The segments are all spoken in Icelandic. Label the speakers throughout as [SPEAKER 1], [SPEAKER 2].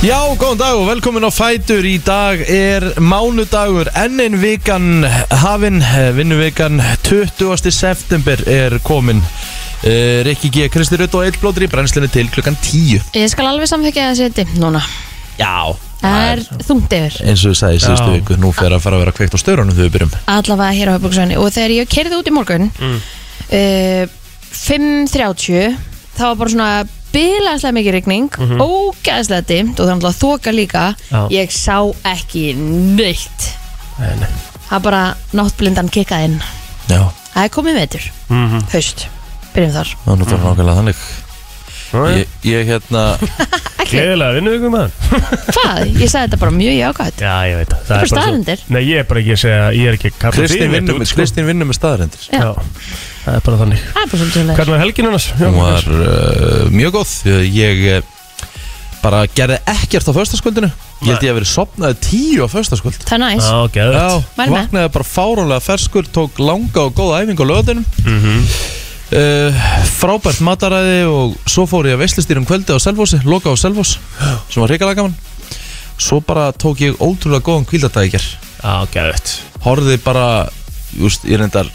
[SPEAKER 1] Já, góðan dag og velkomin á Fætur Í dag er mánudagur enn ein vikan hafin Vinnuvikan 20. september er komin uh, Rikki G. Kristi Rutt og Eil Blóttur í brennslunni til klukkan 10
[SPEAKER 2] Ég skal alveg samfækja þessi dimmt núna
[SPEAKER 1] Já
[SPEAKER 2] Það er þungt yfir
[SPEAKER 1] Eins og við sagði í síðustu viku, nú fer að fara að vera kveikt á störunum þegar við byrjum
[SPEAKER 2] Allavega hér á höfbruksvæðinu Og þegar ég kerði út í morgun eh, mm. 5.30 Það var bara svona bilaðslega mikið rigning Ógæðslega dimmt Og það var náttúrulega þoka líka
[SPEAKER 3] Mhm. Já.
[SPEAKER 2] Ég sá ekki neitt
[SPEAKER 3] Nei, nei.
[SPEAKER 2] Það er bara náttblindan kikkað inn
[SPEAKER 1] Já,
[SPEAKER 2] Það er komið vetur
[SPEAKER 3] Mhm.
[SPEAKER 2] Haust Byrjum þar
[SPEAKER 1] það er náttúrulega nákvæmlega þannig Ég, ég hérna,
[SPEAKER 3] Gleðilega vinnu ykkur maður
[SPEAKER 2] Hvað? Ég sagði þetta bara mjög jákvæmt
[SPEAKER 3] Já, ég veit það Það
[SPEAKER 2] bara
[SPEAKER 3] svo-
[SPEAKER 2] staðreyndir.
[SPEAKER 3] Nei, ég er bara ekki að segja Ég er ekki að kalla
[SPEAKER 1] Kristín
[SPEAKER 3] þig,
[SPEAKER 1] vinnur
[SPEAKER 3] veit
[SPEAKER 1] með,
[SPEAKER 3] þú, sko.
[SPEAKER 1] Kristín vinnur með staðarendir
[SPEAKER 2] Já.
[SPEAKER 3] Já, það er bara þannig
[SPEAKER 2] Það er bara svolítið svoleiðis.
[SPEAKER 3] Hvernig var helgin annars? Já,
[SPEAKER 1] Hún var uh, mjög góð Ég, ég eh, bara gerði ekkert á föstaskvöldinu Ég held ég að verið sopnaði tíu á föstaskvöld
[SPEAKER 2] Það er næs
[SPEAKER 3] Já, geðvægt
[SPEAKER 1] Já,
[SPEAKER 2] Mæli með.
[SPEAKER 1] vaknaði bara fáránlega ferskur Tók langa og góða æfingu á lögadinum mm Frábært mataræði Og svo fór ég að veislistýrum kvöldi á Selfossi Loka á Selfoss Sem var hrikalega gaman Svo bara tók ég ótrúlega góðan kvíldardækjar
[SPEAKER 3] Já, geðvægt
[SPEAKER 1] Horfði bara, just, ég reyndar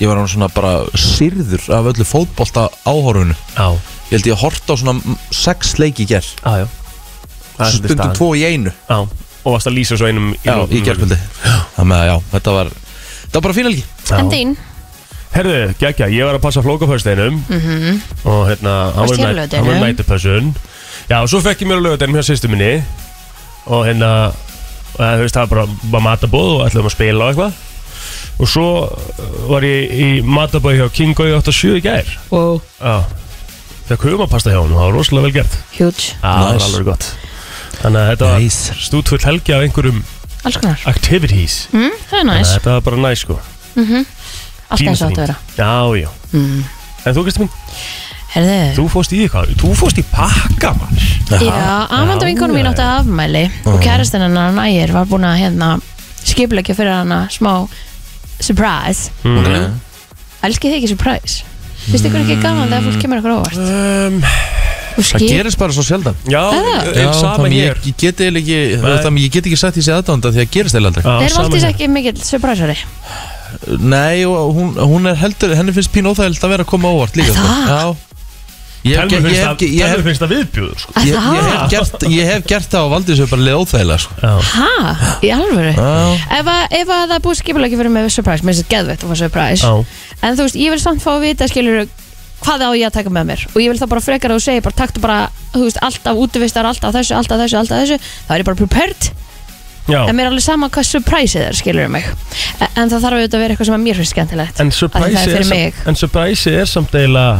[SPEAKER 1] Ég var hann svona bara sirður Af öllu fótbolta áhorfunu
[SPEAKER 3] Já,
[SPEAKER 1] Ég held ég að horta á svona m- sex leiki í gerð
[SPEAKER 3] já, já Það er svolítið
[SPEAKER 1] Stundum
[SPEAKER 3] staðan.
[SPEAKER 1] tvo í einu
[SPEAKER 3] Já, og varst að lýsa svo einum í
[SPEAKER 1] Já, mm.
[SPEAKER 3] lokum.
[SPEAKER 1] í gerðkvöldi Þannig að já, þetta var Þetta var bara fínalgi
[SPEAKER 3] Já.
[SPEAKER 2] En þín?
[SPEAKER 3] Herðu, geggja, ég var að passa flókaföðsteinum Og hérna,
[SPEAKER 2] Mhm.
[SPEAKER 3] hann
[SPEAKER 2] Varst
[SPEAKER 3] var
[SPEAKER 2] hér á
[SPEAKER 3] næ- hann var
[SPEAKER 2] laugardeginum?
[SPEAKER 3] nætupössun Já, og svo fekk ég mér á lögadeinum hjá sýstu minni Og hérna, og það, þú veist, það var bara, bara matabóð og ætlaðum að spila og eitthvað Og svo uh, var ég í matabóð hjá King Goy 87 í gær
[SPEAKER 2] Wow
[SPEAKER 3] Já, þegar kumapasta hjá hann, það var rosalega vel gert
[SPEAKER 2] Huge
[SPEAKER 3] Já, það var
[SPEAKER 1] Nice.
[SPEAKER 3] alveg gott Þannig að þetta
[SPEAKER 1] Nice.
[SPEAKER 3] var stútfull helgi af einhverjum
[SPEAKER 2] Alls konar
[SPEAKER 3] activities
[SPEAKER 2] mm, Það er
[SPEAKER 3] Þannig
[SPEAKER 2] næs
[SPEAKER 3] að þetta var bara næs sko
[SPEAKER 2] Allt eins og átt að vera
[SPEAKER 3] Já, já
[SPEAKER 2] Mm.
[SPEAKER 3] En þú, Kristi mín,
[SPEAKER 2] Herðu
[SPEAKER 3] þú fórst í eitthvað Þú fórst í pakka, mann
[SPEAKER 2] Já, Amanda
[SPEAKER 3] Já,
[SPEAKER 2] vinkonum mín
[SPEAKER 3] já,
[SPEAKER 2] átti afmæli og kærastinn hennar nægir var búin að hérna skipleggja fyrir hana smá surprise
[SPEAKER 1] mm.
[SPEAKER 2] Elskið þið ekki surprise? Finnst ykkur ekki gaman þegar fólk kemur ykkur óvart?
[SPEAKER 3] um,
[SPEAKER 2] Og
[SPEAKER 1] Það
[SPEAKER 2] skil,
[SPEAKER 1] gerist bara svo sjaldan
[SPEAKER 3] Já,
[SPEAKER 2] Það?
[SPEAKER 3] er sama
[SPEAKER 1] þannig
[SPEAKER 3] hér
[SPEAKER 1] ég, ég geti eiginlega ekki
[SPEAKER 3] Nei.
[SPEAKER 1] Þannig ég get ekki sagt því sér aðdánda Því að gerist eða aldrei
[SPEAKER 3] Já,
[SPEAKER 2] þeir
[SPEAKER 3] sama
[SPEAKER 2] valdís
[SPEAKER 3] hér.
[SPEAKER 2] ekki mikill surpriseari
[SPEAKER 1] Nei, og hún, hún er heldur Henni finnst pín óþægild að vera að koma á óvart líka sko.
[SPEAKER 2] Það?
[SPEAKER 1] Já Ég hef,
[SPEAKER 3] Telmi
[SPEAKER 1] ge- ég
[SPEAKER 3] finnst
[SPEAKER 1] hef,
[SPEAKER 3] það-
[SPEAKER 1] ge- ég hef,
[SPEAKER 3] Telmi finnst það viðbjóður sko
[SPEAKER 1] ég, ég hef
[SPEAKER 2] Það?
[SPEAKER 1] gert Ég hef gert það og valdið sér bara leið óþægilega sko.
[SPEAKER 2] Ha? Í alvöru?
[SPEAKER 1] Já.
[SPEAKER 2] Ef, að, ef að það er búið skipleggja fyrir mig surprise, mér finnst þetta geðvett að fá surprise
[SPEAKER 3] Já,
[SPEAKER 2] En þú veist, ég vil samt fá að vita, skilur hvað á ég að taka með mér og ég vil þá bara frekar að þú segir bara taktu bara, þú veist, alltaf útivistar alltaf þessu, alltaf þessu, alltaf þessu þá er ég bara prepared,
[SPEAKER 3] já
[SPEAKER 2] en mér er alveg sama hvað surpriseið er, skilur mig en, en það þarf auðvitað að vera eitthvað sem að mér finnst skemmtilegt
[SPEAKER 3] En
[SPEAKER 2] Af því það
[SPEAKER 3] surprise
[SPEAKER 2] er
[SPEAKER 3] er,
[SPEAKER 2] fyrir
[SPEAKER 3] sam-
[SPEAKER 2] mig.
[SPEAKER 3] en surprise er samt eiginlega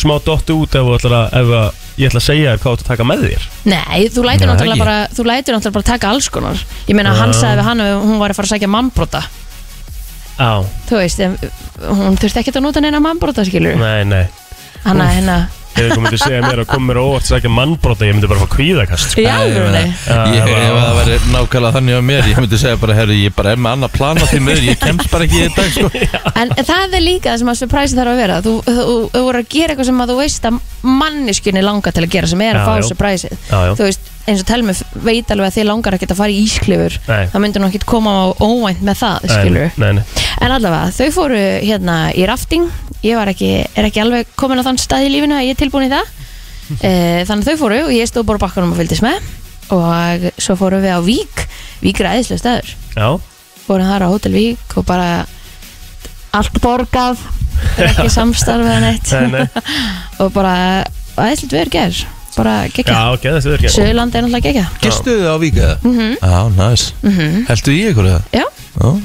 [SPEAKER 3] smá dotti út ef, þú ætlar að, ef að, ég ætla að segja þér hvað þú átt að taka með þér
[SPEAKER 2] Nei, þú
[SPEAKER 1] Nei,
[SPEAKER 2] lætur náttúrulega
[SPEAKER 1] ekki.
[SPEAKER 2] bara þú lætur náttúrulega bara taka alls konar ég meina, hann
[SPEAKER 3] Já.
[SPEAKER 2] sagði við hann að hún var að fara að sækja mannbrota
[SPEAKER 3] Já,
[SPEAKER 2] þú veist, en, hún þurfti ekkert að nota neina mannbrota, skilur
[SPEAKER 3] nei, nei
[SPEAKER 2] hann að hérna,
[SPEAKER 3] Ef einhver myndi segja mér að koma mér á óvart sækja mannbrota, ég myndi bara fá kvíðakast sko.
[SPEAKER 2] í alvörunni
[SPEAKER 1] Ég,
[SPEAKER 3] Já,
[SPEAKER 1] ef
[SPEAKER 3] já.
[SPEAKER 1] það væri nákvæmlega þannig á mér Ég myndi segja bara, herru, ég bara er með annað plan á því miður Ég kemst bara ekki í dag sko.
[SPEAKER 2] En það er líka það sem að surprise þarf að vera Þú, þú, þú voru að gera eitthvað sem að þú veist að manniskunni langar til að gera sem er að
[SPEAKER 3] Já,
[SPEAKER 2] fá
[SPEAKER 3] já.
[SPEAKER 2] surprise
[SPEAKER 3] Já, já.
[SPEAKER 2] Þú veist, eins og telmi veit alveg að þið langar að geta að fara í ísklifur
[SPEAKER 3] Nei.
[SPEAKER 2] Það myndir nú ekkert koma á óvænt með það, skilur
[SPEAKER 3] Nei, nei,
[SPEAKER 2] En allavega, þau fóru hérna í rafting Ég var ekki, er ekki alveg komin á þann stað í lífinu að ég er tilbúin í það e, Þannig að þau fóru og ég stóð bara á bakkanum og fylgdist með Og svo fóru við á Vík Vík er æðislega staður
[SPEAKER 3] já
[SPEAKER 2] vorum þar á Hotel Vík og bara allt borgað það er ekki samstarf eða neitt
[SPEAKER 3] Nei, nei,
[SPEAKER 2] og bara aðeinslega verið ger bara
[SPEAKER 3] já,
[SPEAKER 2] gegja,
[SPEAKER 3] geðast þið er ekki
[SPEAKER 2] Suðurland er náttúrulega gegja
[SPEAKER 1] Gistuðu þið á Vík eða? Mm
[SPEAKER 2] Mhm.
[SPEAKER 1] -hmm. Já, næs mm -hmm. Heltu í ykkur eða?
[SPEAKER 2] já,
[SPEAKER 1] Já.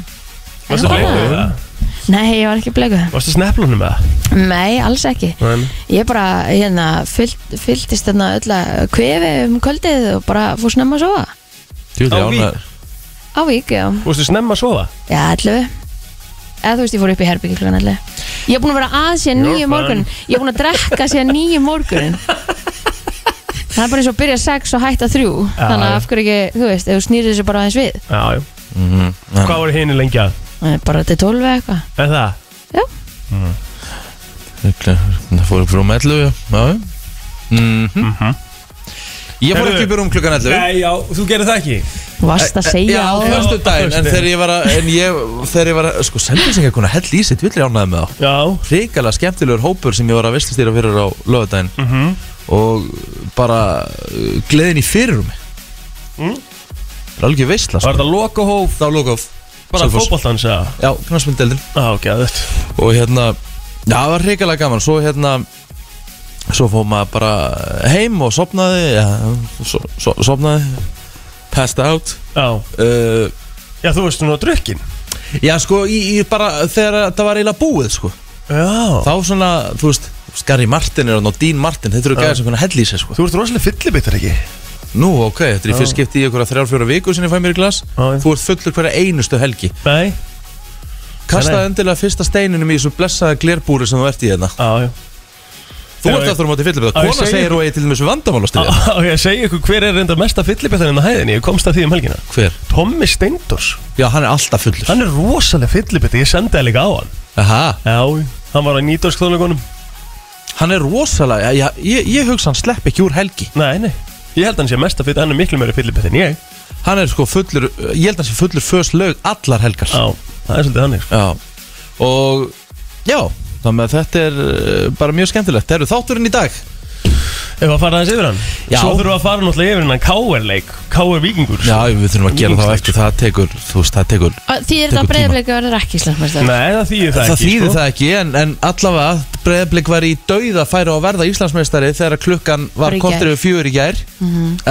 [SPEAKER 3] Varstu
[SPEAKER 2] Já.
[SPEAKER 3] bleikur með það?
[SPEAKER 2] nei ég var ekki blegu
[SPEAKER 3] Varstu sneplunum með það?
[SPEAKER 2] nei, alls ekki
[SPEAKER 3] Nei, nei.
[SPEAKER 2] ég bara hérna fyllt, fylltist hérna öll að kvefi um kvöldið og bara fór snemma að sofa
[SPEAKER 1] Jú,
[SPEAKER 3] Á
[SPEAKER 1] já,
[SPEAKER 3] Vík?
[SPEAKER 1] na-
[SPEAKER 2] á Vík, já,
[SPEAKER 3] Varstu snemma að sofa?
[SPEAKER 2] já, allu eða þú veist, ég fór upp í herbyggi klukkan allu ég er búin að vera að síðan
[SPEAKER 3] You're
[SPEAKER 2] nýju
[SPEAKER 3] fun.
[SPEAKER 2] morgun ég er búin að drekka síðan nýju morgunin það er bara eins og byrja sex og hætta þrjú
[SPEAKER 3] Já,
[SPEAKER 2] þannig að
[SPEAKER 3] já.
[SPEAKER 2] af hverju ekki, þú veist, ef þú snýrir þessu bara aðeins við
[SPEAKER 3] Já, já
[SPEAKER 1] Já.
[SPEAKER 3] Hvað voru hini lengi að?
[SPEAKER 2] Það er bara til 12 eða eitthvað
[SPEAKER 3] Er það?
[SPEAKER 1] um Það fór upp frá mellu, já Já, já Mhm. Ég fór
[SPEAKER 3] Heyrðu.
[SPEAKER 1] ekki upp í rúm klukkan 11
[SPEAKER 3] Nei, já, þú gerir það ekki
[SPEAKER 2] Þú varst að segja
[SPEAKER 1] Já, á
[SPEAKER 2] áðan.
[SPEAKER 1] förstu daginn En
[SPEAKER 3] föstudaginn.
[SPEAKER 1] þegar ég var að En ég, þegar ég var að Sko, sendising er konar hell í sitt Villir ánaði með þá
[SPEAKER 3] Já,
[SPEAKER 1] Ríkala skemmtilegur hópur Sem ég var að veistustýra fyrir á lögadaginn
[SPEAKER 3] Mhm.
[SPEAKER 1] Og bara uh, Gleðin í fyrirrumi Það er alveg veistla
[SPEAKER 3] Mm. var
[SPEAKER 1] sko.
[SPEAKER 3] þetta lokahóf
[SPEAKER 1] Það var lokað
[SPEAKER 3] Bara
[SPEAKER 1] Selfoss.
[SPEAKER 3] fótboltans eða?
[SPEAKER 1] Já, knarspindeldin
[SPEAKER 3] Já, gæðið
[SPEAKER 1] og hérna já, það var hrikalega gaman svo hérna svo fóð maður bara heim og sopnaði ja, so, so, sopnaði passed out
[SPEAKER 3] Já,
[SPEAKER 1] uh,
[SPEAKER 3] já, þú veist hún á drukkin
[SPEAKER 1] já sko í, í bara þegar það var eiginlega búið sko
[SPEAKER 3] Já
[SPEAKER 1] þá svona þú veist Gary Martin er hann og Dean Martin þetta eru
[SPEAKER 3] Já.
[SPEAKER 1] gæðir sem hvernig hell í sig sko
[SPEAKER 4] Þú ert rosalega fyllibittar ekki
[SPEAKER 1] nú ok þetta er í fyrst skipti í ykkur að þrjár fjóra viku sinni fæ mér í glas
[SPEAKER 3] Já.
[SPEAKER 1] þú ert fullur hverja einustu helgi
[SPEAKER 3] Nei,
[SPEAKER 1] kastaði
[SPEAKER 3] Nei.
[SPEAKER 1] endilega fyrsta steininum í þessu blessaða glerbúri sem þú ert í hérna
[SPEAKER 3] já, já
[SPEAKER 1] þú
[SPEAKER 3] Já,
[SPEAKER 1] ert
[SPEAKER 3] ég-
[SPEAKER 1] aftur á móti fyllir
[SPEAKER 3] Já, ég
[SPEAKER 1] kona
[SPEAKER 3] segi-
[SPEAKER 1] segir og eigi til þessu vandamálastyrja
[SPEAKER 3] Á, ég segi ykkur hver er reynda mesta fyllibittarinn á hæðinni Ég komst að því um helgina
[SPEAKER 1] hver?
[SPEAKER 3] Tommi Steindors
[SPEAKER 1] ah. Já, hann er alltaf fullur
[SPEAKER 3] Hann er rosalega fyllibitti, ég sendi það líka á hann
[SPEAKER 1] Aha,
[SPEAKER 3] Já, hann var á nýtdórskstónleikunum
[SPEAKER 1] Hann er rosalega já, já, ég, ég hugsa hann slepp ekki úr helgi
[SPEAKER 3] Nei, nei Ég held hann sé mesta fyll, hann er miklu meiri fyllibitt en ég
[SPEAKER 1] Hann er sko fullur Ég held að hann sé fullur fyrst lög allar helgar
[SPEAKER 3] Já, það er svolítið hann sko.
[SPEAKER 1] Já. Og já Þannig að þetta er uh, bara mjög skemmtilegt Það eru þátturinn í dag
[SPEAKER 3] Ef að fara aðeins yfir hann
[SPEAKER 1] Já.
[SPEAKER 3] Svo þurfum við að fara náttúrulega yfir hennan KR-leik KR Víkingur
[SPEAKER 1] Já, við þurfum að gera þá eftir Það tekur, þú veist, það tekur
[SPEAKER 2] Á, Því er þetta
[SPEAKER 1] Tekur tíma.
[SPEAKER 2] breyðleika verður ekki Íslandsmeistari
[SPEAKER 3] Nei, það þýðir það,
[SPEAKER 1] Það,
[SPEAKER 3] ekki
[SPEAKER 1] þýðir
[SPEAKER 3] sko.
[SPEAKER 1] það ekki, en, en allavega Breiðablik var í dauða færa á að verða Íslandsmeistari þegar klukkan var
[SPEAKER 2] Bara í
[SPEAKER 1] kortur
[SPEAKER 2] gær. Mhm.
[SPEAKER 1] yfir fjögur í gær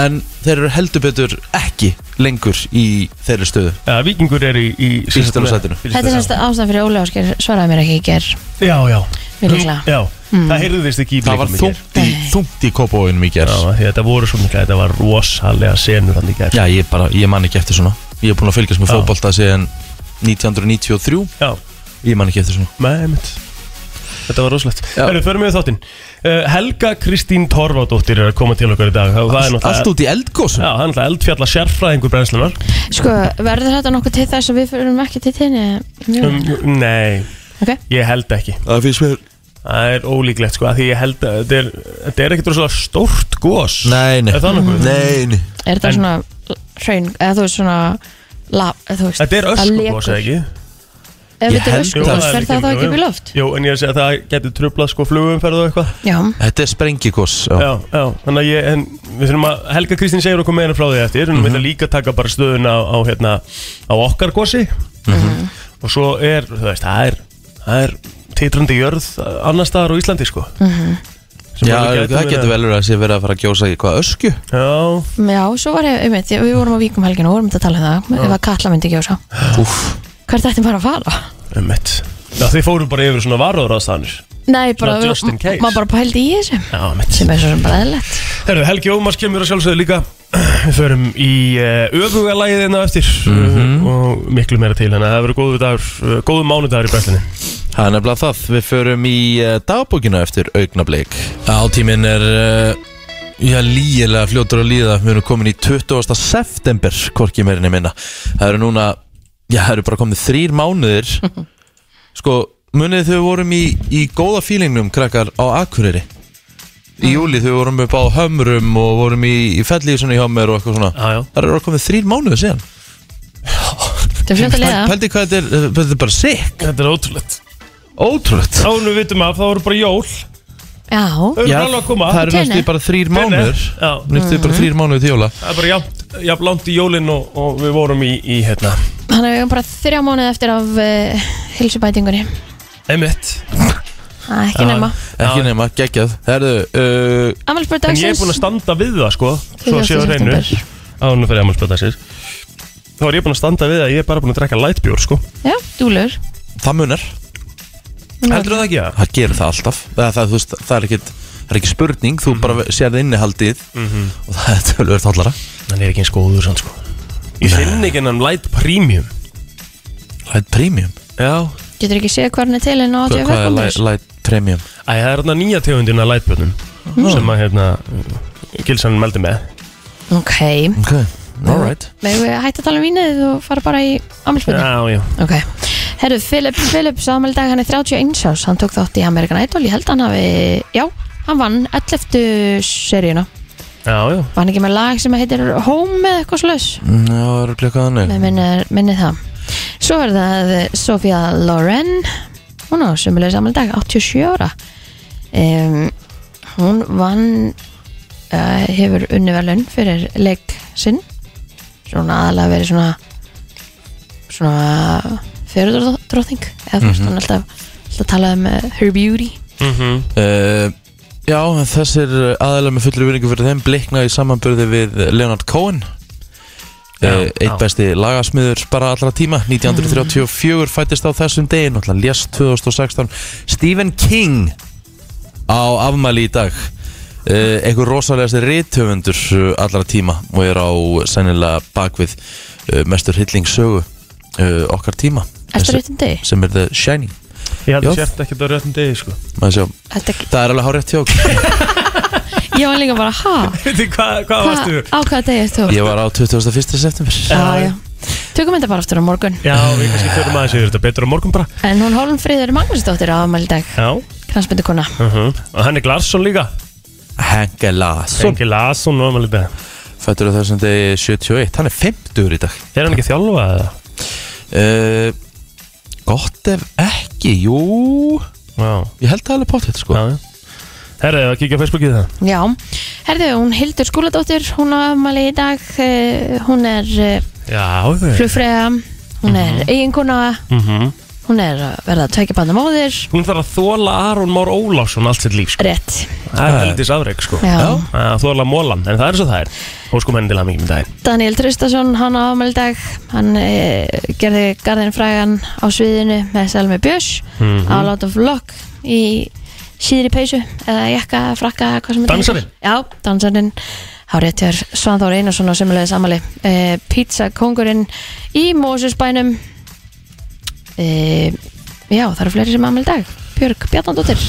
[SPEAKER 1] en þeir eru heldur betur ekki lengur í þeirri stöðu
[SPEAKER 3] Já, Víkingur er í, í
[SPEAKER 1] Bílstjórasætinu.
[SPEAKER 2] Þetta er semst ástæðan fyrir Óli Ásker svaraði mér ekki í ger
[SPEAKER 3] Já, já
[SPEAKER 2] Mjög líklega. Mm.
[SPEAKER 3] Já, það heyrðist ekki í
[SPEAKER 1] Það var
[SPEAKER 3] blikum í gær.
[SPEAKER 1] þungt í,
[SPEAKER 2] Nei.
[SPEAKER 1] þungt í kópavóinum í
[SPEAKER 3] Já,
[SPEAKER 1] gerð
[SPEAKER 3] af því að þetta voru svo mikla, þetta var rosalega senur hann í gær
[SPEAKER 1] Já, ég bara, ég man ekki eftir svona Ég er búin að fylgjast með
[SPEAKER 3] Já.
[SPEAKER 1] fótbolta síðan 1993
[SPEAKER 3] Já,
[SPEAKER 1] Ég man ekki eftir svona
[SPEAKER 3] með einmitt Þetta var rosalegt
[SPEAKER 1] Já.
[SPEAKER 3] Erum, förum við þáttinn uh, Helga Kristín Torfadóttir er að koma til okkar í dag og Það er
[SPEAKER 1] Allt
[SPEAKER 3] náttúrulega
[SPEAKER 1] út í eldgósum
[SPEAKER 3] Já, hann er náttúrulega eldfjalla sérfræðingur brennslunar
[SPEAKER 2] Sko, verður þetta nokkuð til þess að við fyrirum ekki til tenni
[SPEAKER 3] um, Nei,
[SPEAKER 2] Ok.
[SPEAKER 3] ég held ekki
[SPEAKER 1] Það finnst mér
[SPEAKER 3] Það er ólíklegt sko, af því ég held að þetta er, þetta er ekkert rosalega stórt gos
[SPEAKER 1] Nei, nei
[SPEAKER 3] Er það nokkuð?
[SPEAKER 1] Nei, nei
[SPEAKER 2] Er þetta
[SPEAKER 3] En-
[SPEAKER 2] svona hraun, eða þú veist svona lab, eða þú veist
[SPEAKER 3] Þetta er
[SPEAKER 2] það
[SPEAKER 3] öskugos,
[SPEAKER 2] lekur.
[SPEAKER 3] eða ekki?
[SPEAKER 2] Ef
[SPEAKER 1] Ég
[SPEAKER 2] þetta
[SPEAKER 1] held
[SPEAKER 2] er
[SPEAKER 1] að-
[SPEAKER 2] öskugos,
[SPEAKER 3] Jú,
[SPEAKER 2] verður það þá
[SPEAKER 3] jú,
[SPEAKER 2] ekki
[SPEAKER 3] jú.
[SPEAKER 2] upp í loft?
[SPEAKER 3] Jú, en ég er að segja að það getur trublað sko flugumferð og eitthvað
[SPEAKER 2] Já,
[SPEAKER 1] Þetta er sprengigós
[SPEAKER 3] Já, já, þannig að ég, en við þurfum að Helga Kristín segir okkur meira frá því eftir
[SPEAKER 1] Mhm.
[SPEAKER 3] En við þurfum líka að taka bara stöðuna á, á, hérna, á okkar gosi
[SPEAKER 1] Mhm.
[SPEAKER 3] Og svo er, þú veist, það er, það er titrandi jörð annar staðar á Íslandi sko
[SPEAKER 2] Mhm.
[SPEAKER 3] Sem
[SPEAKER 1] Já,
[SPEAKER 3] alveg
[SPEAKER 1] það
[SPEAKER 3] verið-
[SPEAKER 1] getur vel verið að sé verið að fara að gjósa í hvað ösku
[SPEAKER 3] Já,
[SPEAKER 2] já, svo var ég, einmitt, við vorum á Víkum helginu og vorum þetta að tala um það, ef að Katla myndi ekki á sá
[SPEAKER 1] Úff
[SPEAKER 2] Hvert ætti maður að fara?
[SPEAKER 3] um Já, þið fóru bara yfir svona varúðraðstæðanir
[SPEAKER 2] Nei, bara,
[SPEAKER 3] Not just in case.
[SPEAKER 2] maður bara pældi í þessu
[SPEAKER 3] Já, um mitt
[SPEAKER 2] sem er svo sem bara eðlilegt
[SPEAKER 3] Herru, Helgi Ómars kemur að sjálfsögðu líka Við förum í uh, öfuga lagið hérna á eftir
[SPEAKER 1] Mhm.
[SPEAKER 3] uh, og miklu meira til Þannig að það verður góðu dagur, uh, góðu mánudagur í bæslinni
[SPEAKER 1] Það er nefnilega það, við förum í uh, dagbókina eftir augnablik Átíminn er, uh, já, lígilega fljótur að líða Við erum komin í 20. september, hvorki meirinni minna Það eru núna, já, það eru bara komin þrýr mánuðir Sko, munið þau vorum í, í góða fílingnum, krakkar, á Akureyri Í júli þau vorum upp á hömrum og vorum í, í fellísunni hjá mér og eitthvað svona
[SPEAKER 3] Já, já
[SPEAKER 1] Það eru komin þrýr mánuðir síðan
[SPEAKER 2] Þetta er fljótt að liða
[SPEAKER 1] Pældi hvað þetta er, eh, þetta er bara sick
[SPEAKER 3] Þetta er ótrúlegt
[SPEAKER 1] Ótrúlegt
[SPEAKER 3] Þá erum við vitum af, þá eru bara jól Þau
[SPEAKER 2] Já,
[SPEAKER 3] eru
[SPEAKER 1] Já,
[SPEAKER 3] alveg að koma
[SPEAKER 1] Það eru
[SPEAKER 2] Tenni.
[SPEAKER 1] næstu bara þrýr
[SPEAKER 3] Tenni.
[SPEAKER 1] mánuður
[SPEAKER 3] Já,
[SPEAKER 1] Næstu bara þrýr mánuður til jóla
[SPEAKER 3] það er bara jafn, jafn langt í jólinn og, og við vorum í, í hérna
[SPEAKER 2] þannig að við erum bara þrjá mánuð eftir af uh, hilsubætingunni
[SPEAKER 3] Einmitt
[SPEAKER 2] Það er ekki nema
[SPEAKER 1] Ekki
[SPEAKER 3] Já.
[SPEAKER 1] nema, geggjað Herðu, uh,
[SPEAKER 2] Amalisbjörn
[SPEAKER 3] En ég er
[SPEAKER 2] dagsins
[SPEAKER 3] búin að standa við það sko Svo
[SPEAKER 2] 20.
[SPEAKER 3] séu hreinu
[SPEAKER 2] september.
[SPEAKER 3] Ánum fyrir amalspöldagsins Þá er ég búin að standa við það, ég er bara búin að drekka lightbjór sko
[SPEAKER 2] Já, dúlur
[SPEAKER 1] það munar
[SPEAKER 3] Heldur það ekki það?
[SPEAKER 1] Það gerir það alltaf Það, það, þú veist, það er ekkit Það er ekki spurning,
[SPEAKER 3] Mhm.
[SPEAKER 1] þú bara sérði innihaldið og það er tölvöld hallara
[SPEAKER 3] Hann er ekki eins góður sann sko Ég finn ekki hennan light premium
[SPEAKER 1] Light Premium
[SPEAKER 3] Já
[SPEAKER 2] Getur ekki séð hvað hann er til en á
[SPEAKER 1] Hva,
[SPEAKER 2] 85
[SPEAKER 1] Hvað er light,
[SPEAKER 2] krónur?
[SPEAKER 1] light Premium?
[SPEAKER 3] Æ, það er hérna nýja tegundin að lightbjörnum sem að hérna Gilsan meldi með
[SPEAKER 2] Ok,
[SPEAKER 1] Ok, alright
[SPEAKER 2] megum við að hætta að tala um vínið og fara bara í Amalisbjörn
[SPEAKER 3] Já, já
[SPEAKER 2] Ok, herru, Philip Phillips afmæli í dag, hann er 31 árs, hann tók þátt í American Idol, ég held að hann hafi, já, hann vann 11. seríuna
[SPEAKER 3] Já, já
[SPEAKER 2] Var hann ekki með lag sem heitir Home eða eitthvað slags?
[SPEAKER 1] Já, eru klukkaðan
[SPEAKER 2] Nei, minni, minni það. Svo er það eh, Sofía Loren. Hún á sömulega saman dag, 87 ára. Um, hún vann, uh, hefur unniverlun fyrir leik sinn. Svona aðalega verið svona, svona fjörðurdrótning. Eða þú veist, hún er alltaf, alltaf talað um eh, her beauty.
[SPEAKER 3] Mhm.
[SPEAKER 1] Uh, já, en þessir aðalega með fullri vinningu fyrir þeim blikna í samanburði við Leonard Cohen
[SPEAKER 3] Já,
[SPEAKER 1] uh, Eitt
[SPEAKER 3] já.
[SPEAKER 1] besti lagasmiður bara allra tíma 1934 fættist á þessum degin Náttúrulega lést 2016 Stephen King á afmæli í dag uh, Einhver rosalegasti rithöfundur uh, allra tíma Og er á sennilega bakvið uh, mestur hyllingssögu uh, okkar tíma
[SPEAKER 2] Eftir réttum degi.
[SPEAKER 1] Sem er The Shining
[SPEAKER 3] Ég held
[SPEAKER 1] Já.
[SPEAKER 3] að sért ekkert á réttum degi, sko
[SPEAKER 1] Maður sjá,
[SPEAKER 2] Þetta,
[SPEAKER 1] Það er alveg hárétt hjá okkur
[SPEAKER 2] ég var líka bara, ha?
[SPEAKER 3] Veitir, hvað, hvað
[SPEAKER 2] Hva,
[SPEAKER 3] varstu?
[SPEAKER 2] á hvaða degi ert þú?
[SPEAKER 1] Ég var á 21. september
[SPEAKER 2] Já, já. Tökum þetta bara aftur á morgun.
[SPEAKER 3] Já, við kannski tökum aðeins yfir þetta betur á morgun bara
[SPEAKER 2] En hún Hólmfríður Magnúsdóttir á afmæli í dag,
[SPEAKER 3] Já
[SPEAKER 2] kransbyndukona.
[SPEAKER 3] Mhm. Og hann er Glarsson líka
[SPEAKER 1] Henke Larsson
[SPEAKER 3] Engi Larsson og maður lítið
[SPEAKER 1] Fættur á þessum degi 71 Hann er 50 í dag
[SPEAKER 3] Er hann ekki þjálfa eða?
[SPEAKER 1] uh, Gott ef ekki, jú
[SPEAKER 3] Já,
[SPEAKER 1] Ég held það alveg pátt þetta sko
[SPEAKER 3] já Herra, að kíkja á Facebookið það
[SPEAKER 2] Já, herðu, hún Hildur Skúladóttir, hún á afmæli í dag, eh, hún er
[SPEAKER 3] Já, þau
[SPEAKER 2] flugfrega, hún er eiginkona,
[SPEAKER 3] Mhm.
[SPEAKER 2] hún er að verða að tækja banna móðir,
[SPEAKER 3] Hún þarf að þóla Aron Már Ólásson allt sitt líf, sko
[SPEAKER 2] rétt.
[SPEAKER 3] Það er heldis afreg, sko
[SPEAKER 2] Já.
[SPEAKER 1] Já.
[SPEAKER 3] Að Þóla Mólan, en það er svo það er Óskum henni til að mikið með daginn
[SPEAKER 2] Daniel Tristason, hann á afmæli í dag, hann e, gerði Garðin Frægan á sviðinu með Selmi Björs, á Lot of Luck í síðri peysu, eða jakka, frakka, hvað sem þetta heitir.
[SPEAKER 3] Dansarinn?
[SPEAKER 2] Já, dansarinn Háréttjör Svanþór Einarsson á semulega samali e, Pizza kongurinn í Mósusbænum e, Já, það eru fleiri sem ammæli dag Björg Bjarnandóttir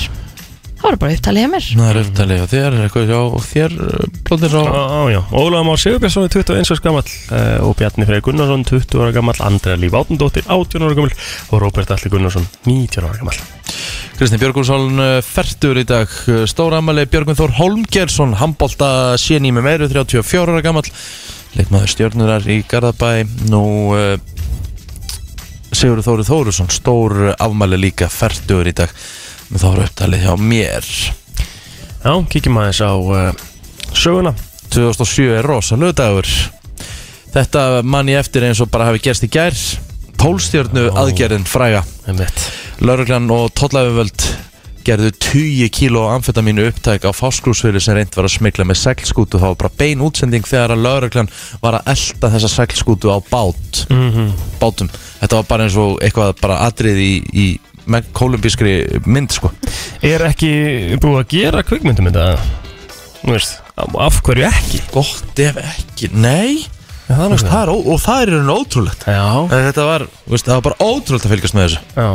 [SPEAKER 2] Það var bara upptalið hjá mér
[SPEAKER 1] Það er upptalið og þér er eitthvað hjá og þér eh, blóðir á
[SPEAKER 3] Já, já, Ólaður Már Sigurbjörnsson er 21 ára gammal eh, og Bjarni Freyr Gunnarsson 20 ára gammal, Andrea Líf Átundóttir 18 ára gammal og Róbert Alli Gunnarsson 19 ára gammal
[SPEAKER 1] Kristinn Björgúrsson Fertur í dag Stóramæli Björgvin Þór Holmgersson Hambolta séni með meiru 34 ára gamall Leikmaður stjörnurar í Garðabæ Nú uh, Sigur Þóri Þórusson Stór afmæli líka fertur í dag Með þá eru upptalið hjá mér
[SPEAKER 3] Já, kíkjum aðeins á uh, söguna
[SPEAKER 1] 2007 er rosalög dagur Þetta mann ég eftir eins og bara hafi gerst í gær Tólstjörnu
[SPEAKER 3] Ó.
[SPEAKER 1] aðgerðin fræga
[SPEAKER 3] Einmitt.
[SPEAKER 1] Lörglann og tóllæfuvöld gerðu 10 kíló amfetamínu upptæk á fáskrúsfjölu sem reynd var að smikla með seglskútu það var bara bein útsending þegar að lörglann var að elta þessa seglskútu á bát
[SPEAKER 3] Mhm.
[SPEAKER 1] bátum, þetta var bara eins og eitthvað bara atrið í, í með- kólumbískri mynd sko
[SPEAKER 3] Er ekki búið að gera kvikmyndum þetta? Þú veist, af hverju ekki?
[SPEAKER 1] gott ef ekki, nei
[SPEAKER 3] Það er
[SPEAKER 1] Þú veist, það er, ó- og það er í rauninni ótrúlegt
[SPEAKER 3] Já,
[SPEAKER 1] En Þetta var, þú veist, það var bara ótrúlega að fylgjast með þessu
[SPEAKER 3] já,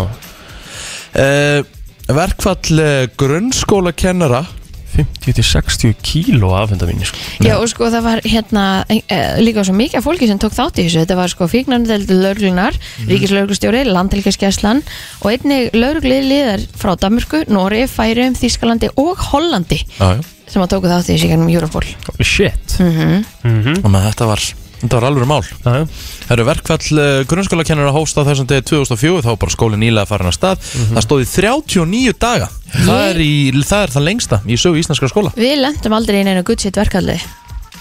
[SPEAKER 1] uh, Verkfall uh, grunnskóla kennara
[SPEAKER 3] 50 til 60 kíló afhenda mínu sko.
[SPEAKER 2] Já, og sko það var hérna e, e, líka svo mikið af fólki sem tók þátt í þessu þetta var sko fíknarndeldi lauruglunar mm. ríkislauruglustjóri, landhelgiskeslan og einnig laurugliðar frá Danmörku, Nóri, Færum, Þískalandi og Hollandi
[SPEAKER 1] Já, já
[SPEAKER 2] sem að tóku þátt í þessu í gegnum Europol
[SPEAKER 3] Holy shit Mhm,
[SPEAKER 1] Þetta var, þetta var alveg mál
[SPEAKER 3] Já, já,
[SPEAKER 1] Það eru verkfall uh, grunnskóla kennara hósta þessum degi 2004 Þá var bara skólinn nýlega farin að stað
[SPEAKER 3] Mhm.
[SPEAKER 1] Það stóð í 39 daga það er, í, það er það lengsta í sögu íslenskra skóla
[SPEAKER 2] Við lendum aldrei í neina gudsitt verkalli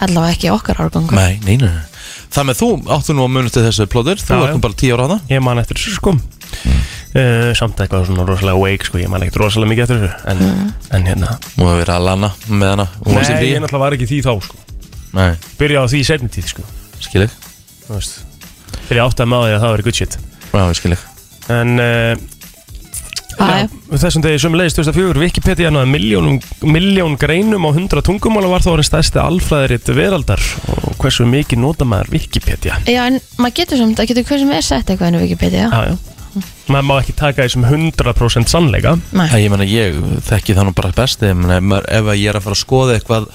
[SPEAKER 2] allavega ekki í okkar árgangu
[SPEAKER 1] Nei, nei, nei, nei Það með þú áttu nú að munistu þessu plóður Þú
[SPEAKER 3] Já,
[SPEAKER 1] ert
[SPEAKER 3] já.
[SPEAKER 1] nú bara 10 ára hana
[SPEAKER 3] ég man eftir þessu sko uh, Samt eitthvað svona rosalega wake sko, ég man ekkert rosalega mikið eftir þessu En, en hérna
[SPEAKER 1] Nú hefur verið að lana með hana Hún var sem
[SPEAKER 3] Nei, ég
[SPEAKER 1] frí
[SPEAKER 3] náttúrulega var ekki í því þá sko
[SPEAKER 1] Nei,
[SPEAKER 3] Byrja á því í setni tíð sko
[SPEAKER 1] skil ég
[SPEAKER 3] Þú veist Þegar ég átti að maður því að það veri good shit
[SPEAKER 1] Já, skil ég
[SPEAKER 3] En uh,
[SPEAKER 2] Æ,
[SPEAKER 3] þessum degi sem leiðist 2004 Wikipedia náði miljónum, miljón greinum á 100 tungumál og var þá orðin stærsti alfræðiritt veraldar og hversu mikið nota maður Wikipedia
[SPEAKER 2] Já, en maður getur samt, það getur hver sem er sett eitthvað inn á Wikipedia
[SPEAKER 3] Já, já Maður má ekki taka því sem 100% sannleika
[SPEAKER 1] Já,
[SPEAKER 2] Nei,
[SPEAKER 1] ég meina ég þekki það nú bara best ég meina, ef maður- ef að ég er að fara að skoða eitthvað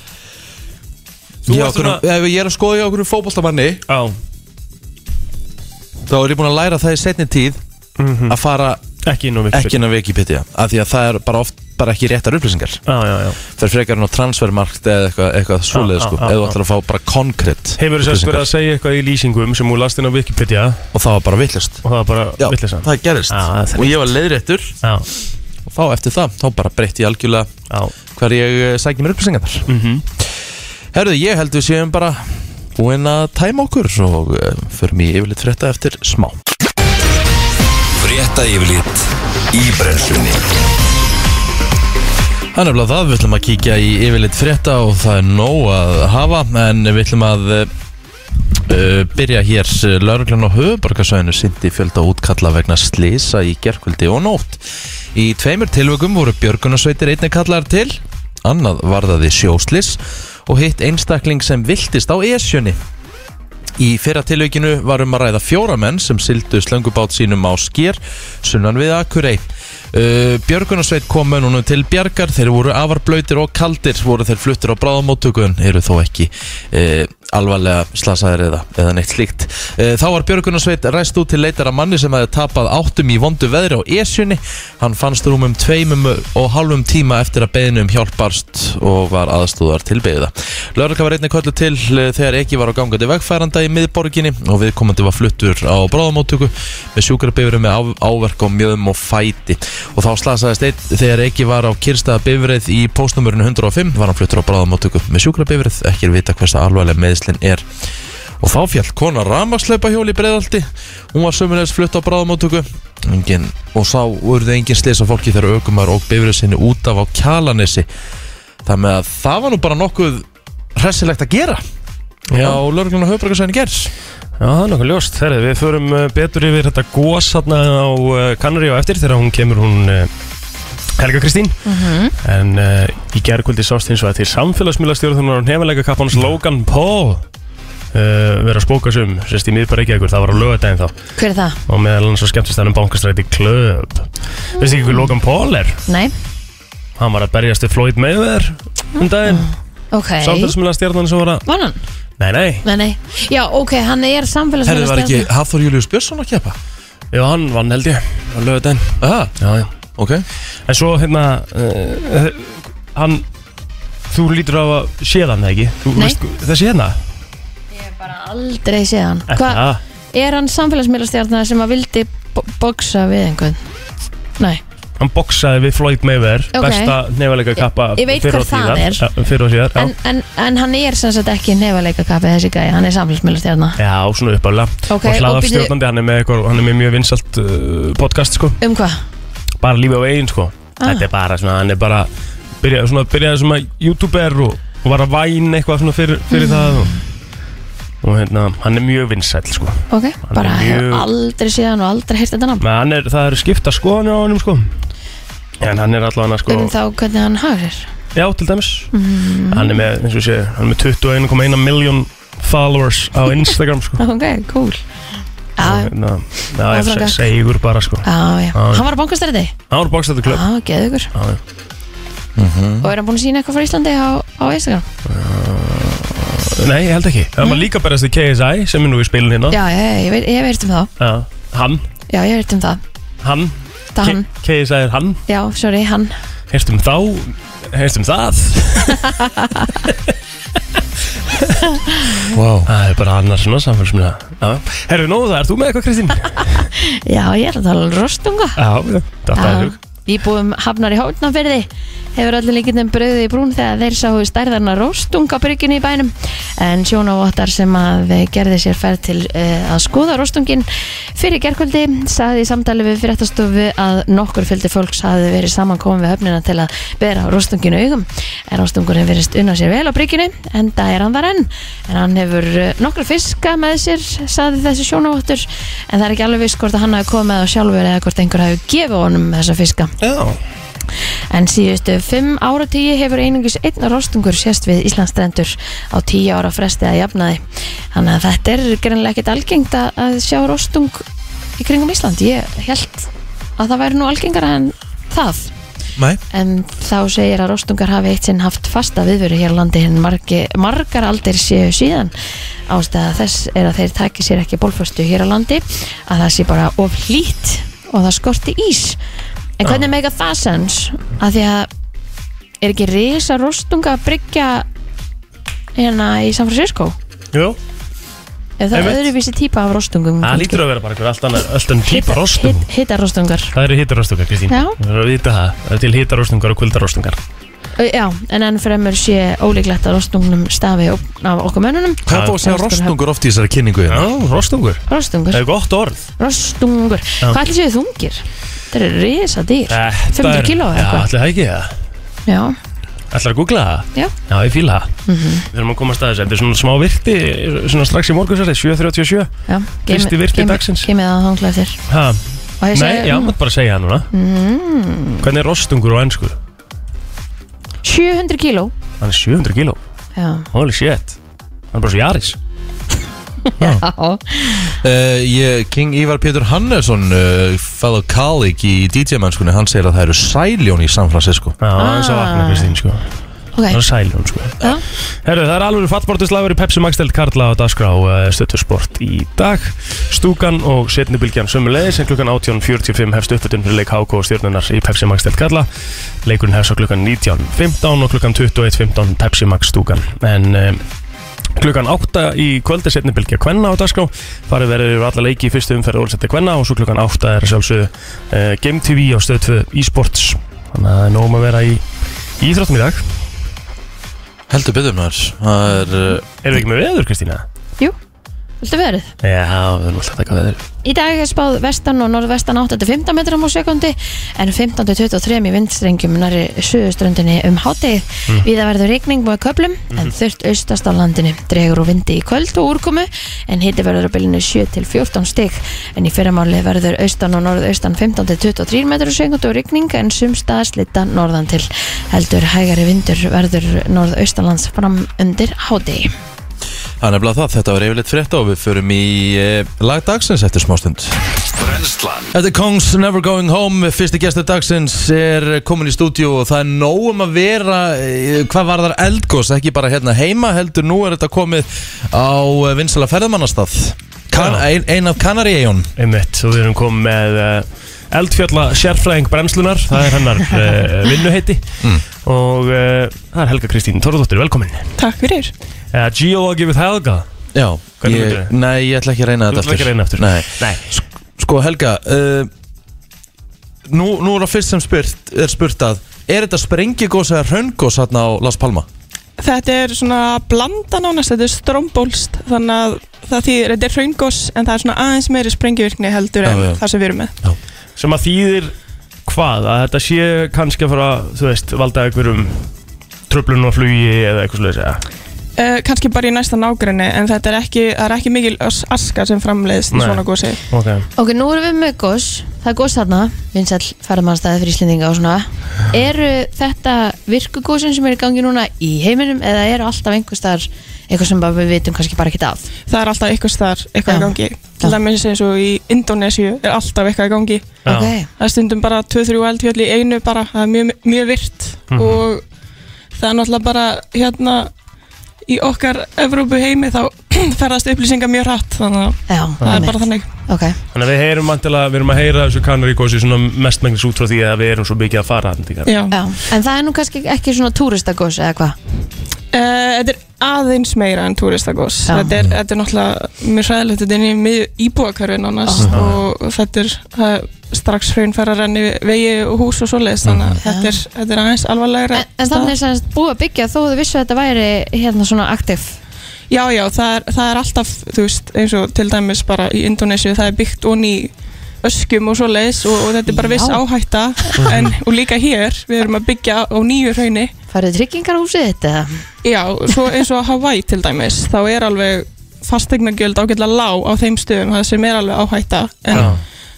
[SPEAKER 3] Þú
[SPEAKER 1] ég
[SPEAKER 3] varst
[SPEAKER 1] okkur, ef ég er að skoða hjá okkur fótboltamanni
[SPEAKER 3] Já,
[SPEAKER 1] þá er ég búin að læra það í setni tíð að fara
[SPEAKER 3] Mhm. ekki inn á Wikipedia
[SPEAKER 1] ekki inn á Wikipedia af því að það er bara oft bara ekki réttar upplýsingar
[SPEAKER 3] já, já, já
[SPEAKER 1] fyrir frekar hann á transfermarkt eða eitthvað, eitthvað svoleiðið
[SPEAKER 3] já,
[SPEAKER 1] sko
[SPEAKER 3] já,
[SPEAKER 1] eða þú
[SPEAKER 3] já.
[SPEAKER 1] ætlar að fá bara konkrétt
[SPEAKER 3] Hefur þess að verið
[SPEAKER 1] upplýsingar
[SPEAKER 3] að segja eitthvað í lýsingum sem hún last inn á Wikipedia
[SPEAKER 1] og það var bara villist
[SPEAKER 3] og það var bara
[SPEAKER 1] Já,
[SPEAKER 3] vittleysan
[SPEAKER 1] það gerist
[SPEAKER 3] Já, það er
[SPEAKER 1] og ég var leiðréttur
[SPEAKER 3] Já,
[SPEAKER 1] og þá eftir það, þá bara breytti ég algjörlega
[SPEAKER 3] já
[SPEAKER 1] hver ég eh, sæki mér upplýsingarnar
[SPEAKER 3] Mhm.
[SPEAKER 1] Herðu, ég held við séum bara búin að tæma okkur og eh, förum í yfirleitt frétta eftir smá
[SPEAKER 4] Frétta yfirlit í brennslunni
[SPEAKER 1] Það er nefnilega það, við ætlum að kíkja í yfirleitt frétta og það er nóg að hafa en við ætlum að eh, uh, byrja hér lauruglan á höfuborgarsvæðinu sindi fjölda útkalla vegna slisa í gerkvöldi og nótt. Í tveimur tilvökum voru björgunarsveitir einnig kallar til, annað varðaði sjóslis og hitt einstakling sem viltist á esjunni. Í fyrra tilveikinu var um að ræða fjóra menn sem sildu slöngubát sínum á skér sunnan við Akurey. Uh, Björgunarsveit kom mönnunum til bjargar, þeir voru afar blöytir og kaldir, voru þeir fluttir á bráðamóttökun, eru þó ekki uh, alvarlega slasaðir eða, eða neitt slíkt. Uh, þá var Björgunarsveit ræst út til leitar að manni sem hefði tapað áttum í vondu veðri á Esjunni. Hann fannst rúmum tveimum og hálfum tíma eftir að beðinu um hjálp barst og var aðstúðar til beðiða. Lörgla var einnig köllu til eh, þegar ekki var á gangandi vegfæranda í miðborginni og viðkomandi var fluttur á bráðamóttöku með sjúkrabifrið með á, áverk á mjöðum og fæti og þá slasaðist einn þegar ekki var á kyrstaða bifrið í postnumurinu 105 var hann fluttur á bráðamóttöku með sjúkrabifrið ekki er vita hversa alvarlega meðslinn er og þá fjall kona ramagsleipa hjól í breiðaldi hún var sömulegis flutt á bráðamóttöku engin, og sá urðu engin slisa fólki þegar aukumar og bifrið sinni út af á kjalanesi þar með að það var nú bara nokkuð hressilegt að gera Já, lörglun og höfbrukarsæðin gerð
[SPEAKER 3] Já, það er nokkuð ljóst. Herri, við förum eh, betur yfir þetta gós hérna á eh, Kanarí og eftir þegar hún kemur hún eh, Helga Kristín. En uh, í gerðkvöldi sást hins vegar til samfélagsmiðlastjóru þannig að hún hefilega kappans Logan Paul uh, vera að spóka sum, sérst í miðbæra ekki ekkur, það var á lögadaginn þá.
[SPEAKER 2] Hver er það?
[SPEAKER 3] Og meðal hann svo skemmtist hann um bankastræti klöp. Mm. Veist ekki hver Logan Paul er?
[SPEAKER 2] Nei,
[SPEAKER 3] Hann var að berjast við Floyd Mayweather um daginn.
[SPEAKER 2] ok
[SPEAKER 3] Samfélagsmiðlastjórnan sem var að...
[SPEAKER 2] Var hann?
[SPEAKER 3] Nei, nei.
[SPEAKER 2] Nei, nei Já, ok, hann er
[SPEAKER 1] Herðu var ekki
[SPEAKER 2] samfélagsmiðlastjörn
[SPEAKER 1] Hafþór Július Björnsson að keppa?
[SPEAKER 3] Já, hann vann held ég á lögadaginn.
[SPEAKER 1] Aha,
[SPEAKER 3] Já, já.
[SPEAKER 1] ok
[SPEAKER 3] En svo hérna uh, Hann Þú lítur af að séð hann eða ekki þú,
[SPEAKER 2] Nei.
[SPEAKER 3] Þessi hérna
[SPEAKER 2] Ég hef bara aldrei séð hann Hvað,
[SPEAKER 3] Hva?
[SPEAKER 2] er hann samfélagsmiðlastjörn sem að vildi bo- boxa við einhvern? Nei,
[SPEAKER 3] Hann boksaði við Floyd Mayweather
[SPEAKER 2] Ok.
[SPEAKER 3] Besta nefalega kappa
[SPEAKER 2] Ég- ég veit
[SPEAKER 3] fyrr og
[SPEAKER 2] hver það
[SPEAKER 3] síðar.
[SPEAKER 2] er.
[SPEAKER 3] Ja, Fyrr og síðar
[SPEAKER 2] en,
[SPEAKER 3] já.
[SPEAKER 2] en, en hann er sem sagt ekki nefaleika kapið þessi gæði Hann er samfélagsmiðlastjörn
[SPEAKER 3] já, svona
[SPEAKER 2] Ok,
[SPEAKER 3] uppálega Og
[SPEAKER 2] og
[SPEAKER 3] hlaðar
[SPEAKER 2] býtu-
[SPEAKER 3] stjórnandi Hann er með, eitthvað, hann er með mjög vinsalt uh, podcast sko
[SPEAKER 2] Um hvað?
[SPEAKER 3] Bara lífi á eigin sko
[SPEAKER 2] Ah.
[SPEAKER 3] Þetta er bara svona Hann er bara Byrjaði svona, byrjaði svona youtuber og, og var að væna eitthvað svona fyrir,
[SPEAKER 2] Mm.
[SPEAKER 3] fyrir það og, og hérna Hann er mjög vinsæll sko
[SPEAKER 2] Ok, bara
[SPEAKER 3] mjög-
[SPEAKER 2] hef aldrei séð hann og aldrei heyrt þetta nafn
[SPEAKER 3] Men hann er, það eru skipta skoðanir á honum sko En hann er allavega sko
[SPEAKER 2] Um þá hvernig Mhm. hann hafa sér
[SPEAKER 3] Já, til dæmis Hann er með, eins og sé, hann er með 21,1 miljón followers á Instagram sko
[SPEAKER 2] Mm.
[SPEAKER 3] hérna,
[SPEAKER 2] Ok, cool Já,
[SPEAKER 3] Ná, ná,
[SPEAKER 2] Það er
[SPEAKER 3] ég
[SPEAKER 2] frekar.
[SPEAKER 3] seg, segur bara sko
[SPEAKER 2] já, já
[SPEAKER 3] já.
[SPEAKER 2] Hann var á bankastræti
[SPEAKER 3] Hann var bókstættu
[SPEAKER 2] Já,
[SPEAKER 3] klubb
[SPEAKER 2] geðu ykkur
[SPEAKER 3] Já, Mhm. já.
[SPEAKER 2] Og er hann búin að sína eitthvað frá Íslandi á, á Instagram?
[SPEAKER 3] Nei, ég held ekki Hann var líka berast í KSI sem er nú í spilin hérna
[SPEAKER 2] Ah. Mm. Já, já, já, ég veit, ég hef heyrt um það
[SPEAKER 3] Já, Hann,
[SPEAKER 2] Já, ég hef heyrt um það
[SPEAKER 3] hann,
[SPEAKER 2] Það er hann,
[SPEAKER 3] K- KSI er hann
[SPEAKER 2] já, sorry, hann
[SPEAKER 3] Herstum um þá, herstum það
[SPEAKER 1] wow.
[SPEAKER 3] Það er bara annar svona samfélsmina Herru, nóðu það, ert þú með eitthvað Kristín?
[SPEAKER 2] Já, ég er að tala um rostunga
[SPEAKER 3] Já, já, þetta er hug
[SPEAKER 2] Íbúum hafnar í hótnafyrði hefur allir líkindum bröðið í brún þegar þeir sáu stærðarna róstungabrygginu í bænum en sjónavottar sem að gerði sér ferð til uh, að skoða róstungin fyrir gerkvöldi sagði í samtali við fyrirtastofu að nokkur fjöldi fólks hafði verið samankomin við höfnina til að bera róstunginu augum en róstungurinn verist unna sér vel á brygginu en það er hann þar enn en hann hefur eh, nokkra fiska með sér sagði þessi sjónavottur en það er ekki alveg viss hvort að hann hafi komið með þá sjálfur eða hvort einhver hafi gefið honum þessa fiska
[SPEAKER 3] Já,
[SPEAKER 2] En síðustu fimm áratíi hefur einungis einn rostungur sérst við Íslandstrendur á tíu ára fresti að jafnaði. Þannig að þetta er greinlega ekkit algengt að, að sjá rostung í kringum Ísland. Ég held að það væri nú algengara en það.
[SPEAKER 1] Nei,
[SPEAKER 2] En þá segir að rostungar hafi eitt sinn haft fasta viðveru hér á landi hinn margi, margar aldir séu síðan. Ástæða þess er að þeir taki sér ekki bólföstu hér á landi, að það sé bara of hlýtt og það skorti ís. En hvernig make það sens að því að er ekki risa rostunga að bryggja hérna í San Francisco
[SPEAKER 3] Jú,
[SPEAKER 2] er það
[SPEAKER 3] Einmitt.
[SPEAKER 2] öðruvísi típa af rostungum
[SPEAKER 3] það lítur að vera bara einhver allt annar, allt annar típa rostum
[SPEAKER 2] hitt, hittarostungar
[SPEAKER 3] Það eru hittarostungar, Kristín
[SPEAKER 2] Já.
[SPEAKER 3] Það eru að vita það, það eru til hittarostungar og kuldarostungar
[SPEAKER 2] Ö, Já, en enn fremur sé ólíklegt að rostungnum stafi op- af okkur mönnunum
[SPEAKER 1] Hvað er búið að segja rostungur oft í þessari kynningu? hérna?
[SPEAKER 3] Já, rostungur
[SPEAKER 2] Rostungur,
[SPEAKER 3] Það er gott orð
[SPEAKER 2] rostungur Hvað ætli séu þungir? Það eru risa dýr
[SPEAKER 3] Þetta
[SPEAKER 2] 500
[SPEAKER 3] er-
[SPEAKER 2] kíló eða
[SPEAKER 3] Já,
[SPEAKER 2] eitthvað.
[SPEAKER 3] ætli það ekki það
[SPEAKER 2] Já,
[SPEAKER 3] Ætlar að googla það?
[SPEAKER 2] Já.
[SPEAKER 3] Já, Mhm. ég fíla það Við þurfum að koma að staðis Þetta er svona smá virti Svona strax í morgunsæri 7.37
[SPEAKER 2] já
[SPEAKER 3] Fyrsti
[SPEAKER 2] geymið-
[SPEAKER 3] virti
[SPEAKER 2] geymið-
[SPEAKER 3] dagsins.
[SPEAKER 2] Geymið það þangla eftir
[SPEAKER 3] Ha,
[SPEAKER 2] Og ég
[SPEAKER 3] Nei, já,
[SPEAKER 2] segi "Mm,
[SPEAKER 3] maður bara að segja það núna Hvernig er rostungur á ennsku?
[SPEAKER 2] 700 kíló
[SPEAKER 3] Hann er 700 kíló
[SPEAKER 2] Já,
[SPEAKER 3] Holy shit Hann er bara svo jaris
[SPEAKER 2] já.
[SPEAKER 1] Uh, ég, King Ívar Pétur Hannesson, uh, fellow colleague í DJ-mennskunni, hann segir að það eru sæljón í San Francisco.
[SPEAKER 3] Já, ah. eins og vakna Kristín, sko
[SPEAKER 2] ok
[SPEAKER 3] Það er sælun, sko
[SPEAKER 2] Já.
[SPEAKER 3] Herru, það er alveg fattbortislagur í Pepsi Magstelt Karla á Dasgrá uh, stöttusport í dag Stúkan og setnibylgjan sömulegis en klukkan 18.45 hefst uppbytun fyrir leik HK og stjórnunar í Pepsi Magstelt Karla Leikurinn hefst á klukkan 19.15 og klukkan 21.15 Pepsi Max Stúkan En um, klukkan 8 í kvöldi setnibylgja Kvenna á Dasgrá Farið verður yfir alla leiki í fyrstu umferð úrsætti Kvenna og svo klukkan 8 er að sjálfsögðu uh, Game TV á stöð 2 e-sports Þannig að það er nógum að vera í, í íþróttum í dag
[SPEAKER 1] Heldur byggðum þar. Það er... Uh,
[SPEAKER 3] Erum við ekki með veður, Kristína?
[SPEAKER 2] Viltu verið?
[SPEAKER 3] Já, við erum alltaf að taka veður
[SPEAKER 2] Í dag er spáð vestan og norðvestan 8-15 metrum á sekundi en 15-23 í vindstrengjum nari suðuströndinni um hátegið. Víða verður rigning með köplum en þurft austast á landinu. Dregur og vindi í kvöld og úrkomu en hitti verður að bylinu 7-14 stig en í fyrramáli verður austan og norðaustan 15-23 metrum á sekundi og rigning en sumstaða slitta norðan til. Heldur hægari vindur verður norðaustanlands fram undir hádegi.
[SPEAKER 1] það er nefnilega það, þetta var yfirleitt frétta og við förum í uh, lagdagsins eftir smástund.
[SPEAKER 4] Brenslan
[SPEAKER 1] Þetta er Kongs Never Going Home Fyrsti gestur dagsins er komin í stúdíu og það er nóg um að vera eh, hvað var þar eldgós, ekki bara hérna heima heldur, nú er þetta komið á eh, vinsæla ferðamannastað kan,
[SPEAKER 3] Já.
[SPEAKER 1] ein, ein af Kanaríegjón
[SPEAKER 3] Einmitt, og við erum komið með uh, eldfjalla sérfræðing brennslunar Það er hennar uh, vinnuheiti Og uh, það er Helga Kristín Torðóttir, velkomin
[SPEAKER 5] Takk fyrir.
[SPEAKER 3] uh, Geology with Helga
[SPEAKER 1] Já,
[SPEAKER 3] Hvernig
[SPEAKER 1] ég,
[SPEAKER 3] myndirðu?
[SPEAKER 1] nei, ég ætla ekki að reyna
[SPEAKER 3] Þú
[SPEAKER 1] þetta
[SPEAKER 3] ætlar ekki að reyna aftur
[SPEAKER 1] Nei.
[SPEAKER 3] Nei.
[SPEAKER 1] Sko Helga uh, nú, nú er það fyrst sem spurt, er spurt að er þetta sprengigós eða hraungós hérna á Las Palma?
[SPEAKER 5] Þetta er svona blanda nánast, þetta er strómbólst þannig að það þýðir, þetta er hraungos en það er svona aðeins meiri sprengjuvirkni heldur en
[SPEAKER 1] Já, já.
[SPEAKER 5] það sem við erum með.
[SPEAKER 3] Sem að þýðir hvað? Að þetta sé kannski að fara, þú veist, valda einhverjum tröflun og flugi eða eitthvað slúið segja
[SPEAKER 5] Uh, kannski bara í næsta nágrinni en þetta er ekki, það er ekki mikil as- aska sem framleiðist
[SPEAKER 3] Nei.
[SPEAKER 5] í svona gósi.
[SPEAKER 3] Ok
[SPEAKER 2] Ok, nú erum við með gós, það er gós þarna, vinsall ferðamannstæði fyrir Íslendinga og svona. Eru þetta virkugósin sem er í gangi núna í heiminum eða eru alltaf einhver staðar, eitthvað sem bara við vitum kannski bara ekkert af?
[SPEAKER 5] Það er alltaf eitthvað staðar, eitthvað
[SPEAKER 2] Já.
[SPEAKER 5] í gangi. Til
[SPEAKER 2] Já.
[SPEAKER 5] dæmis eins og í Indonésiu er alltaf eitthvað í gangi.
[SPEAKER 3] Já.
[SPEAKER 2] Ok,
[SPEAKER 5] Það er stundum bara 2-3 eldfjöll í einu bara, það er mjög, mjög virt og það er náttúrulega bara hérna í okkar Evrópu heimi þá ferðast upplýsingar mjög hratt þannig að
[SPEAKER 2] já,
[SPEAKER 5] það er
[SPEAKER 2] einmitt.
[SPEAKER 5] bara þannig.
[SPEAKER 2] Ok,
[SPEAKER 3] Þannig að við heyrum vantilega, við erum að heyra þessu kanaríkósi svona mestmengnis út frá því að við erum svo mikið að fara þarna til Kanarí.
[SPEAKER 5] Já.
[SPEAKER 2] já, en það er nú kannski ekki svona túristagós eða hvað?
[SPEAKER 5] Eh, Þetta er aðeins meira en túristagós.
[SPEAKER 2] Já.
[SPEAKER 5] Þetta, er- þetta er náttúrulega mjög hræðilegt, þetta er inn í miðju íbúakörfin annars og þetta er það er strax hraun fer að renni vegi og hús og svoleiðis þannig að þetta er, þetta er aðeins alvarlegra.
[SPEAKER 2] En, en þannig er sem búið að byggja þó þú vissu að þetta væri hérna svona aktiv.
[SPEAKER 5] Já, já, það er, það er alltaf, þú veist, eins og til dæmis bara í Indonésiu, það er byggt onni í öskum og svo leiðis og, og þetta er bara viss
[SPEAKER 2] Já.
[SPEAKER 5] áhætta en, og líka hér, við erum að byggja á nýju hrauni
[SPEAKER 2] Farið tryggingarhúsið þetta eða?
[SPEAKER 5] Já, svo eins og á Hawaii til dæmis, þá er alveg fastegnagjöld ágætlega lág á þeim stöðum, það sem er alveg áhætta en
[SPEAKER 3] Já.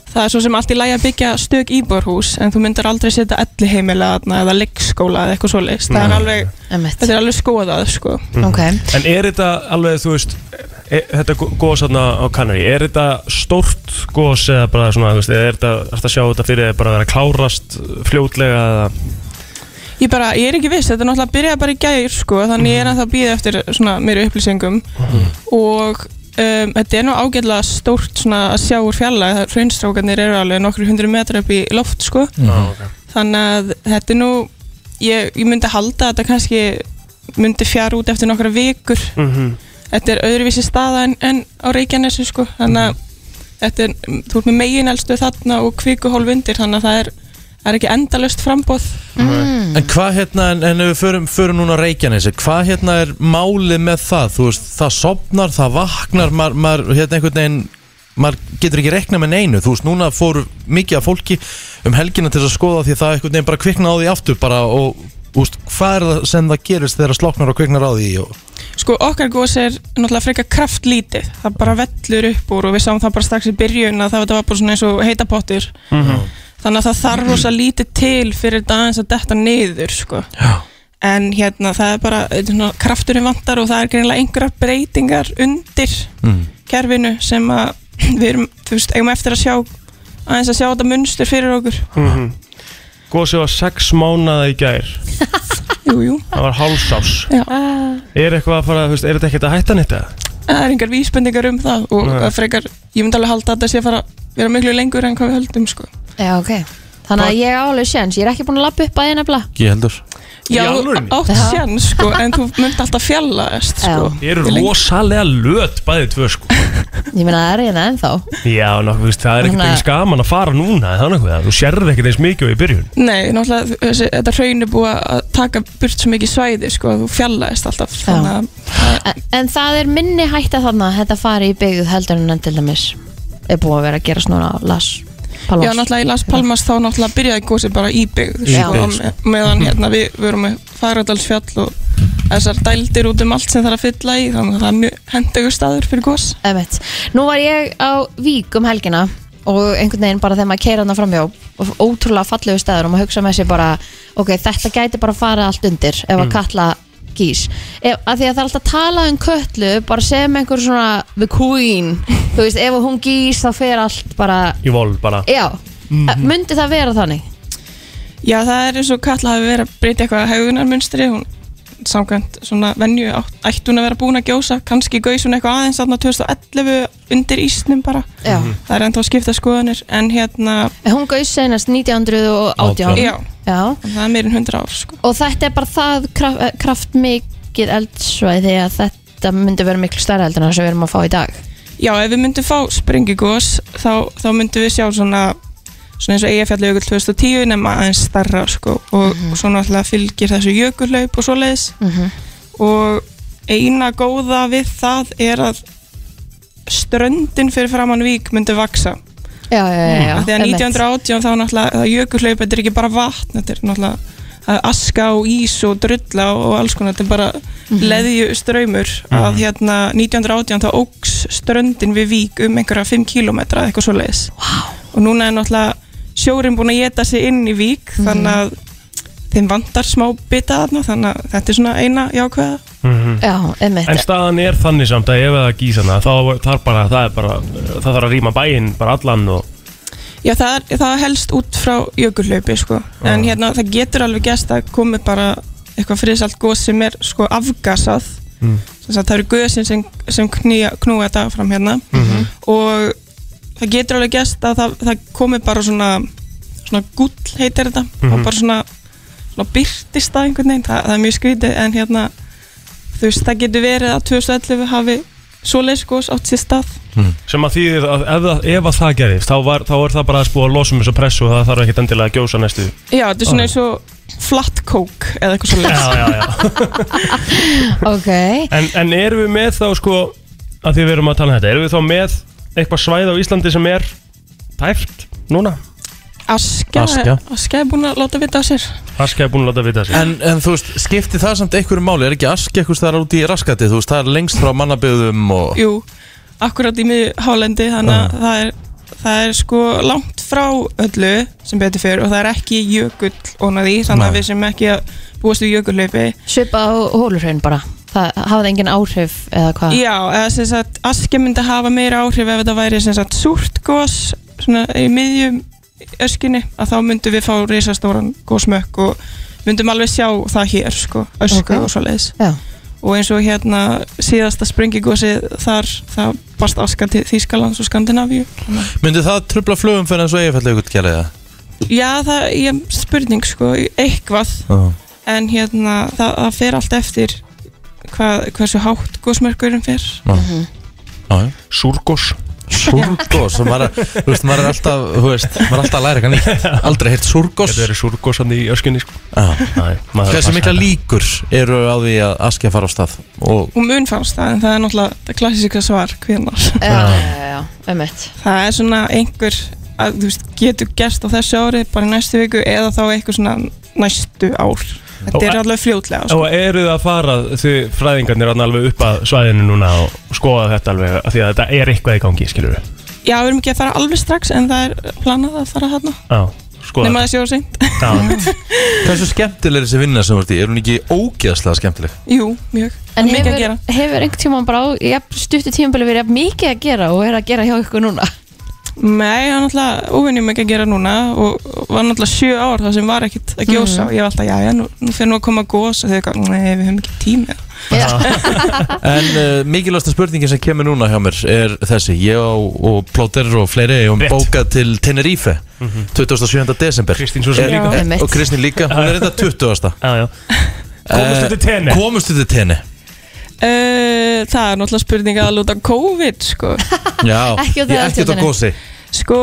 [SPEAKER 5] það er svo sem allt í lægi að byggja stök íborhús en þú myndir aldrei setja elli heimila eða leikskóla eða eitthvað svo leiðis, það er alveg,
[SPEAKER 2] Emmett,
[SPEAKER 5] þetta er alveg skoðað sko.
[SPEAKER 2] ok.
[SPEAKER 3] En er þetta alveg, þú veist er, Þetta gós hérna á Kanarí Er þetta stórt gós eða bara svona, þú veist, eða er þetta, er þetta að sjá þetta fyrir þér bara að vera að klárast fljótlega eða
[SPEAKER 5] Ég bara, ég er ekki viss, þetta er náttúrulega byrjaði bara í gæðir sko, þannig ég er ennþá að býða eftir svona meiri upplýsingum og um, þetta er nú ágætlega stórt svona að sjá úr fjalla það hraunstrákarnir eru alveg nokkru hundru metra upp í loft sko
[SPEAKER 1] Mhm.
[SPEAKER 5] þannig að þetta er nú ég, ég myndi halda að þetta kannski myndi fjara út eftir nokkra vikur
[SPEAKER 3] Mhm,
[SPEAKER 5] þetta er öðruvísi staða en, en á Reykjanesi sko þannig að þetta er, þú ert með megin elstu þarna og kvikuhólf undir þannig að það er, það er ekki endalust frambóð
[SPEAKER 1] En hvað hérna, en, en ef við förum, förum núna á Reykjanesi, hvað hérna er málið með það? Þú veist, það sopnar, það vaknar, maður, maður hérna einhvern veginn, maður getur ekki rekna með neinu, þú veist, núna fór mikið af fólki um helgina til þess að skoða því það einhvern veginn bara kviknaði á því aftur bara og, þú veist, hvað er það sem það gerist þegar það sloknar og kviknar á því og,
[SPEAKER 5] Sko okkar gós er náttúrulega frekar kraftlítið það bara vellur upp úr og við sáum það bara strax í byrjun að það þetta var bara svona eins og heitapottur þannig að það þarf rosa lítið til fyrir þetta aðeins að detta niður sko. en hérna það er bara þetta er svona, krafturinn vantar og það er greinlega einhverjar breytingar undir
[SPEAKER 1] Mm.
[SPEAKER 5] kerfinu sem að við erum, þú veist, eigum eftir að sjá aðeins að sjá þetta munstur fyrir okkur
[SPEAKER 3] Gósið mhm. var sex mánaða í gær
[SPEAKER 5] Jú, jú,
[SPEAKER 3] Það var hálsás
[SPEAKER 5] já
[SPEAKER 3] Er eitthvað að fara, þú veist, er þetta ekkert að hætta nýtt eða?
[SPEAKER 5] það er engar vísbendingar um það og
[SPEAKER 3] Nei.
[SPEAKER 5] það frekar, ég myndi alveg halda að þetta sé að fara að vera miklu lengur en hvað við höldum sko.
[SPEAKER 2] Já, ok Þannig að ég á alveg séns, ég er ekki búin að lappa upp að einabla
[SPEAKER 1] ég heldur.
[SPEAKER 5] Já,
[SPEAKER 3] alvörunni?
[SPEAKER 5] átt
[SPEAKER 2] Já.
[SPEAKER 5] sjann sko, en þú myndi alltaf fjallaðist sko.
[SPEAKER 3] Þið eru
[SPEAKER 5] Lengi.
[SPEAKER 3] rosalega löt bæðið tvö sko
[SPEAKER 2] Ég meina það er hérna ennþá
[SPEAKER 3] Já, nokkuð, þú veist, það er ekkert
[SPEAKER 2] Þannig að-
[SPEAKER 3] ekki skaman að fara núna Það er nokkuð það, þú sérði ekkert eins mikið og í byrjun
[SPEAKER 5] Nei, náttúrulega þessi, þetta hraun er búið að taka burt svo mikið svæði sko, að þú fjallaðist alltaf
[SPEAKER 2] Já.
[SPEAKER 5] þannig að
[SPEAKER 2] en, en það er minni hætta þarna að Þetta fari í byggð heldur en enn til dæmis Er búin að vera að gerast núna á Las Palmas
[SPEAKER 5] Já, náttúrulega í Las Palmas þá náttúrulega byrjaði gósið bara íbyggð
[SPEAKER 2] Já.
[SPEAKER 5] sko,
[SPEAKER 2] Íbyggð,
[SPEAKER 5] og me- meðan hérna við, við erum með Fagradalsfjall og þessar dældir út um allt sem það er að fylla í þannig að það er mjög hendegur staður fyrir gós
[SPEAKER 2] Emmett. Nú var ég á Vík um helgina og einhvern veginn bara þegar maður keira hana framjá og ótrúlega fallegu stæður og maður hugsa með sér bara ok, þetta gæti bara fara allt undir ef
[SPEAKER 5] Mm.
[SPEAKER 2] að kalla gís ef, að því að það er alltaf að tala um köllu bara sem einhver svona the queen þú veist, ef hún gís þá fer allt bara,
[SPEAKER 3] Í vol bara
[SPEAKER 2] já mm
[SPEAKER 5] Mhm.
[SPEAKER 2] myndi það vera þannig?
[SPEAKER 5] Já, það er eins og Katla hafi verið að breyta eitthvað haugunarmunstri, hún samkvæmt svona venju átt- ætti hún að vera búin að gjósa, kannski gaus hún eitthvað aðeins aðna 2011 undir ísnum bara.
[SPEAKER 2] Já,
[SPEAKER 5] Það er ennþá að skipta skoðanir, en hérna,
[SPEAKER 2] En hún gaus senast 1918
[SPEAKER 5] já,
[SPEAKER 2] já,
[SPEAKER 5] það er meirinn 100 ár sko.
[SPEAKER 2] og þetta er bara það kraf, eh, kraftmikið eldsvæði að þetta myndi vera miklu stærra eldur en það sem við erum að fá í dag
[SPEAKER 5] Já, ef við myndum fá springigós, þá, þá myndum við sjá svona, svona eins og Eyjafjallajökull 2010 nema aðeins starra sko, og mm -hmm. svona alltaf fylgir þessu jökullaup og svoleiðis.
[SPEAKER 2] Mhm.
[SPEAKER 5] og eina góða við það er að ströndin fyrir framann vík myndi vaksa
[SPEAKER 2] já, já, já, já.
[SPEAKER 5] af því að
[SPEAKER 2] einmitt.
[SPEAKER 5] 1918 þá náttúrulega það jökulhlaup, þetta er ekki bara vatn þetta er náttúrulega það er aska og ís og drulla og og alls konar þetta er bara
[SPEAKER 2] Mhm.
[SPEAKER 5] leðju ströymur að hérna 1918 þá óks ströndin við vík um einhverja 5 km eitthvað svo leiðis wow. og núna er náttúrulega sjórin búin að geta sig inn í vík
[SPEAKER 2] Mhm.
[SPEAKER 5] þannig að þeim vantar smá bita þarna þannig að þetta er svona eina jákvæða
[SPEAKER 3] Mhm.
[SPEAKER 2] já, einmitt,
[SPEAKER 3] En staðan er þannig samt að ef það gísana þá þarf bara, það er bara, það þarf að rýma bæinn bara allan og
[SPEAKER 5] Já, það, er, það helst út frá jökulhlaupi, sko. En hérna, það getur alveg gæst að komi bara eitthvað friðsalt góð sem er sko afgasað. Mm. Það eru guðsinn sem, sem knýja, knúa þetta fram hérna. Og það getur alveg gæst að það, það komi bara svona, svona gull heitir þetta. Og bara svona, svona byrtist það einhvern veginn. Það, það er mjög skrítið, en hérna, þú veist, það getur verið að 2011 hafi svoleiðs góðs átt sér stað.
[SPEAKER 3] sem að þýðir að ef, það- ef að það gerist þá, var, þá er það bara að spúa að losa um þessu pressu og það þarf ekkert endilega að gjósa næstu
[SPEAKER 5] Já, þetta er svona eins og flat coke eða eitthvað svoleiðis.
[SPEAKER 3] Já, já, já
[SPEAKER 2] ok
[SPEAKER 3] En, en erum við með þá sko að því við erum að tala um þetta, erum við þá með eitthvað svæð á Íslandi sem er tæft núna?
[SPEAKER 5] Aska,
[SPEAKER 1] Askja.
[SPEAKER 5] Askja. Askja er búin að láta vita á sér
[SPEAKER 3] Askja er búin að láta vita sig
[SPEAKER 1] En, en þú veist, skipti það samt einhverju máli, er ekki aski eitthvað það er út í raskatið, þú veist, það er lengst frá mannabyggðum og...
[SPEAKER 5] Jú, akkurat í miðu hálendi þannig að það er, það er sko langt frá öllu sem betur fyrir og það er ekki jökull ónaði þannig að
[SPEAKER 1] Nei.
[SPEAKER 5] við sem ekki að búast við jökullaupi
[SPEAKER 2] svipa á hólurhraun bara það hafði engin áhrif eða hvað
[SPEAKER 5] Já, eða sem sagt Askja myndi hafa meira áhrif ef þetta væri sem sagt súrt gos svona í miðjum öskinni að þá myndum við fá risastóran gósmökk og myndum alveg sjá það hér sko, ösku
[SPEAKER 2] Ok.
[SPEAKER 5] og svoleiðis
[SPEAKER 2] já,
[SPEAKER 5] og eins og hérna síðasta sprengigosi þar það barst askan til Þýskalands og Skandinavíu
[SPEAKER 1] Myndi það trubla flugum fyrir eins og eiginfæll eitthvað gera það?
[SPEAKER 5] Já, það er spurning sko, eitthvað
[SPEAKER 1] Oh.
[SPEAKER 5] en hérna það, það fer allt eftir hvað, hversu hátt gósmerkurinn fer
[SPEAKER 2] Mhm.
[SPEAKER 1] Já, já.
[SPEAKER 3] Súrgós
[SPEAKER 1] Súrgós, og maður, er- þú veist, maður er alltaf, þú veist, maður er alltaf að læra eitthvað nýtt, aldrei heilt súrgós.
[SPEAKER 3] Þetta verið súrgós hann í öskunni sko
[SPEAKER 1] Já.
[SPEAKER 3] Nei, maður
[SPEAKER 1] Hversu
[SPEAKER 3] passar
[SPEAKER 1] mikla
[SPEAKER 3] þetta.
[SPEAKER 1] líkur eru á því að askja fara á stað? Og,
[SPEAKER 5] og mun fannst það en það er náttúrulega það klassíska svar hvenar
[SPEAKER 2] Já, já, já, ömmett
[SPEAKER 5] það er svona einhver að þú veist getur gerst á þessu ári bara í næstu viku eða þá eitthvað svona næstu ár þetta
[SPEAKER 3] Og-
[SPEAKER 5] er alveg fljótlega sko.
[SPEAKER 3] Og eru það að fara því fræðingarnir hann alveg upp að svæðinu núna og skoða þetta alveg af því að þetta er eitthvað í gangi, skilur við
[SPEAKER 5] já við erum ekki að fara alveg strax en það er planað að fara hérna
[SPEAKER 3] Já, skoða
[SPEAKER 5] nema þessi ára seint
[SPEAKER 3] þetta Já,
[SPEAKER 1] hversu skemmtileg er þessi vinna sem þú ert í? Er hún ekki ógeðslega skemmtileg?
[SPEAKER 5] jú mjög
[SPEAKER 2] En
[SPEAKER 5] mikið að
[SPEAKER 2] hefur,
[SPEAKER 5] gera.
[SPEAKER 2] hefur einhvern tímann bara á jafn stuttu tímabili verið jafn mikið að gera og er að gera hjá ykkur núna
[SPEAKER 5] Nei, það er náttúrulega óvinnjum ekki að gera núna og og var náttúrulega sjö ár það sem var ekkit að gjósa
[SPEAKER 2] Mhm.
[SPEAKER 5] og ég var alltaf, já, já, nú, nú fyrir nú að koma að gós og þau eitthvað, nei, við höfum ekki tími
[SPEAKER 1] En uh, mikilvægsta spurningin sem kemur núna hjá mér er þessi Ég og, og plóter og fleiri hefum
[SPEAKER 3] Rétt. Mhm.
[SPEAKER 1] bókað til Tenerife 27. desember
[SPEAKER 3] Kristín svo sem
[SPEAKER 1] Er-
[SPEAKER 5] líka.
[SPEAKER 1] er-
[SPEAKER 2] Einmitt.
[SPEAKER 1] Og Kristín líka, hún er Eh, þetta 20.
[SPEAKER 3] já, já Komast til tenni
[SPEAKER 1] Komustu til tenni
[SPEAKER 5] uh, Það er náttúrulega spurning að lúta COVID, sko
[SPEAKER 1] Já,
[SPEAKER 2] Ekki á
[SPEAKER 1] ég ekki þetta
[SPEAKER 2] Tenerife.
[SPEAKER 1] gósi
[SPEAKER 5] Sko,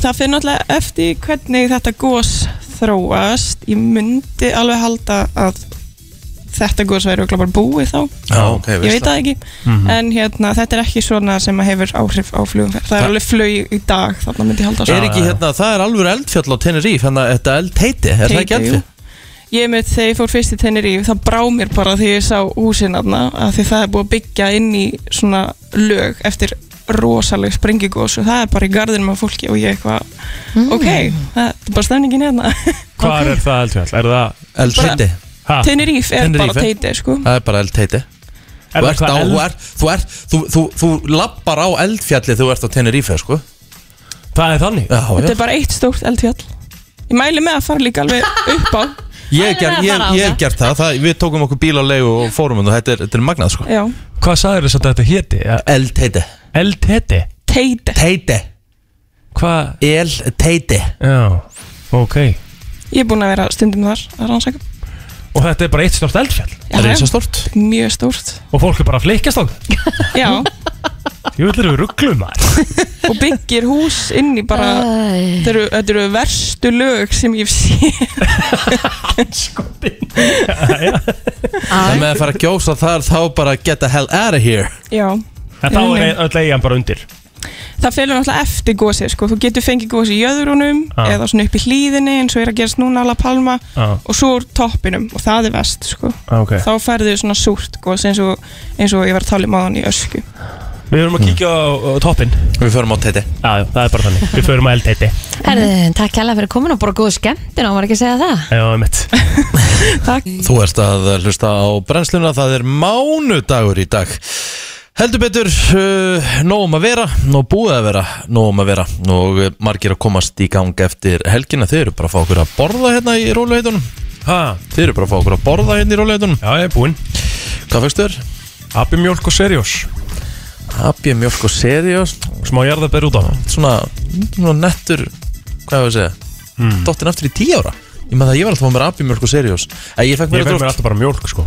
[SPEAKER 5] það fyrir náttúrulega eftir hvernig þetta gós þróast Ég myndi alveg halda að þetta gós væri okkur bara búið þá
[SPEAKER 1] Já, ok,
[SPEAKER 5] Ég
[SPEAKER 1] veist
[SPEAKER 5] veit það ekki,
[SPEAKER 1] Mhm.
[SPEAKER 5] en hérna, þetta er ekki svona sem að hefur áhrif á flugumferð Það
[SPEAKER 1] Það-
[SPEAKER 5] er alveg flug í dag, þarna myndi ég halda
[SPEAKER 1] Er ekki hérna, það er alveg eldfjall á Tenerife Þannig að þetta eld heiti, er það ekki
[SPEAKER 5] Teiti, jú.
[SPEAKER 1] eldfjall?
[SPEAKER 5] Ég með þegar ég fór fyrst í Tenerife þá brá mér bara því ég sá húsin aðna að því það er búið að byggja inn í svona lög eftir rosaleg springigós og það er bara í gardinum af fólki og ég eitthvað ok, það er bara stemningin hérna
[SPEAKER 3] Hvar er það eldfjall? Er það,
[SPEAKER 1] Eld
[SPEAKER 5] Bara-
[SPEAKER 1] heiti,
[SPEAKER 3] hæ?
[SPEAKER 5] Tenerife er
[SPEAKER 1] Ah, Tenerife. Ah,
[SPEAKER 5] bara teiti sko
[SPEAKER 1] það er bara eld heiti
[SPEAKER 3] Er
[SPEAKER 1] Þú
[SPEAKER 3] það
[SPEAKER 1] ert á,
[SPEAKER 3] hvað
[SPEAKER 1] þú
[SPEAKER 3] eld?
[SPEAKER 1] ert, þú ert, þú, þú, þú lappar á eldfjalli Þú ert á Tenerife, sko
[SPEAKER 3] Það er þannig?
[SPEAKER 1] Já,
[SPEAKER 5] þetta
[SPEAKER 1] já
[SPEAKER 5] er bara eitt stórt eldfjall ég mæli með að fara líka alveg upp á
[SPEAKER 1] Ég hef
[SPEAKER 2] Hann er
[SPEAKER 1] gert-
[SPEAKER 2] að
[SPEAKER 1] ég-
[SPEAKER 2] fara á
[SPEAKER 1] ég hef
[SPEAKER 2] það.
[SPEAKER 1] gert það, það Við tókum okkur bíl á leigu og fórum Og þetta er, þetta er magnað, sko
[SPEAKER 5] já,
[SPEAKER 3] Hvað sagður þess að þetta héti? Ja,
[SPEAKER 1] Eld heiti
[SPEAKER 3] Eldheti?
[SPEAKER 5] teiti
[SPEAKER 1] Teiti
[SPEAKER 3] Hvað?
[SPEAKER 1] El Teiti
[SPEAKER 3] Já, ok
[SPEAKER 5] ég er búin að vera stundum þar að rannsaka
[SPEAKER 3] Og þetta er bara eitt stort eldfjall
[SPEAKER 1] Það er
[SPEAKER 5] já.
[SPEAKER 1] eins og stort
[SPEAKER 5] mjög stórt,
[SPEAKER 3] Og fólk er bara að flikast á það
[SPEAKER 5] já,
[SPEAKER 3] Ég vil þeirra við rugglum maður
[SPEAKER 5] og byggir hús inn í
[SPEAKER 2] Ah.
[SPEAKER 5] bara
[SPEAKER 2] Æ.
[SPEAKER 5] Þetta eru, þetta eru verstu lög sem ég sé
[SPEAKER 1] Það með að fara að gjósa þar þá bara get the hell out of here
[SPEAKER 5] Já
[SPEAKER 3] En þá er öll eigin bara undir
[SPEAKER 5] Það felur náttúrulega eftir gósið sko. Þú getur fengið gósið í jöðrunum
[SPEAKER 3] Já.
[SPEAKER 5] eða svona upp í hlíðinni eins og er að gerast núna alla palma
[SPEAKER 3] Já,
[SPEAKER 5] og svo úr toppinum og það er vest sko.
[SPEAKER 3] ok
[SPEAKER 5] Þá færðu svona súrt gósið eins og, eins og ég var að tala um áðan í ösku
[SPEAKER 3] Við erum að kíkja á, á toppin Já,
[SPEAKER 1] Við förum á Teiti
[SPEAKER 3] já, það er bara þannig Við förum að eldheti
[SPEAKER 2] Herðu, takk hella fyrir komin og bara góð skemmtin og maður ekki að segja það
[SPEAKER 3] Já, mitt
[SPEAKER 5] Takk
[SPEAKER 1] Þú ert að hlusta á brennsluna Það er mánudagur í dag Heldur betur uh, nóg um að vera Nóg búið að vera Nóg um að vera Og uh, margir að komast í gang eftir helgina Þeir eru bara að fá okkur að borða hérna í róluheitunum
[SPEAKER 3] Ha,
[SPEAKER 1] Þeir eru bara að fá okkur að borða hérna í róluheitunum
[SPEAKER 3] já, ég er búinn
[SPEAKER 1] Hvað fækstu þér?
[SPEAKER 3] Abbi mjölk og serjós
[SPEAKER 1] Abbi, mjölk og seri og
[SPEAKER 3] Smá jarðabær út á það
[SPEAKER 1] svona, svona nettur Hvað hefur að segja?
[SPEAKER 3] Hmm.
[SPEAKER 1] Mm. Dottin aftur í tíu ára Ég með það ég var alltaf á mér abbi, mjölk og seri og Ég fekk
[SPEAKER 3] Ég
[SPEAKER 1] mér að
[SPEAKER 3] verður mér
[SPEAKER 1] drótt
[SPEAKER 3] alltaf bara mjölk, sko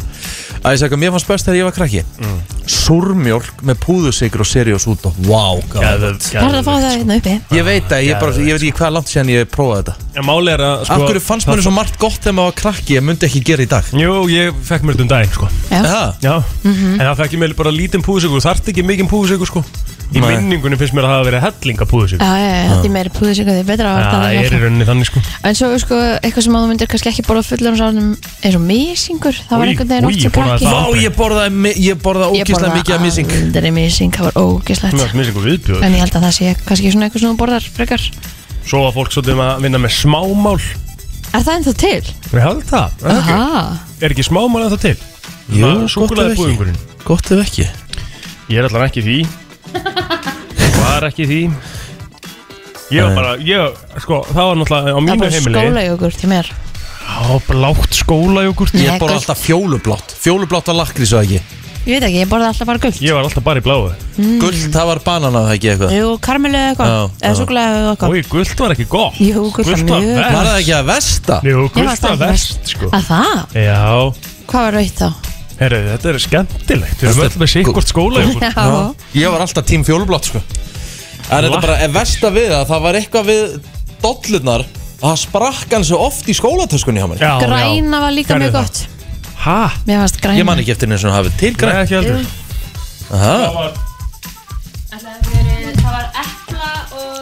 [SPEAKER 1] Að ég segja, mér fannst best þegar ég var krakki
[SPEAKER 3] Hmm.
[SPEAKER 1] mm. Súrmjólk með púðusikur og seriós út og Vá, wow,
[SPEAKER 2] Það er að fá það hérna uppi
[SPEAKER 1] Ég veit að
[SPEAKER 3] Ah,
[SPEAKER 1] ég, bara, ég veit ekki hvað langt séðan ég prófaði þetta
[SPEAKER 3] En máli er að, sko
[SPEAKER 1] Af hverju fannst mér
[SPEAKER 3] það-
[SPEAKER 1] svo margt gott þegar maður var krakki Ég myndi ekki gera í dag
[SPEAKER 3] Jú, ég fekk mér þetta um daginn, sko
[SPEAKER 2] Já.
[SPEAKER 1] Það,
[SPEAKER 3] Já, en það fekk ég með bara lítinn púðsökur Þarft ekki mikinn púðsökur, sko Í
[SPEAKER 1] Nei.
[SPEAKER 3] minningunni finnst mér að hafa verið hellinga púðsökur
[SPEAKER 2] Já, já, já, því meiri púður sig að því betra að verða
[SPEAKER 3] Það
[SPEAKER 2] þannig
[SPEAKER 3] er í
[SPEAKER 2] alltaf.
[SPEAKER 3] rauninni þannig, sko
[SPEAKER 2] En svo sko, eitthvað sem að þú myndir kannski ekki borða fullur árunum eins og mísingur, það var
[SPEAKER 3] Új,
[SPEAKER 2] einhvern veginn
[SPEAKER 3] új,
[SPEAKER 2] oft
[SPEAKER 3] ég
[SPEAKER 2] sem
[SPEAKER 3] borðaði
[SPEAKER 2] krakki
[SPEAKER 3] það
[SPEAKER 1] Vá,
[SPEAKER 3] aldrei.
[SPEAKER 1] ég borðaði, mi- ég borðaði ókíslega mikið af mísing
[SPEAKER 2] aldrei mísing, það var
[SPEAKER 3] Mér
[SPEAKER 2] ógislegt
[SPEAKER 3] finnst mjög viðbjóð
[SPEAKER 2] En ég held að það sé kannski svona eitthvað sem þú borðar frekar
[SPEAKER 3] Svo að fólk svolítið um að vinna með smámál
[SPEAKER 2] Er það ennþá til?
[SPEAKER 3] Ég held það, er það ekki?
[SPEAKER 2] Aha,
[SPEAKER 3] Er ekki smámál að það til?
[SPEAKER 1] Jú,
[SPEAKER 3] Það er
[SPEAKER 1] gott
[SPEAKER 3] súkkulaði
[SPEAKER 1] ef ekki
[SPEAKER 3] búðingurinn.
[SPEAKER 1] Gott ef ekki
[SPEAKER 3] Ég er allan ekki í því Var ekki í því Ég var bara, ég, sko, það var náttúrulega á
[SPEAKER 2] það
[SPEAKER 3] mínu
[SPEAKER 2] var
[SPEAKER 3] heimili
[SPEAKER 2] skóla í okkur til mér
[SPEAKER 3] Já, blátt skólajógurt
[SPEAKER 2] Nei,
[SPEAKER 1] Ég borða
[SPEAKER 2] gult.
[SPEAKER 1] alltaf fjólublátt Fjólublátt var lakrís og ekki
[SPEAKER 2] Ég veit ekki, ég borða alltaf bara gult
[SPEAKER 3] Ég var alltaf bara í bláu
[SPEAKER 1] Gullt, það var banana það ekki eitthvað
[SPEAKER 2] Jú, karmelu eða
[SPEAKER 1] Já,
[SPEAKER 2] eitthvað Eða
[SPEAKER 1] já.
[SPEAKER 2] súkulega eða eitthvað
[SPEAKER 3] Ói, gullt var ekki gott
[SPEAKER 2] Jú, gult var
[SPEAKER 3] var
[SPEAKER 1] Var
[SPEAKER 2] mjög
[SPEAKER 1] það
[SPEAKER 3] verst
[SPEAKER 1] ekki að vesta?
[SPEAKER 3] Jú,
[SPEAKER 2] Ég
[SPEAKER 3] gullt
[SPEAKER 2] fannst
[SPEAKER 3] var
[SPEAKER 2] það
[SPEAKER 3] verst sko
[SPEAKER 2] Að það?
[SPEAKER 3] Já,
[SPEAKER 2] Hvað var rautt þá?
[SPEAKER 3] herru, þetta er skemmtilegt Við
[SPEAKER 1] Þetta
[SPEAKER 3] erum
[SPEAKER 1] er
[SPEAKER 3] öll með sikkort skólajógurt
[SPEAKER 2] Já,
[SPEAKER 1] Ég var alltaf tím fjólublátt sko En þetta
[SPEAKER 3] Lak-
[SPEAKER 1] bara, ef versta við það Það var eitthvað við dollurnar að Það sprakk hann svo oft í skólatöskunni hjá mér
[SPEAKER 3] Já, já.
[SPEAKER 2] græna var líka
[SPEAKER 3] Gerðu
[SPEAKER 2] mjög
[SPEAKER 3] það.
[SPEAKER 2] gott
[SPEAKER 3] Ha?
[SPEAKER 2] Mér fannst græna
[SPEAKER 1] Ég man ekki eftir henni sem hafið til græn
[SPEAKER 3] Græna ekki heldur
[SPEAKER 1] Aha.
[SPEAKER 2] Það var epla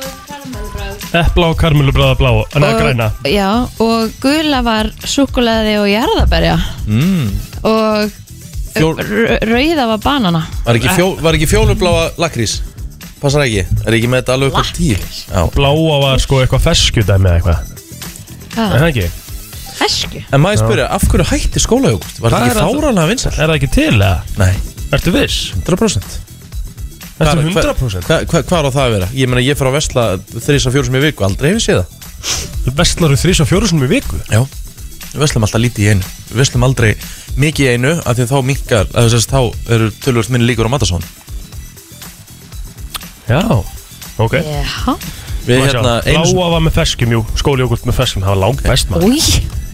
[SPEAKER 2] og karmelbráð
[SPEAKER 3] Epla og karmelu bráða blá Nei, græna
[SPEAKER 2] Já, og gula var súkulegaði og jarðaberja
[SPEAKER 1] Mm.
[SPEAKER 2] Og
[SPEAKER 1] Fjól,
[SPEAKER 2] r- rauða var banana
[SPEAKER 1] var, ekki fjó, var ekki fjólubláa lakrís? Passar ekki? Er ekki með þetta alveg upp á tíu? Já.
[SPEAKER 3] Bláa var sko eitthvað feskjudæmi eða eitthvað Er
[SPEAKER 1] Eh?
[SPEAKER 2] Hvað?
[SPEAKER 3] það ekki?
[SPEAKER 2] Hesku
[SPEAKER 1] En maður spyrja, af hverju hætti skólajógurt? Var
[SPEAKER 3] Það
[SPEAKER 1] það ekki
[SPEAKER 3] er alltaf-
[SPEAKER 1] fáranlega vinsal?
[SPEAKER 3] Er það ekki til eða?
[SPEAKER 1] Nei,
[SPEAKER 3] Ertu viss?
[SPEAKER 1] 100%
[SPEAKER 3] Ertu
[SPEAKER 1] Hvað-
[SPEAKER 3] 100%?
[SPEAKER 1] Hvað hva, hva er á það að vera? Ég meina, ég fer að vesla þrís að fjóru sem ég viku, aldrei hefur séð það
[SPEAKER 3] Þú vestlar við þrís og fjórusunum í viku
[SPEAKER 1] Já, við veslum alltaf lítið í einu Við veslum aldrei mikið í einu af Því að þá minkar, að þess að þá eru tölvöld minni líkur á matasón
[SPEAKER 3] Já Ok
[SPEAKER 2] Já
[SPEAKER 1] Við hérna, einu
[SPEAKER 3] Bláa var með feskum, jú Skólijógurt með feskum Það var langt best maður
[SPEAKER 2] Új,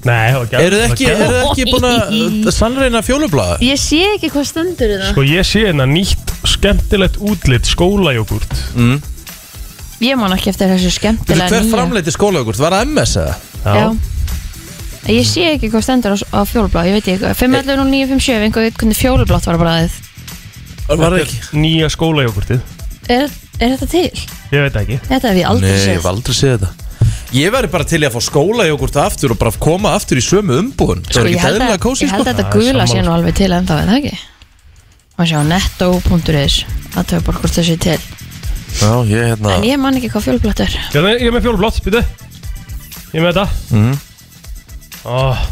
[SPEAKER 3] Nei, það var gæð
[SPEAKER 1] Eru þið ekki, eru þið ekki búin að sannreina fjólublaða?
[SPEAKER 2] ég sé ekki hvað stendur það
[SPEAKER 3] Sko ég sé hérna nýtt skemmtilegt útlit skólajógurt
[SPEAKER 2] Ég man ekki eftir þessu
[SPEAKER 1] Veitu,
[SPEAKER 2] skemmtilega
[SPEAKER 1] Sko- Hver
[SPEAKER 2] nýja.
[SPEAKER 1] framleiti skólajógurt? Var það MS eða?
[SPEAKER 2] Já Ég sé ekki hvað stendur á, á fjólubláð, ég veit ekki 511 og 957, einhver veit hvernig fjólublátt var bara aðeins
[SPEAKER 1] Var það ekki?
[SPEAKER 3] Nýja skólajógurtið
[SPEAKER 2] er, er þetta til?
[SPEAKER 3] Ég veit það ekki
[SPEAKER 2] Þetta hef ég aldrei
[SPEAKER 1] Nei, ég
[SPEAKER 2] séð
[SPEAKER 1] hef aldrei séð þetta Ég væri bara til í að fá skólajógurt aftur og bara koma aftur í sömu umbúðun Það er
[SPEAKER 2] Sko, ég
[SPEAKER 1] ekki
[SPEAKER 2] held
[SPEAKER 1] eðlilega
[SPEAKER 2] að,
[SPEAKER 1] kósi
[SPEAKER 2] ég held
[SPEAKER 1] sko
[SPEAKER 2] að þetta
[SPEAKER 3] Já,
[SPEAKER 2] gula sé
[SPEAKER 3] sammála.
[SPEAKER 2] nú alveg til ennþá, er það ekki? Má sjá netto.is að þau bara hvort það sé til
[SPEAKER 1] Já, ég hérna
[SPEAKER 2] En ég man ekki hvað fjólublátt er
[SPEAKER 3] Hérna, Ég er með fjólblótt, býtu Ég er með þetta
[SPEAKER 1] Mhm.
[SPEAKER 3] oh.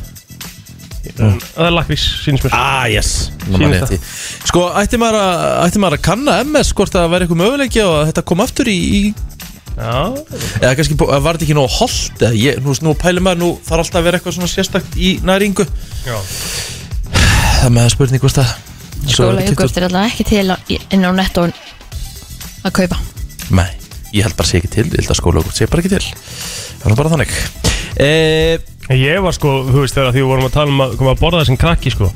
[SPEAKER 3] Það er lakrís, sínst mér
[SPEAKER 1] Ah, yes
[SPEAKER 3] Sýnist
[SPEAKER 1] Man
[SPEAKER 3] það.
[SPEAKER 1] rétti. Sko, ætti maður, að, ætti maður að kanna MS hvort það væri eitthvað möguleiki og að þetta kom aftur í, í
[SPEAKER 3] Já,
[SPEAKER 1] eða kannski bú- var þetta ekki nóg holdt eða ég, nú, nú pælir maður, nú þarf alltaf að vera eitthvað svona sérstakt í næringu
[SPEAKER 3] já
[SPEAKER 1] Það með að spurning hvort það svo
[SPEAKER 2] Skóla
[SPEAKER 1] verður
[SPEAKER 2] jökult er alltaf ekki til á- í- inn á netto að kaupa
[SPEAKER 1] Nei, ég held bara sé ekki til, ég held að skóla okkur sé bara ekki til Það er nú bara þannig e,
[SPEAKER 3] En Ég var sko, þú veist þegar því við vorum að tala um að koma að borða þessum krakki sko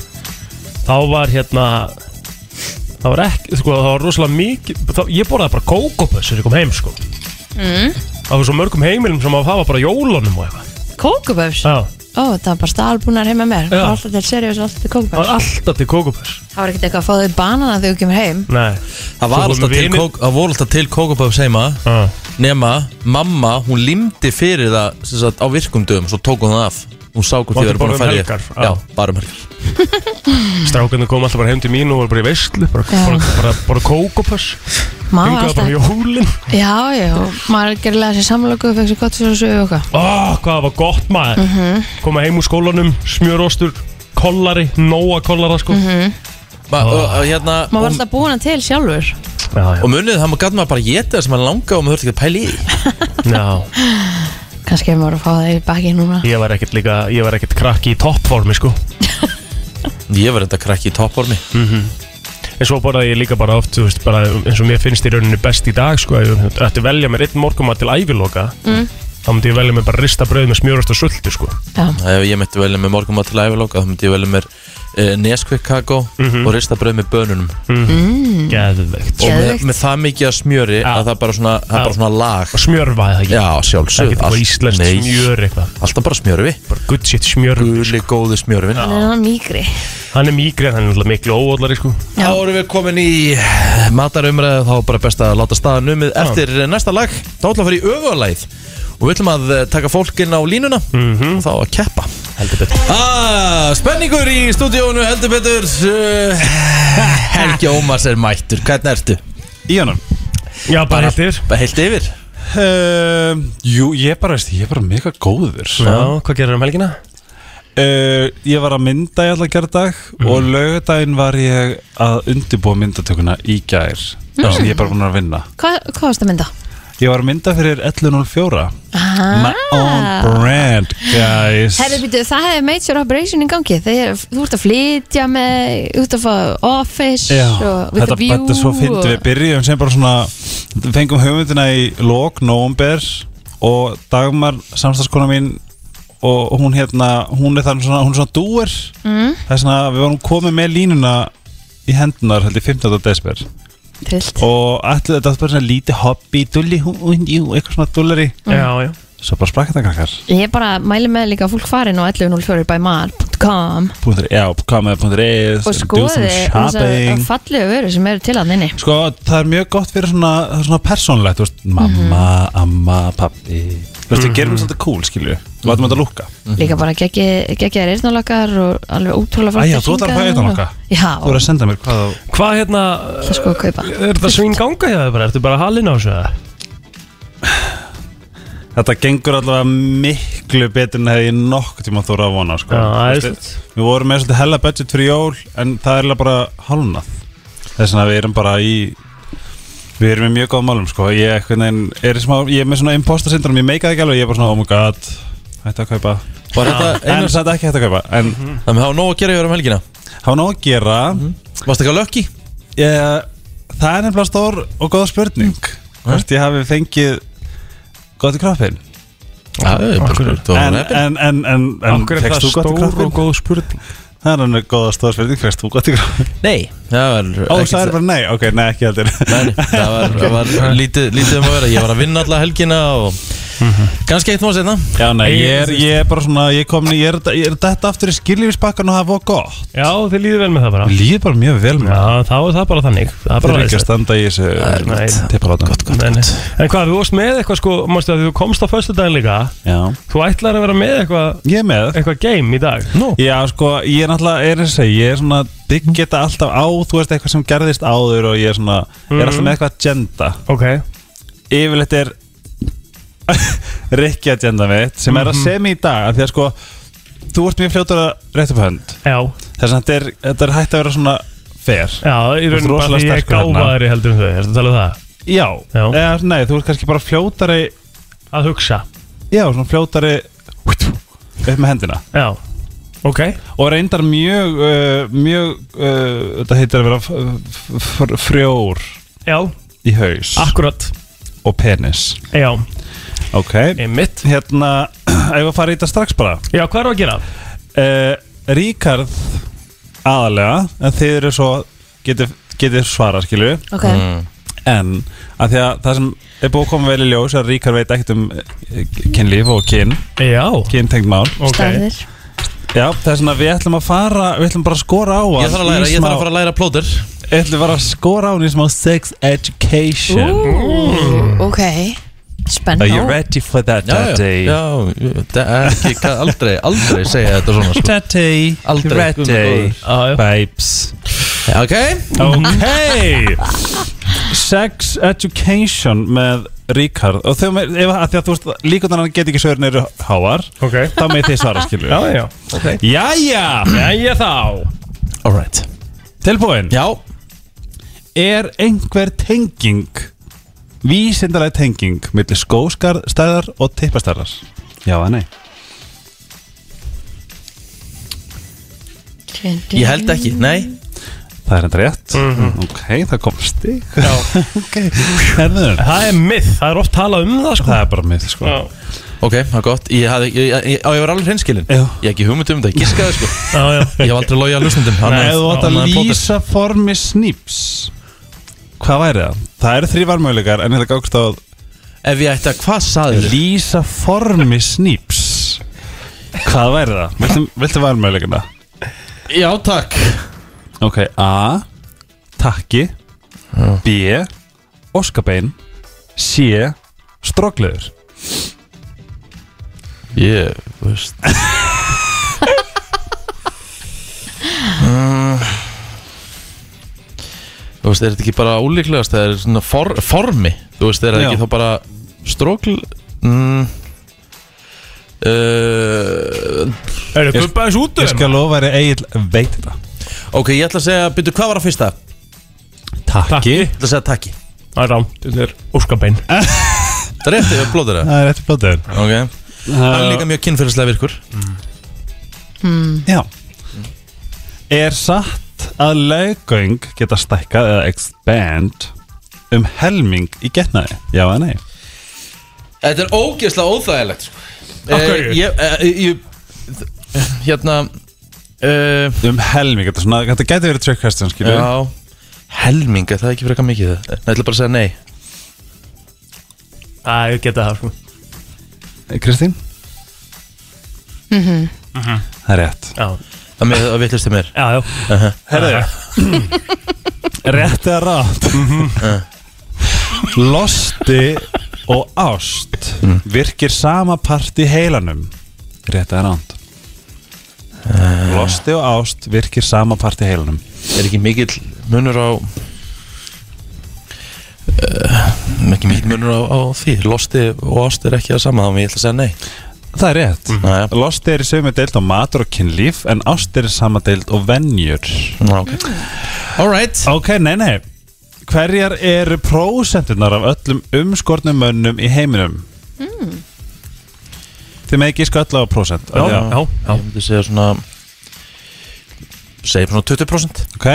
[SPEAKER 3] Þá var hérna Það var ekki, sko, það var rosalega mikið þá, Ég borðaði bara kókopöss þegar ég kom heim sko
[SPEAKER 2] Mm.
[SPEAKER 3] Það var svo mörgum heimilum sem að hafa bara jólunum og eitthvað
[SPEAKER 2] Kókuböfs?
[SPEAKER 3] Já,
[SPEAKER 2] Ó, það var bara stalbúnar heima mér
[SPEAKER 3] Já.
[SPEAKER 2] Alltaf til seriós, alltaf til
[SPEAKER 3] það var
[SPEAKER 2] kókuböfs
[SPEAKER 3] alltaf til kókopöss
[SPEAKER 2] Það var ekkert eitthvað að fá þau í banana þegar þú kemur heim
[SPEAKER 3] Nei
[SPEAKER 1] Það var alltaf til, kók, það voru alltaf til kókaböfs heima
[SPEAKER 3] Já.
[SPEAKER 1] Nema, mamma, hún limdi fyrir það sem sagt, á virkum dögum, svo tók hún það af Hún sá hvort
[SPEAKER 3] Og
[SPEAKER 1] ég verið
[SPEAKER 3] þetta
[SPEAKER 1] búin að
[SPEAKER 3] bara um
[SPEAKER 1] færa í-
[SPEAKER 3] helgar, já.
[SPEAKER 1] Já, bara um helgar
[SPEAKER 3] Strákarnir kom alltaf bara heim til mín og voru bara í veistlu Bara,
[SPEAKER 2] Já.
[SPEAKER 3] bara, bara, bara kókopöss
[SPEAKER 2] Maður var
[SPEAKER 3] Hingaði bara
[SPEAKER 2] alltaf
[SPEAKER 3] um jólin
[SPEAKER 2] Já, já, maður gerðilega sér samlöku og fekk sér gott fyrir að sögu okkar
[SPEAKER 3] Ó, hvað það var gott maður
[SPEAKER 2] Mhm.
[SPEAKER 3] Koma heim úr skólanum, smjörostur, kollari, nóa kollara sko
[SPEAKER 2] Mhm.
[SPEAKER 3] Ah.
[SPEAKER 1] Ma, og, og, hérna,
[SPEAKER 2] Maður var
[SPEAKER 1] og,
[SPEAKER 2] alltaf búin að til sjálfur
[SPEAKER 3] Já, já,
[SPEAKER 1] og munið það maður gæti maður bara að geta það sem maður langa og maður þurfti ekki að pæla í því.
[SPEAKER 3] já
[SPEAKER 2] Kannski er maður að fá það í baki núna
[SPEAKER 3] Ég var ekkert líka, ég var ekkert krakki í toppformi sko
[SPEAKER 1] Ég var þetta krakki í toppormi
[SPEAKER 3] En svo borðaði ég líka bara oft, þú veist, bara eins og mér finnst í rauninu best í dag sko Ef Ég ætti að velja mér einn morgum til æviloka mm. Þá myndi ég velja mér bara rista brauð með smjörost og sultu sko
[SPEAKER 2] Já,
[SPEAKER 1] Ef ég myndi velja með morgumat til æfilóka þá myndi ég velja mér uh, Nesquik kakó
[SPEAKER 3] Mhm.
[SPEAKER 1] og ristabröð með bönunum
[SPEAKER 3] Mm. Geðveikt sko.
[SPEAKER 1] og með,
[SPEAKER 2] Geðveikt.
[SPEAKER 1] með það mikið að smjöri
[SPEAKER 3] Já.
[SPEAKER 1] að það bara svona, það
[SPEAKER 3] Já.
[SPEAKER 1] bara svona lag
[SPEAKER 3] Og smjörvaði það ekki
[SPEAKER 1] Já,
[SPEAKER 3] Það er
[SPEAKER 1] sjálfsögð
[SPEAKER 3] ekki eitthvað íslenskt smjör eitthvað
[SPEAKER 1] Alltaf bara smjörfi
[SPEAKER 3] Bara good shit smjör
[SPEAKER 1] Guli góðu smjörfi
[SPEAKER 2] hann er hann mýgri
[SPEAKER 3] Hann er mýgrið, hann er náttúrulega miklu óvallari sko
[SPEAKER 1] Þá erum við komin í matarumræðu þá er bara best að láta staðan numið eftir næsta lag, þá ætlum við að fara í öfugalæð og við ætlum að eh, taka fólkin á línuna og þá að keppa
[SPEAKER 3] Heldur betur
[SPEAKER 1] Ah, spenningur í stúdíónu heldur betur uh, Helgi Ómars er mættur, hvernig ertu?
[SPEAKER 6] í honum
[SPEAKER 3] Já, bara eftir
[SPEAKER 1] Bara heilt yfir
[SPEAKER 6] uh, Jú, ég bara veist, ég er bara mega góður
[SPEAKER 3] Já, hvað gerir um helgina?
[SPEAKER 6] uh, Ég var að mynda í allar gerðdag og lögudaginn var ég að undirbúa myndatökuna í gær mm. sem ég er bara búin að vinna
[SPEAKER 2] Hvað hvað varst að mynda?
[SPEAKER 6] Ég var að mynda fyrir 11.04 My own brand, guys
[SPEAKER 2] Herri, býtu, það hefði major operation í gangi Þeir, Þú ert að flytja með Þú ert að fá office
[SPEAKER 6] Já,
[SPEAKER 2] og, with
[SPEAKER 6] þetta,
[SPEAKER 2] a view
[SPEAKER 6] þetta er svo fyndið við byrjum sem bara svona fengum hugmyndina í lok, november og Dagmar, samstagskona mín og hún hérna hún er þannig svona, hún er svona dúer
[SPEAKER 2] Mm.
[SPEAKER 6] það er svona, við varum komið með línuna í hendunar, held ég, 15. desper
[SPEAKER 2] Trillt
[SPEAKER 6] og allir þetta var bara svona lítið hobby, dulli, hún, hún, jú, eitthvað svona dullari
[SPEAKER 3] Já, já
[SPEAKER 6] svo bara sprakk þetta krakkar
[SPEAKER 2] Ég bara mæli með líka að fólk farin á 1104 by mar.com
[SPEAKER 6] Punktur- E já, komið.is
[SPEAKER 2] og skoði þessar fallegu vöru sem eru til að nynni
[SPEAKER 6] Sko, það er mjög gott fyrir svona, það er svona persónlegt, þú veist, mamma, amma, pappi, þú veist, við gerum þetta svolítið cool, skilju, látum þetta lúka.
[SPEAKER 2] Líka bara geggjaðar eyrnalokkar og alveg ótrúlega flott
[SPEAKER 6] Æ, já, þú ætlar að fá eyrnalokka?
[SPEAKER 2] Já,
[SPEAKER 6] Þú er að senda mér hvað þú...
[SPEAKER 3] Hvað hérna
[SPEAKER 2] það sko að kaupa
[SPEAKER 3] Er þetta svinn ganga hjá þér bara? Ertu bara halinn á þessu eða?
[SPEAKER 6] Þetta gengur allavega miklu betur en hefði ég nokkuð tíma þú að vona, sko.
[SPEAKER 3] Já, það er
[SPEAKER 6] Þú veist,
[SPEAKER 3] slett
[SPEAKER 6] Við vorum með svolítið hella budget fyrir jól, en það er eiginlega bara hálnað. Þess vegna við erum bara í... Við erum í mjög góðum málum, sko. Ég, einhvern veginn, er í smá, ég er með svona imposter syndrom, ég meika það ekki alveg, ég er bara svona, oh my god, hætti að kaupa.
[SPEAKER 1] Var þetta
[SPEAKER 6] En
[SPEAKER 1] einu
[SPEAKER 6] satt ekki hætti að kaupa, en
[SPEAKER 1] Það hafa nóg að gera hér um helgina Hm?
[SPEAKER 6] hafa nóg að gera
[SPEAKER 1] Varst ekki að lökki?
[SPEAKER 6] ég, Það er nefnilega stór og góð spurning Hvort ég hafi fengið gott í kroppin
[SPEAKER 1] Já, það er bara spurt, þú var
[SPEAKER 6] En,
[SPEAKER 1] heppin.
[SPEAKER 6] en, en, en, en
[SPEAKER 3] Akkur er
[SPEAKER 6] fékkst
[SPEAKER 3] það
[SPEAKER 6] þú gott í
[SPEAKER 3] stór og
[SPEAKER 6] kroppin?
[SPEAKER 3] góð spurning
[SPEAKER 6] Það er hann góð stór spurning Fekst þú gott í kroppin?
[SPEAKER 1] Nei, það var
[SPEAKER 6] Ó,
[SPEAKER 1] ekkert-
[SPEAKER 6] það er bara nei, ok, nei, ekki heldur
[SPEAKER 1] Nei, nei, það var, það var lítið, lítið um að vera Ég var að vinna alla helgina og Ganski eitt móð setna
[SPEAKER 6] Já, nei, ég er,
[SPEAKER 3] Ég-
[SPEAKER 6] ég er bara svona Ég er komin, í- ég er, ég er detta aftur í skiljufisbakkan og það var gott
[SPEAKER 3] Já, þið líður vel með það bara
[SPEAKER 6] Mér Líður bara mjög vel með
[SPEAKER 3] Já, þá er það bara þannig Það er
[SPEAKER 6] Það
[SPEAKER 3] bara
[SPEAKER 6] er ekki að
[SPEAKER 3] aðeins
[SPEAKER 6] standa í þessu
[SPEAKER 3] Nei.
[SPEAKER 6] tippalátum Gott,
[SPEAKER 3] Nei, nei. En hvað, þú varst með eitthvað sko Mástu að þú komst á föstu líka
[SPEAKER 6] Já,
[SPEAKER 3] Þú ætlar að vera með eitthvað
[SPEAKER 6] ég er með
[SPEAKER 3] eitthvað game í dag
[SPEAKER 1] Nú,
[SPEAKER 6] Já, sko, ég er náttúrulega, er þess að segja, ég er svona byggja þetta alltaf á, þú veist, eitthvað sem gerðist áður og ég er svona, ég er alltaf með eitthvað agenda
[SPEAKER 3] Ok
[SPEAKER 6] Yfirleitt er Rikki agenda mitt, sem er að semi í dag, af því að sko, þú ert mjög fljótur að rétt upp hönd
[SPEAKER 3] Já,
[SPEAKER 6] Þess að þetta er, þetta er hægt að vera svona fair
[SPEAKER 3] já, í
[SPEAKER 6] ert
[SPEAKER 3] rauninu bara
[SPEAKER 6] rosalega
[SPEAKER 3] því ég er
[SPEAKER 6] sterkur hérna.
[SPEAKER 3] gáfaðari heldur um þau Ertu að tala um það?
[SPEAKER 6] Já,
[SPEAKER 3] Já.
[SPEAKER 6] Eða, nei, þú ert kannski bara fljótari,
[SPEAKER 3] Að hugsa
[SPEAKER 6] já, svona fljótari, upp með hendina
[SPEAKER 3] Já, ok
[SPEAKER 6] og reyndar mjög, uh, mjög, uh, þetta heitir að vera f- f- f- frjór
[SPEAKER 3] Já,
[SPEAKER 6] í haus
[SPEAKER 3] akkurat
[SPEAKER 6] og penis
[SPEAKER 3] Já,
[SPEAKER 6] Ok
[SPEAKER 3] einmitt
[SPEAKER 6] Hérna, ef við fara í þetta strax bara
[SPEAKER 3] Já, hvað er að gera?
[SPEAKER 6] uh, Ríkarð aðalega en þið eru svo getið geti svara skilju
[SPEAKER 2] Ok,
[SPEAKER 6] Mm, en að því að það sem er búið að koma vel í ljós er að Ríkar veit ekkert um eh, kynlíf og kyn
[SPEAKER 3] Já,
[SPEAKER 6] kyn tengd mál
[SPEAKER 3] ok
[SPEAKER 2] staðir
[SPEAKER 6] Já, það er svona við ætlum að fara við ætlum bara að skora á
[SPEAKER 1] ég
[SPEAKER 6] hann
[SPEAKER 1] þarf að
[SPEAKER 6] í
[SPEAKER 1] læra, ég
[SPEAKER 6] smá-
[SPEAKER 1] þarf að fara að læra plóter
[SPEAKER 6] Við ætlum bara að skora á hann í smá sex education
[SPEAKER 2] Ú, Ok, spenn
[SPEAKER 6] Mm. Are you ready for that
[SPEAKER 1] Já, já,
[SPEAKER 6] daddy?
[SPEAKER 1] já, það er ekki, hvað- aldrei, aldrei segja þetta svona sko.
[SPEAKER 6] Daddy,
[SPEAKER 1] Aldrei, guð minn
[SPEAKER 6] ready,
[SPEAKER 3] Já, já.
[SPEAKER 6] babes
[SPEAKER 1] Ok,
[SPEAKER 6] Ok Sex Education með Ríkard og þau með, ef að því að þú veist líka þannig að hann get ekki sögur neyru háar
[SPEAKER 3] Ok
[SPEAKER 6] þá með þið svara skilju
[SPEAKER 3] Já, já, ok
[SPEAKER 6] Jæja,
[SPEAKER 3] Jæja þá
[SPEAKER 1] alright
[SPEAKER 6] tilbúin
[SPEAKER 1] Já,
[SPEAKER 6] Er einhver tenging vísindalega tenging millir skóskarstæðar og tippastæðar Já að nei
[SPEAKER 1] ég held ekki, nei
[SPEAKER 6] Það er enda rétt Ok, það kom stig
[SPEAKER 3] Mhm. Já.
[SPEAKER 6] Ok, herðu
[SPEAKER 3] Það er myth, það er oft talað um það sko
[SPEAKER 6] Það er bara mið sko
[SPEAKER 3] Já,
[SPEAKER 1] Ok, það er gott, ég hafði, ég, ég, ég, á, ég var alveg hreinskilin
[SPEAKER 6] Já.
[SPEAKER 1] Ég hef ekki hugmynd um þetta, ég giskaði sko
[SPEAKER 3] já, já.
[SPEAKER 1] Ég hef aldrei logið að um lusnundum
[SPEAKER 3] Nei,
[SPEAKER 6] Ef þú átt að lýsa formi snýps Hvað væri það? Það eru þrývar möguleikar en þetta gákst á
[SPEAKER 1] Ef ég ætti að, hvað saður þið?
[SPEAKER 6] Lýsa formi snýps Hvað væri það? Viltu, viltu væri möguleikana?
[SPEAKER 1] Já, takk
[SPEAKER 6] Ok, A Takki B Óskabein C Strókleður
[SPEAKER 1] Ég, veist Mm. Þú veist, er þetta ekki bara ólíklegast Það er svona for, formi Þú veist, er þetta
[SPEAKER 6] Já.
[SPEAKER 1] ekki þá bara Strókl mm. uh,
[SPEAKER 3] Er það gubbaðis út
[SPEAKER 6] Ég
[SPEAKER 3] um?
[SPEAKER 6] skal lofa þér að Egil veit þetta
[SPEAKER 1] Ok, ég ætla að segja Byrju, hvað var að fyrsta? Ég
[SPEAKER 6] Takki
[SPEAKER 1] ætla að segja takki
[SPEAKER 3] Það er rámt, þetta er óskabein
[SPEAKER 1] Það er eftir að blóta það
[SPEAKER 6] Það er eftir blótaður
[SPEAKER 1] Ok Hann er líka mjög kynferðislega virkur
[SPEAKER 6] Já Er satt að leggöng geta stækkað eða expand um helming í getnaði? Já eða nei?
[SPEAKER 1] Þetta er ógeðslega óþægilegt sko.
[SPEAKER 3] Af hverju?
[SPEAKER 1] Eh, Ég, eh, ég Hérna uh,
[SPEAKER 6] Um helming, þetta, er svona, þetta geti verið trick question skilur við.
[SPEAKER 1] Já Helming, er það er ekki frekar mikið það Ég ætla bara að segja nei
[SPEAKER 3] Æ, ég geta það sko
[SPEAKER 6] Kristín? Það er rétt
[SPEAKER 3] Já,
[SPEAKER 1] Það með að vittlust til mér
[SPEAKER 3] já, já
[SPEAKER 6] Herðu Rétt eða rátt Losti og ást virkir sama part í heilanum Rétt eða rátt Losti og ást virkir sama part í heilanum
[SPEAKER 1] Er ekki mikill munur á uh, eh, Ekki mikill munur á, á því Losti og ást er ekki það sama Þannig ég ætla að segja nei
[SPEAKER 6] Það er rétt
[SPEAKER 1] Næja,
[SPEAKER 6] Losti er í sömu deild á matur og kynlíf en ást er í sama deild og venjur
[SPEAKER 1] ok Alright
[SPEAKER 6] Ok, nei, nei Hverjar eru prósentunar af öllum umskornum mönnum í heiminum? Þið með ekki skölla á prósent
[SPEAKER 3] Já, já, já
[SPEAKER 1] Ég myndi segja svona Segja svona 20%
[SPEAKER 6] Ok,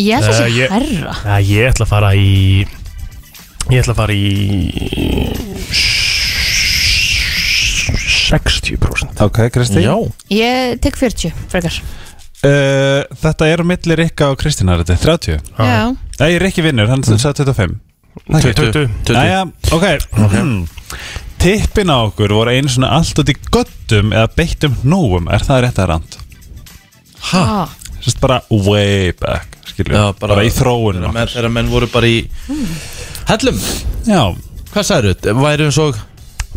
[SPEAKER 2] Ég held að
[SPEAKER 3] Eh,
[SPEAKER 2] sé
[SPEAKER 3] ég-
[SPEAKER 2] herra
[SPEAKER 3] Já, ég ætla að fara í Ég ætla að fara í 60%
[SPEAKER 6] ok, Kristi
[SPEAKER 1] Já
[SPEAKER 2] Ég tek 40 frekar
[SPEAKER 6] Uh, Þetta er á milli Rikka og Kristínar þetta er 30
[SPEAKER 2] Já,
[SPEAKER 6] Nei, Rikki vinnur, hann sagði 25
[SPEAKER 3] 20.
[SPEAKER 1] 20
[SPEAKER 6] Næja, ok, Hmm. Tippin á okkur voru einu svona allt út í göttum eða beittum hnúum, er það rétt að rand?
[SPEAKER 1] Ha?
[SPEAKER 2] ah.
[SPEAKER 6] Sérst bara way back, skilju
[SPEAKER 1] Já,
[SPEAKER 6] bara, í þróunum
[SPEAKER 1] Þegar menn,
[SPEAKER 6] okkar
[SPEAKER 1] þegar menn voru bara í Hellum,
[SPEAKER 6] Já,
[SPEAKER 1] hvað sagður þau? Væru eins og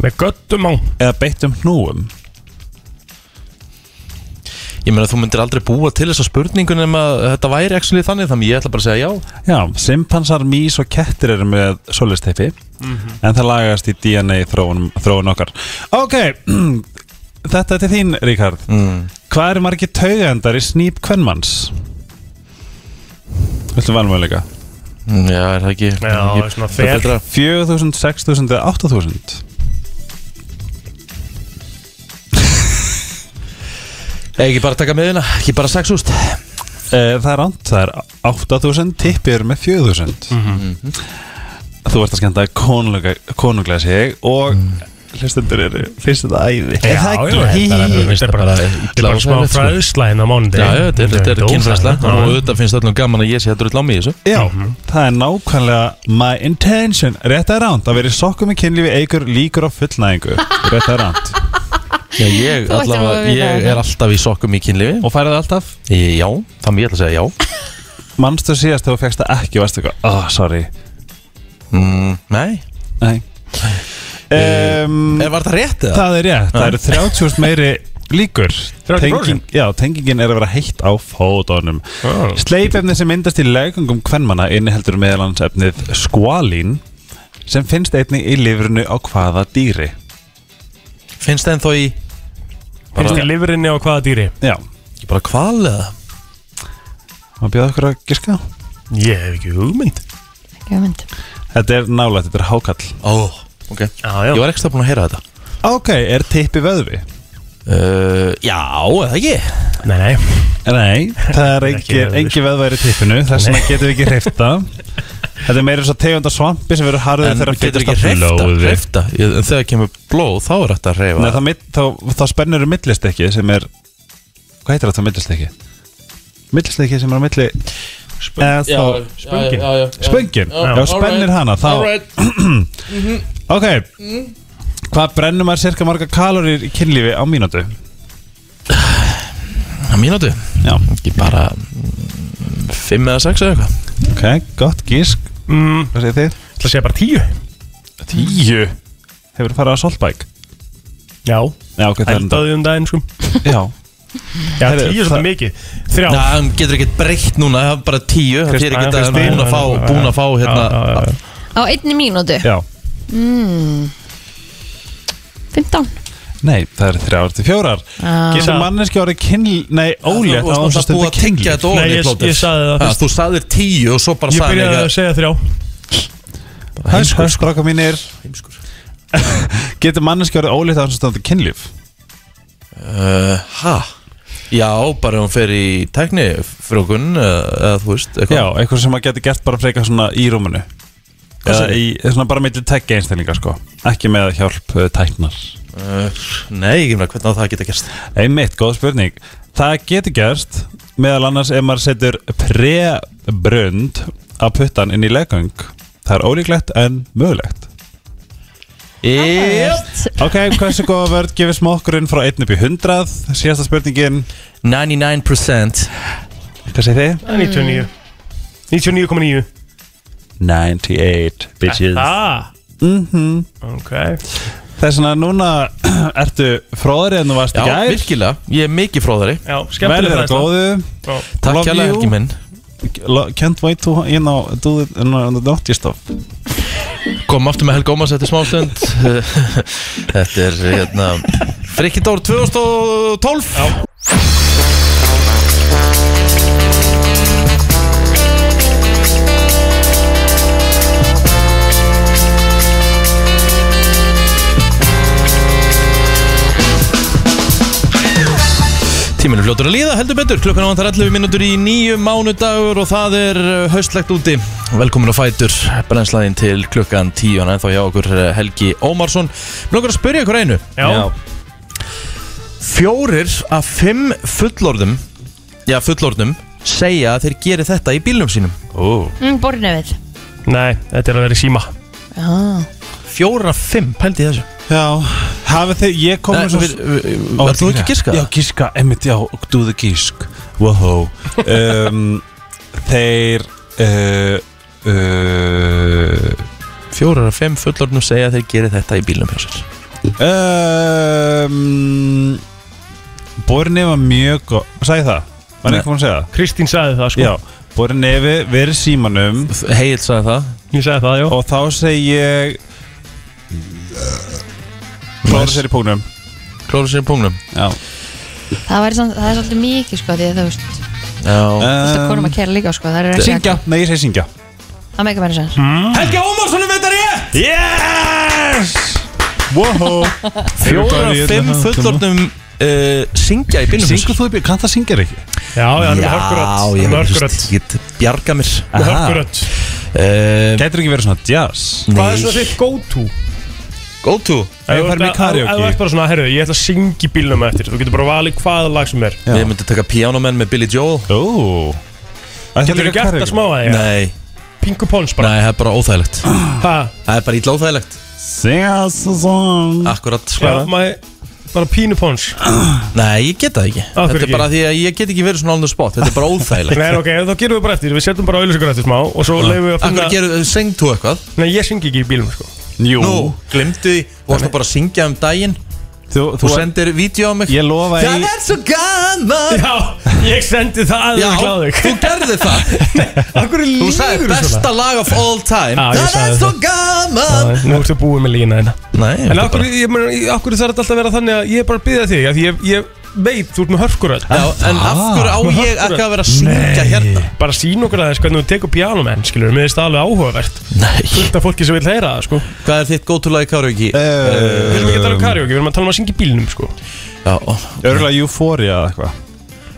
[SPEAKER 3] Með göttum á
[SPEAKER 6] eða beittum hnúum
[SPEAKER 1] Ég meina þú myndir aldrei búa til þessa spurningu nema þetta væri actually þannig þannig ég ætla bara að segja já
[SPEAKER 6] Já, simpansar, mís og kettir eru með solisteipi en það lagast í DNA þróun, þróun okkar Ok, þetta er til þín, Ríkard
[SPEAKER 1] mm.
[SPEAKER 6] Hvað eru margir taugendar í snýp kvennmanns? Viltu valmöðleika?
[SPEAKER 1] Mm, Já, er það ekki
[SPEAKER 3] Já,
[SPEAKER 1] ég,
[SPEAKER 3] svona
[SPEAKER 1] það er
[SPEAKER 3] fer.
[SPEAKER 1] betra.
[SPEAKER 6] 4.000, 6.000 eða 8.000?
[SPEAKER 1] Ei, Ekki bara taka miðina, ekki bara sex úst
[SPEAKER 6] Eh, Það er ránt, það er 8.000, tippið eru með 4.000 Þú ert að skenda konunglega, konunglega sig og hlustendur eru, finnst þetta æði
[SPEAKER 3] Já, já, þetta er- þetta er bara Þetta er bara smá fræðsla hérna á mánundi
[SPEAKER 1] sko. Já, já, þetta er, þetta er kynfræsla og auðvitað finnst öllum gaman að ég sé að drull á mig í þessu
[SPEAKER 6] Já,
[SPEAKER 3] Mhm.
[SPEAKER 6] það er nákvæmlega my intention, rétt að ránt að vera í sokkum í kynlífi eigur líkur á fullnæðingu, rétt að ránt
[SPEAKER 1] Já, ég,
[SPEAKER 2] Þú ættir nú
[SPEAKER 1] allavega,
[SPEAKER 2] að hérna. vita
[SPEAKER 1] ég
[SPEAKER 2] þetta.
[SPEAKER 1] er alltaf í sokkum í kynlífi
[SPEAKER 6] Og færið alltaf?
[SPEAKER 1] Í- Já, þannig ég ætla að segja já
[SPEAKER 6] Manstu síðast þegar þú fegst það ekki, varstu eitthvað, oh, sorry
[SPEAKER 1] mm, Nei,
[SPEAKER 6] Nei um,
[SPEAKER 1] Eh, var það rétt eða?
[SPEAKER 6] Það er rétt, það eru 30 meiri líkur
[SPEAKER 3] 30%?
[SPEAKER 6] já, tengingin er að vera heitt á fótonum
[SPEAKER 3] Já.
[SPEAKER 6] Sleipefnið sem myndast í legungum kvenmanna inniheldur meðalans efnið skvalín sem finnst einnig í lifrinu á hvaða dýri
[SPEAKER 1] Finnst það ennþá í
[SPEAKER 3] Finnst í lifurinni á hvaða dýri?
[SPEAKER 6] Já,
[SPEAKER 1] Ekki bara kval eða?
[SPEAKER 6] maður bjóða okkur að giska
[SPEAKER 3] Ég hef ekki hugmynd
[SPEAKER 2] ekki að mynd
[SPEAKER 6] Þetta er nálægt, þetta er hákall
[SPEAKER 1] Ó, ok
[SPEAKER 3] Já, já
[SPEAKER 1] Ég var ekki stað búin að heyra þetta
[SPEAKER 6] Ok, er tippi vöðvi?
[SPEAKER 1] uh, Já, eða ekki
[SPEAKER 3] Nei, nei
[SPEAKER 6] Nei, það er
[SPEAKER 3] Ekki
[SPEAKER 6] engi,
[SPEAKER 3] vöðvi.
[SPEAKER 6] engi vöðværi tippinu þess vegna getum við ekki hreyfta Þetta er meira svo tegunda svampi sem verður harður
[SPEAKER 1] En
[SPEAKER 6] þegar
[SPEAKER 1] við getum ekki
[SPEAKER 6] fyllist af
[SPEAKER 1] hreyfta
[SPEAKER 6] blóði.
[SPEAKER 1] Hreyfta, Ég- en þegar kemur blóð þá er þetta að hreyfa
[SPEAKER 6] Nei, það, mitt, þá, þá spennur um millistekki sem er Hvað heitir þetta millistekki? Millistekki sem er á milli eða þá
[SPEAKER 3] spöngin.
[SPEAKER 1] já, já, já.
[SPEAKER 6] Spöngin,
[SPEAKER 1] Já,
[SPEAKER 6] já, spennir
[SPEAKER 1] alright,
[SPEAKER 6] hana þá,
[SPEAKER 1] alright. Mm.
[SPEAKER 6] Ok Hvað brennur maður cirka marga kalorir í kynlífi á mínútu?
[SPEAKER 1] Á mínútu,
[SPEAKER 6] Já,
[SPEAKER 1] ekki bara mm, Fimm eða sex eða eitthvað
[SPEAKER 6] ok, gott gísk
[SPEAKER 3] Mm,
[SPEAKER 6] Hvað segir þið?
[SPEAKER 3] Það sé bara tíu
[SPEAKER 6] Tíu Hefur farið að soltbæk?
[SPEAKER 3] Já
[SPEAKER 6] Já, ok, það er enda
[SPEAKER 3] Eldaði um daginn sko
[SPEAKER 6] Já,
[SPEAKER 3] Já, tíu
[SPEAKER 6] Heyrðu,
[SPEAKER 3] er
[SPEAKER 6] það-
[SPEAKER 3] svolítið mikið Þrjá
[SPEAKER 1] Já, hann getur ekki breytt núna, það er bara tíu Það þýr ekki að hann er búin að fá, búin að fá hérna,
[SPEAKER 2] Á einni mínútu
[SPEAKER 6] já
[SPEAKER 2] 15
[SPEAKER 6] Nei, það er þrjár til fjórar
[SPEAKER 2] Ah.
[SPEAKER 6] Gísk
[SPEAKER 3] Sa-
[SPEAKER 6] manneski árið kynlíf Nei,
[SPEAKER 1] Ólétt, það var
[SPEAKER 6] ólétt
[SPEAKER 1] það búið að tengja þetta ofan í
[SPEAKER 3] Nei, ég-
[SPEAKER 1] plótið.
[SPEAKER 3] ég sagði það
[SPEAKER 1] Ha, Þú sagðir tíu og svo bara
[SPEAKER 3] Ég
[SPEAKER 1] sagði
[SPEAKER 3] byrjaði að segja þrjá
[SPEAKER 6] Heimskur Stráka mínir
[SPEAKER 1] Heimskur.
[SPEAKER 6] Getur manneski orðið ólíkt að hans standa kynlíf?
[SPEAKER 1] Uh, ha? Já, bara ef hún fer í tækni frjókun eða, eða þú veist
[SPEAKER 6] Já, eitthvað sem maður getur gert bara frekar svona í rúminu Eða
[SPEAKER 1] segirðu?
[SPEAKER 6] í, svona bara meitlu tekja einstillinga sko Ekki með hjálp uh, tæknar
[SPEAKER 1] uh, Nei, ég meina, hvernig á það geta gerst
[SPEAKER 6] Einmitt, góð spurning Það getur gerst meðal annars ef maður setur pre-brönd af puttan inn í legang Það er ólíklegt en mögulegt
[SPEAKER 1] Yep.
[SPEAKER 6] Ok, hversu góða vörð gefur smokkurinn frá 1 upp í 100 Síðasta spurningin,
[SPEAKER 1] 99%
[SPEAKER 6] hvað segir þið?
[SPEAKER 3] 99 99,9
[SPEAKER 6] 98, bitches
[SPEAKER 3] Ah,
[SPEAKER 6] Mhm.
[SPEAKER 3] ok
[SPEAKER 6] Það er svona núna ertu fróðari en þú varst
[SPEAKER 1] Já,
[SPEAKER 6] í gær
[SPEAKER 1] virkilega, ég er mikið fróðari
[SPEAKER 3] Já,
[SPEAKER 6] Verður
[SPEAKER 3] skemmtilega
[SPEAKER 6] það góðu
[SPEAKER 1] Takk
[SPEAKER 6] Love
[SPEAKER 1] kjærlega
[SPEAKER 6] you.
[SPEAKER 1] Helgi minn
[SPEAKER 6] Lo- Can't wait to you know, do it in the naughty stuff
[SPEAKER 1] Kom aftur með Helga Ómars eftir smástund Þetta er hérna Frikki Dór 2012 Tíminu fljótur að líða, heldur betur, klukkan ávandar 11 mínútur í nýju mánudagur og það er uh, haustlegt úti. Velkomin á Fætur, brennslæðin til klukkan 10 en ennþá hjá okkur uh, Helgi Ómarsson. Mér langar að spyrja ykkur einu.
[SPEAKER 3] Já. Já.
[SPEAKER 1] Fjórir af fimm fullorðum, já fullorðnum, segja að þeir geri þetta í bílnum sínum.
[SPEAKER 6] Ó,
[SPEAKER 2] mm, Borinu við
[SPEAKER 3] Nei, þetta er að vera í síma
[SPEAKER 1] Fjórir af fimm, pældi í þessu.
[SPEAKER 6] Já, hafið þið, ég kom
[SPEAKER 1] Nei,
[SPEAKER 6] með svo-
[SPEAKER 1] við- við-
[SPEAKER 6] Ó,
[SPEAKER 1] Var þú ekki giskað?
[SPEAKER 6] Já, gíska, emmitt, já, do the gísk Wow um, Þeir uh, uh,
[SPEAKER 1] Fjórir af fimm fullorðnum segja að þeir geri þetta í bílnum hjá sér.
[SPEAKER 6] um, Borin var mjög góð Sæði það? Var
[SPEAKER 1] Nei.
[SPEAKER 6] neitt komin að segja það?
[SPEAKER 3] Kristín sagði það sko
[SPEAKER 6] Já, borin nefi verið símanum
[SPEAKER 1] Heiðil sagði það.
[SPEAKER 3] Ég sagði það, já
[SPEAKER 6] Og þá segi ég Klóra sér í póknum
[SPEAKER 1] Klóra sér í pungnum.
[SPEAKER 6] Já
[SPEAKER 2] Það, væri samt, það er svolítið mikið sko því að þú veist
[SPEAKER 1] Já.
[SPEAKER 2] Þetta konum
[SPEAKER 3] Um,
[SPEAKER 2] að kæra líka sko Það er ekki
[SPEAKER 6] Syngja, nei ég segi syngja
[SPEAKER 2] Það meika mér
[SPEAKER 3] Hm.
[SPEAKER 2] sens
[SPEAKER 1] Helgi Ómarsson er með þetta rétt!
[SPEAKER 6] Yes Wow
[SPEAKER 1] Fjóra, fimm fullornum uh, syngja í bílnum
[SPEAKER 6] Syngur þú upp, kann það syngja ekki?
[SPEAKER 3] Já, já, hann er
[SPEAKER 1] Já, ég
[SPEAKER 3] hörkuröld
[SPEAKER 1] veist, ég get bjarga mér
[SPEAKER 3] Hann er hörkuröld
[SPEAKER 1] uh,
[SPEAKER 6] Gætur ekki verið svona jazz
[SPEAKER 3] Hvað er svo þitt go-to?
[SPEAKER 1] Go to
[SPEAKER 6] Ef ég farið með karaoke.
[SPEAKER 3] Ef þú ert bara svona, herru, ég ætla að syngja í bílnum á eftir Þú getur bara valið hvaða lag sem er
[SPEAKER 6] Já.
[SPEAKER 1] Við myndum taka pianomenn með Billy Joel
[SPEAKER 6] Ó
[SPEAKER 3] Getur þú gert það smá að því?
[SPEAKER 1] Nei,
[SPEAKER 3] Pingu Pons bara
[SPEAKER 1] nei, það er bara óþægilegt
[SPEAKER 3] Ha,
[SPEAKER 1] Það er bara ítla óþægilegt
[SPEAKER 6] Sing us a song
[SPEAKER 1] Akkurat
[SPEAKER 3] já,
[SPEAKER 1] sko.
[SPEAKER 3] maður Bara pínu Pons
[SPEAKER 1] Nei, ég get það ekki
[SPEAKER 3] hverju
[SPEAKER 1] Þetta er
[SPEAKER 3] ekki?
[SPEAKER 1] bara því að ég get ekki verið svona on the spot Þetta er bara óþægilegt
[SPEAKER 3] Nei, ok, þá gerum við bara eftir Við setjum bara auðlýsingur eftir smá Og svo leifum við að
[SPEAKER 1] Akkur
[SPEAKER 3] finna
[SPEAKER 1] gerðu, seng eh, þú eitthvað
[SPEAKER 3] Nei, ég syngi ekki í bílnum, sko
[SPEAKER 6] Jú
[SPEAKER 1] Nú, glimtu því Þú varst nú bara að syngja um daginn
[SPEAKER 6] Þú,
[SPEAKER 1] Þú sendir vídeo á mig
[SPEAKER 6] Ég lofa í
[SPEAKER 1] Það er svo gaman
[SPEAKER 3] Já, ég sendi það að
[SPEAKER 1] Já,
[SPEAKER 3] við kláðið
[SPEAKER 1] þú gerði það
[SPEAKER 3] Akkur er
[SPEAKER 1] Þú sagði besta lag of all time
[SPEAKER 3] Já,
[SPEAKER 1] Það
[SPEAKER 3] ég
[SPEAKER 1] er
[SPEAKER 3] sagði
[SPEAKER 1] svo gaman
[SPEAKER 3] Nú ertu búið með lína hérna
[SPEAKER 1] Nei,
[SPEAKER 3] En akkur, ég, meina, í- af hverju þarf þetta alltaf að vera þannig að ég er bara að byggja þig af Því ég, ég veit, þú ert með hörkuröld
[SPEAKER 1] Já, en af
[SPEAKER 3] Ah.
[SPEAKER 1] hverju á
[SPEAKER 3] Með
[SPEAKER 1] ég
[SPEAKER 3] hörkurödd.
[SPEAKER 1] ekki að vera að syngja hérna?
[SPEAKER 3] Bara sín okkur aðeins hvernig þú tekur pianum enn, skilur Mér finnst það alveg áhugavert
[SPEAKER 1] Nei
[SPEAKER 3] Þetta er fólki sem vil heyra það, sko
[SPEAKER 1] Hvað er þitt góttúlag í karaoke?
[SPEAKER 6] Eh,
[SPEAKER 3] Við erum ekki að tala um karaoke, við erum að tala um að syngja í bílnum, sko
[SPEAKER 1] Já, ó,
[SPEAKER 6] Örgulega Euphoria eða eitthvað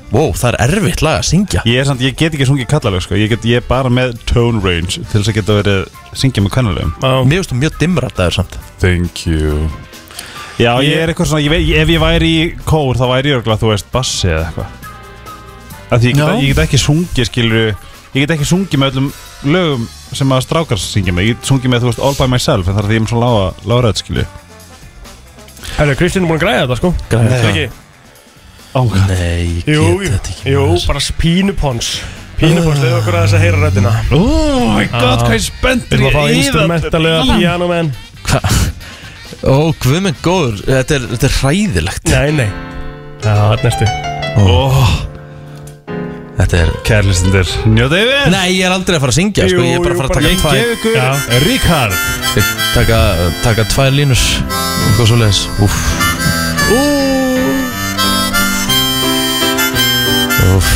[SPEAKER 1] wow, það er erfitt lag að syngja
[SPEAKER 6] Ég, er samt, ég get ekki sungið kallalög sko. ég, get, ég er bara með tone range til þess að geta verið syngja með kvennulegum
[SPEAKER 3] Já,
[SPEAKER 1] Mér finnst þú mjög dimmrættaður samt
[SPEAKER 6] Thank you Já, ég, er eitthvað svona, ég veit, ef ég væri í kór þá væri ég örgulega, þú veist, bassi eða eitthvað Af því ég get,
[SPEAKER 1] Já.
[SPEAKER 6] ég get ekki sungið, skilur Ég get ekki sungið með öllum lögum sem að strákar syngja með Ég get sungið með, þú veist, All By Myself en það er því ég er með svona lága, lága rödd, skilur
[SPEAKER 3] Herru, Kristín er búin að græða þetta, sko
[SPEAKER 1] Græða
[SPEAKER 3] Ekki?
[SPEAKER 6] oh, God.
[SPEAKER 1] Nei, ég
[SPEAKER 3] Jú,
[SPEAKER 1] get
[SPEAKER 3] jú,
[SPEAKER 1] þetta ekki
[SPEAKER 3] jú,
[SPEAKER 1] maður.
[SPEAKER 3] bara pínupons Pínupons, leiðu okkur aðeins að heyra röddina
[SPEAKER 6] oh my
[SPEAKER 3] God, hvað ég Við
[SPEAKER 6] spenntur
[SPEAKER 3] erum að fá instrumentalega pianomenn
[SPEAKER 1] Ó, guð minn góður, þetta er, þetta er hræðilegt
[SPEAKER 3] Nei, nei Já, þarna ertu
[SPEAKER 6] oh,
[SPEAKER 1] Þetta er
[SPEAKER 6] Kærlistindur, njóta yfir
[SPEAKER 1] Nei, ég er aldrei að fara að syngja, sko
[SPEAKER 3] Jú,
[SPEAKER 1] Ég er bara að
[SPEAKER 3] jú,
[SPEAKER 1] fara að
[SPEAKER 3] bara-
[SPEAKER 1] taka
[SPEAKER 6] Ég
[SPEAKER 1] tvær
[SPEAKER 6] gef ykkur
[SPEAKER 3] Já.
[SPEAKER 6] Ríkard
[SPEAKER 1] Taka, taka tvær línur Hvað svo leiðis? Úff Úff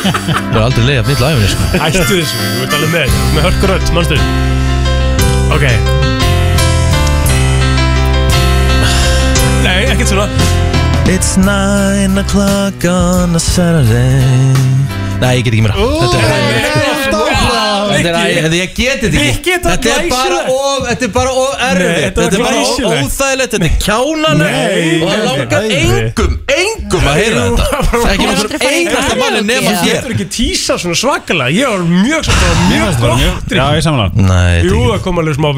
[SPEAKER 1] Mér er aldrei leiðið að nýtla æfinni, sko
[SPEAKER 3] Ættu þessu, þú ert alveg með Með hörkuröld, mannstu Ok Nei, ekkert svona
[SPEAKER 1] It's nine o'clock on a Saturday Nei, ég get ekki meira Þetta er Þetta er æ- þetta- Ég get þetta
[SPEAKER 3] Ég
[SPEAKER 1] ekki
[SPEAKER 3] get það
[SPEAKER 1] Þetta er bara
[SPEAKER 3] glæsilegt.
[SPEAKER 1] of Þetta er bara of erfið
[SPEAKER 3] þetta var
[SPEAKER 1] Þetta er bara ó-
[SPEAKER 3] glæsilegt.
[SPEAKER 1] óþægilegt Þetta er kjánalegt
[SPEAKER 3] Nei,
[SPEAKER 1] Og það
[SPEAKER 3] nei,
[SPEAKER 1] langar
[SPEAKER 3] nei.
[SPEAKER 1] engum Engum að heyra þetta Ekki
[SPEAKER 2] Ég er
[SPEAKER 1] nokkur
[SPEAKER 2] aldrei farið í
[SPEAKER 1] einasta
[SPEAKER 2] karaoke.
[SPEAKER 1] manni nema
[SPEAKER 2] Já.
[SPEAKER 1] þér
[SPEAKER 3] Getur ekki tísa svona svakalega Ég var mjög svona mjög gott
[SPEAKER 6] Já, ég samla
[SPEAKER 1] Nei,
[SPEAKER 3] Jú, það kom alveg smá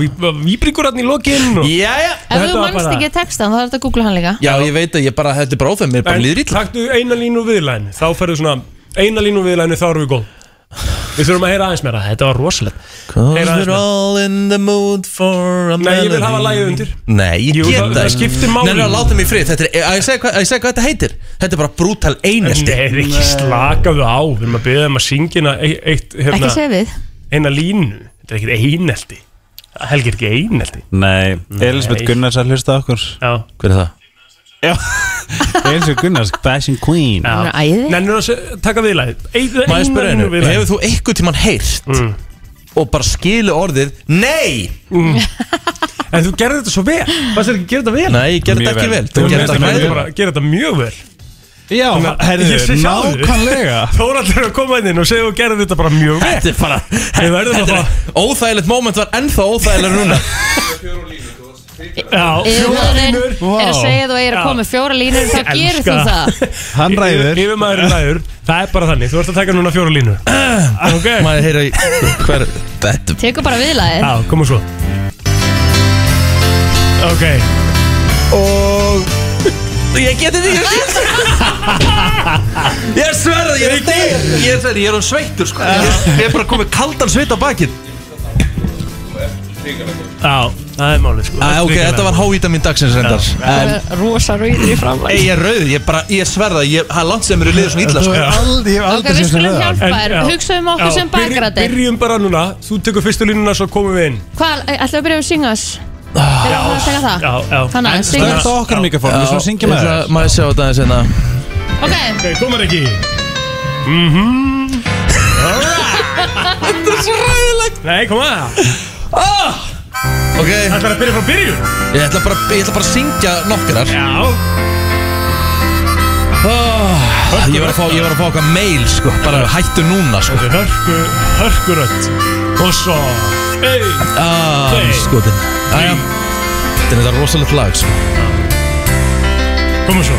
[SPEAKER 3] víbringur hann í lokinn og...
[SPEAKER 1] Jæja
[SPEAKER 2] Ef þú
[SPEAKER 3] Þetta var
[SPEAKER 2] mannst
[SPEAKER 3] bara-
[SPEAKER 2] ekki textan þá er þetta að googla hann líka
[SPEAKER 1] Já, ég veit að ég bara, þetta er bara óþægilegt Mér er bara
[SPEAKER 3] En
[SPEAKER 1] líður ítla
[SPEAKER 3] taktu eina línu viðlæðinu Þá ferðu svona eina línu viðlæðinu Þá erum við góð Við þurfum að heyra aðeins meira Þetta var rosalegt
[SPEAKER 1] Cause
[SPEAKER 3] Heyra aðeins
[SPEAKER 1] we're
[SPEAKER 3] meira.
[SPEAKER 1] all in the mood for a
[SPEAKER 3] Nei, ég vil
[SPEAKER 1] melody.
[SPEAKER 3] hafa lagið undir.
[SPEAKER 1] Nei, ég
[SPEAKER 3] Jú,
[SPEAKER 1] get
[SPEAKER 3] það- það skiptir máli.
[SPEAKER 1] Nei, nei, láta mig í frið Þetta er, að ég segja hvað, að ég segja hvað þetta heitir Þetta er bara brútal einelti
[SPEAKER 3] Nei, ekki slakaðu á Við erum að byggja þeim að syngja eitt, eitt,
[SPEAKER 2] Ekki
[SPEAKER 3] hérna,
[SPEAKER 2] segja við
[SPEAKER 3] eina línu Þetta er ekkert einelti Helgi er ekki einelti
[SPEAKER 6] Nei, Elisabeth Gunnars að hlusta á okkur
[SPEAKER 3] Já
[SPEAKER 1] Hver er það?
[SPEAKER 6] Já Elisabeth Gunnars, fashion queen
[SPEAKER 2] Hún er æði.
[SPEAKER 3] Nennir að se- taka viðlæðið Eina
[SPEAKER 1] Má ég spyrja
[SPEAKER 3] línu
[SPEAKER 1] hennu, hefur
[SPEAKER 3] viðlæðinu
[SPEAKER 1] þú einhvern tímann heyrt
[SPEAKER 3] Mm.
[SPEAKER 1] og bara skilu orðið Nei!
[SPEAKER 3] En þú gerði þetta svo vel Hvað sér ekki gera þetta vel?
[SPEAKER 1] Nei, ég gerði
[SPEAKER 6] Mjög
[SPEAKER 1] þetta ekki
[SPEAKER 6] vel.
[SPEAKER 1] vel
[SPEAKER 3] Þú
[SPEAKER 1] Þú gerði
[SPEAKER 3] veist
[SPEAKER 1] þetta
[SPEAKER 3] að
[SPEAKER 1] ekki
[SPEAKER 3] maður
[SPEAKER 1] vel
[SPEAKER 3] bara gera þetta mjög vel
[SPEAKER 6] Já,
[SPEAKER 3] Ég sé sjálfur. Þú er allir að koma inn inn og segja og gera þetta bara mjög vel
[SPEAKER 1] Þetta er bara
[SPEAKER 3] Við verðum að
[SPEAKER 1] þetta er- Óþægilegt moment var ennþá óþægilegur núna
[SPEAKER 3] Já, fjórar
[SPEAKER 2] Yfirmaðurinn
[SPEAKER 3] línur
[SPEAKER 2] er að segja þú er að
[SPEAKER 3] Já.
[SPEAKER 2] koma með fjóra línur þá
[SPEAKER 3] Ég
[SPEAKER 2] gerir
[SPEAKER 3] elska
[SPEAKER 2] þú
[SPEAKER 3] það.
[SPEAKER 2] það
[SPEAKER 6] Hann ræður
[SPEAKER 3] Yfir maður ræður Það er bara þannig, þú ert að taka núna fjóra línur Ok,
[SPEAKER 1] Maður heyra í hver Þetta
[SPEAKER 2] Tekur bara viðlæðið
[SPEAKER 3] já, koma svo Ok
[SPEAKER 1] Ég geti því Ég Ég sverða, ég er deg Ég sverða, ég er um sveittur sko Ég ég er bara komið kaldan sveit á bakið
[SPEAKER 3] Já, það er málið sko
[SPEAKER 1] ah, Ok, þetta var hávíta mín dagsins reyndar En
[SPEAKER 5] Rosa rauðir í
[SPEAKER 1] Ei,
[SPEAKER 5] framlæg
[SPEAKER 1] ég er rauð, ég, bara, ég sverða ég, Það er langt sem mér er liður svona illa sko.
[SPEAKER 6] aldrei, ég hef
[SPEAKER 2] Ok, við skulum hjálpa
[SPEAKER 3] En,
[SPEAKER 2] þér
[SPEAKER 3] já.
[SPEAKER 2] Hugsaðum okkur sem bakræti
[SPEAKER 3] Byrjum bara núna, þú tekur fyrstu línuna svo komum við inn
[SPEAKER 2] Hvað, ætlaðu að byrja að syngja oss? Þegar það að segja það?
[SPEAKER 3] Já, já
[SPEAKER 2] Þannig að syngja
[SPEAKER 6] Stönd á okkar mikrofónu, við svona syngjum með þér
[SPEAKER 1] Má ég sjá þetta aðeins hérna
[SPEAKER 2] Ok,
[SPEAKER 3] Ok, komar ekki Mhm.
[SPEAKER 1] Þetta er svo ræðilegt
[SPEAKER 3] Nei, koma
[SPEAKER 1] Ok,
[SPEAKER 3] Það er að byrja frá byrjun
[SPEAKER 1] ég ætla bara, ég ætla bara að syngja nokkrar
[SPEAKER 3] Já
[SPEAKER 1] Ah, Ég var að fá, ég var að fá okkar mail sko Bara hættu núna sko
[SPEAKER 3] Hörku, hörkurödd Og svo Ei
[SPEAKER 1] Ah,
[SPEAKER 3] Tveir.
[SPEAKER 1] skotin Æja Ah, Þetta er þetta rosalegt lag sko
[SPEAKER 3] Komum svo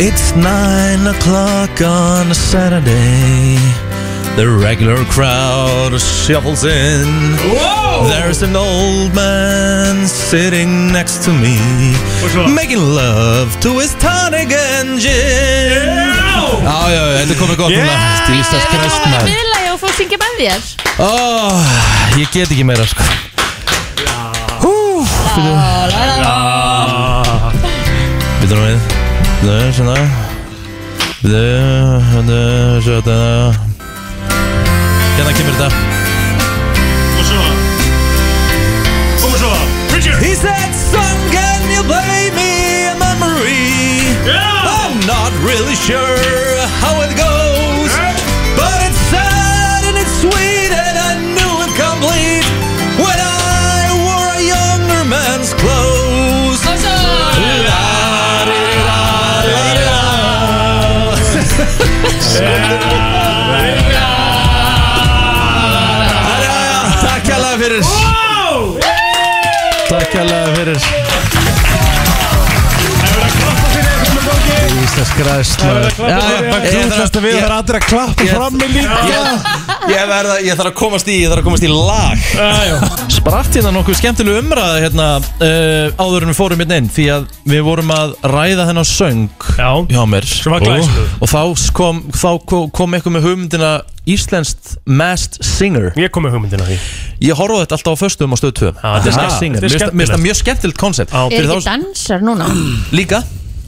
[SPEAKER 1] It's nine o'clock on a Saturday. The regular crowd shuffles in. There's an old man sitting next to me,
[SPEAKER 3] What's up?
[SPEAKER 1] making love to his tonic and gin.
[SPEAKER 3] Já
[SPEAKER 1] Já, já, já, þetta komið gott núna.
[SPEAKER 3] Yeah!
[SPEAKER 1] Jesus Christ,
[SPEAKER 2] við erum að
[SPEAKER 1] maður.
[SPEAKER 2] viðlæðið og fólk syngja með þér
[SPEAKER 1] Ó, ég get ekki meira, sko. Við þurfum við. Við þurfum svona. Við þurfum svona. Hérna kemur þetta.
[SPEAKER 3] Og svo Komum svo Richard
[SPEAKER 1] He said, son, can you play me a memory?
[SPEAKER 3] Já
[SPEAKER 1] I'm not really sure how it goes, but it's sad and it's sweet and I knew it complete when I wore a younger man's clothes.
[SPEAKER 2] Og svo
[SPEAKER 1] Takk hérlega fyrir Takk hérlega fyrir Íslands græst
[SPEAKER 3] klappa fyrir ykkur.
[SPEAKER 6] Þú ætlast að við það er allir að klappa
[SPEAKER 1] Ég-
[SPEAKER 6] fram með líka
[SPEAKER 1] Ég verða, ég þarf að komast í, ég þarf að komast í lag Spratt hérna nokkuð skemmtileg umræða hérna uh, áður en við fórum hérna inn því að við vorum að ræða hennar söng
[SPEAKER 3] Já
[SPEAKER 1] hjá mér
[SPEAKER 3] Sem var glæsilegur.
[SPEAKER 1] og, og þá kom, þá ko- kom eitthvað með hugmyndina Íslenskt Masked Singer
[SPEAKER 3] Ég kom með hugmyndina því
[SPEAKER 1] Ég horfði á þetta alltaf á föstum á stöð 2 Þetta
[SPEAKER 3] Ah,
[SPEAKER 1] er
[SPEAKER 3] þetta er
[SPEAKER 1] Masked Singer,
[SPEAKER 3] þetta er
[SPEAKER 1] Mér finnst- mér finnst það
[SPEAKER 3] skemmtilegt. Ah,
[SPEAKER 1] mjög skemmtilegt koncept
[SPEAKER 3] Já.
[SPEAKER 2] Er
[SPEAKER 1] Fyrir
[SPEAKER 2] ekki
[SPEAKER 1] þá
[SPEAKER 2] dansar núna?
[SPEAKER 1] líka